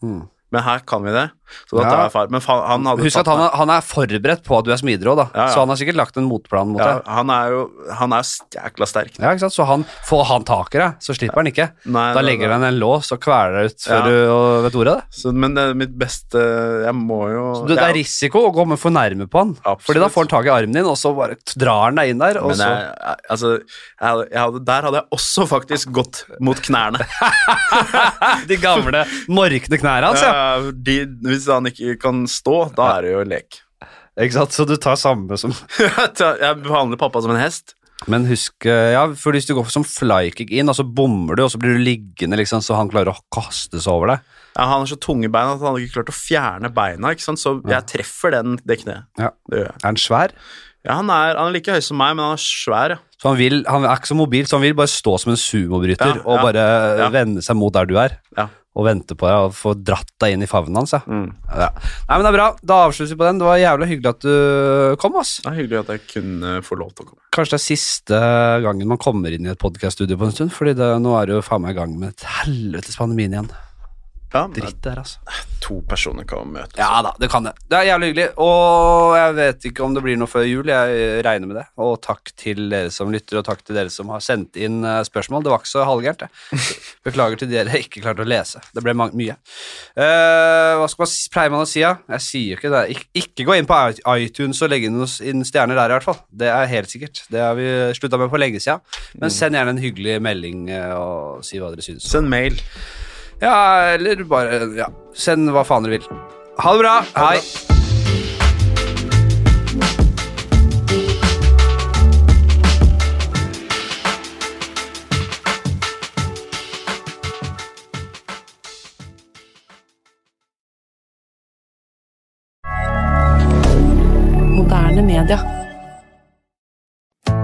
[SPEAKER 1] Mm.
[SPEAKER 2] Men her kan vi det. Så da
[SPEAKER 1] Ja.
[SPEAKER 2] tar jeg far. Men fa han hadde
[SPEAKER 1] Husk
[SPEAKER 2] tatt
[SPEAKER 1] at han
[SPEAKER 2] meg.
[SPEAKER 1] er, han er forberedt på at du er smidig òg, da.
[SPEAKER 2] Ja, ja.
[SPEAKER 1] Så han har sikkert lagt en motplan mot
[SPEAKER 2] ja,
[SPEAKER 1] deg.
[SPEAKER 2] han er jo han er jækla sterk.
[SPEAKER 1] Ja, ikke sant? Så han, får han tak i deg, så slipper han ikke.
[SPEAKER 2] Nei,
[SPEAKER 1] Da
[SPEAKER 2] nei,
[SPEAKER 1] legger
[SPEAKER 2] nei.
[SPEAKER 1] han en lås og kveler deg ut
[SPEAKER 2] Ja.
[SPEAKER 1] før du vet ordet av det.
[SPEAKER 2] Så, men det er mitt beste Jeg må jo
[SPEAKER 1] Så det, det er risiko å komme for nærme på han,
[SPEAKER 2] Absolutt.
[SPEAKER 1] Fordi da får han tak i armen din, og så bare t- drar han deg inn der. Og
[SPEAKER 2] Men
[SPEAKER 1] så,
[SPEAKER 2] jeg, jeg- altså, jeg, jeg hadde, der hadde jeg også faktisk gått mot
[SPEAKER 1] [LAUGHS]
[SPEAKER 2] knærne.
[SPEAKER 1] De gamle, morkne knærne hans, ja.
[SPEAKER 2] Eh, de, hvis han ikke kan stå, da er det jo lek. [LAUGHS]
[SPEAKER 1] Ikke sant? Så du tar samme som
[SPEAKER 2] jeg behandler pappa som en hest.
[SPEAKER 1] Men husk, eh, ja, for hvis du går som flykick inn, og så bommer du, og så blir du liggende, liksom, så han klarer å kaste seg over deg.
[SPEAKER 2] Ja, han har så tunge bein at han hadde ikke klart å fjerne beina, ikke sant? så jeg treffer den, det kneet.
[SPEAKER 1] Ja.
[SPEAKER 2] Det gjør jeg.
[SPEAKER 1] Er han svær?
[SPEAKER 2] Ja, han, er, han er like høy som meg, men han er svær. ja.
[SPEAKER 1] Så han, vil, han er ikke så mobil, så han vil bare stå som en
[SPEAKER 2] Ja,
[SPEAKER 1] sumobryter
[SPEAKER 2] ja,
[SPEAKER 1] og bare eh,
[SPEAKER 2] ja.
[SPEAKER 1] vende seg mot der du er.
[SPEAKER 2] Ja.
[SPEAKER 1] Og vente på deg og få dratt deg inn i favnen hans. Ja.
[SPEAKER 2] Mm.
[SPEAKER 1] Ja. Nei, men Det er bra. Da avslutter vi på den. Det var jævla hyggelig at du kom. ass.
[SPEAKER 2] Det er hyggelig at jeg kunne få lov til å komme.
[SPEAKER 1] Kanskje det er siste gangen man kommer inn i et podcaststudio på en stund, fordi det, nå er det jo faen meg i gang med et helvetes pandemien igjen.
[SPEAKER 2] Ja,
[SPEAKER 1] Dritt der, altså.
[SPEAKER 2] To personer kan møtes.
[SPEAKER 1] Ja da, det kan det. Det er jævlig hyggelig, og jeg vet ikke om det blir noe før jul, jeg regner med det. Og takk til dere som lytter, og takk til dere som har sendt inn eh, spørsmål. Det var ikke så halvgærent, det. Beklager til dere jeg ikke klarte å lese. Det ble mang- mye. Eh, hva skal man, s- pleier man å si, da? Jeg sier jo ikke det. Ik ikke gå inn på i- iTunes og legge inn noen s- inn stjerner der, i hvert fall. Det er helt sikkert. Det har vi slutta med for lenge siden. Men send gjerne en hyggelig melding eh, og si hva dere syns.
[SPEAKER 2] Send mail.
[SPEAKER 1] Ja, eller bare ja. Send hva faen dere vil. Ha det bra. Hei.
[SPEAKER 6] moderne media.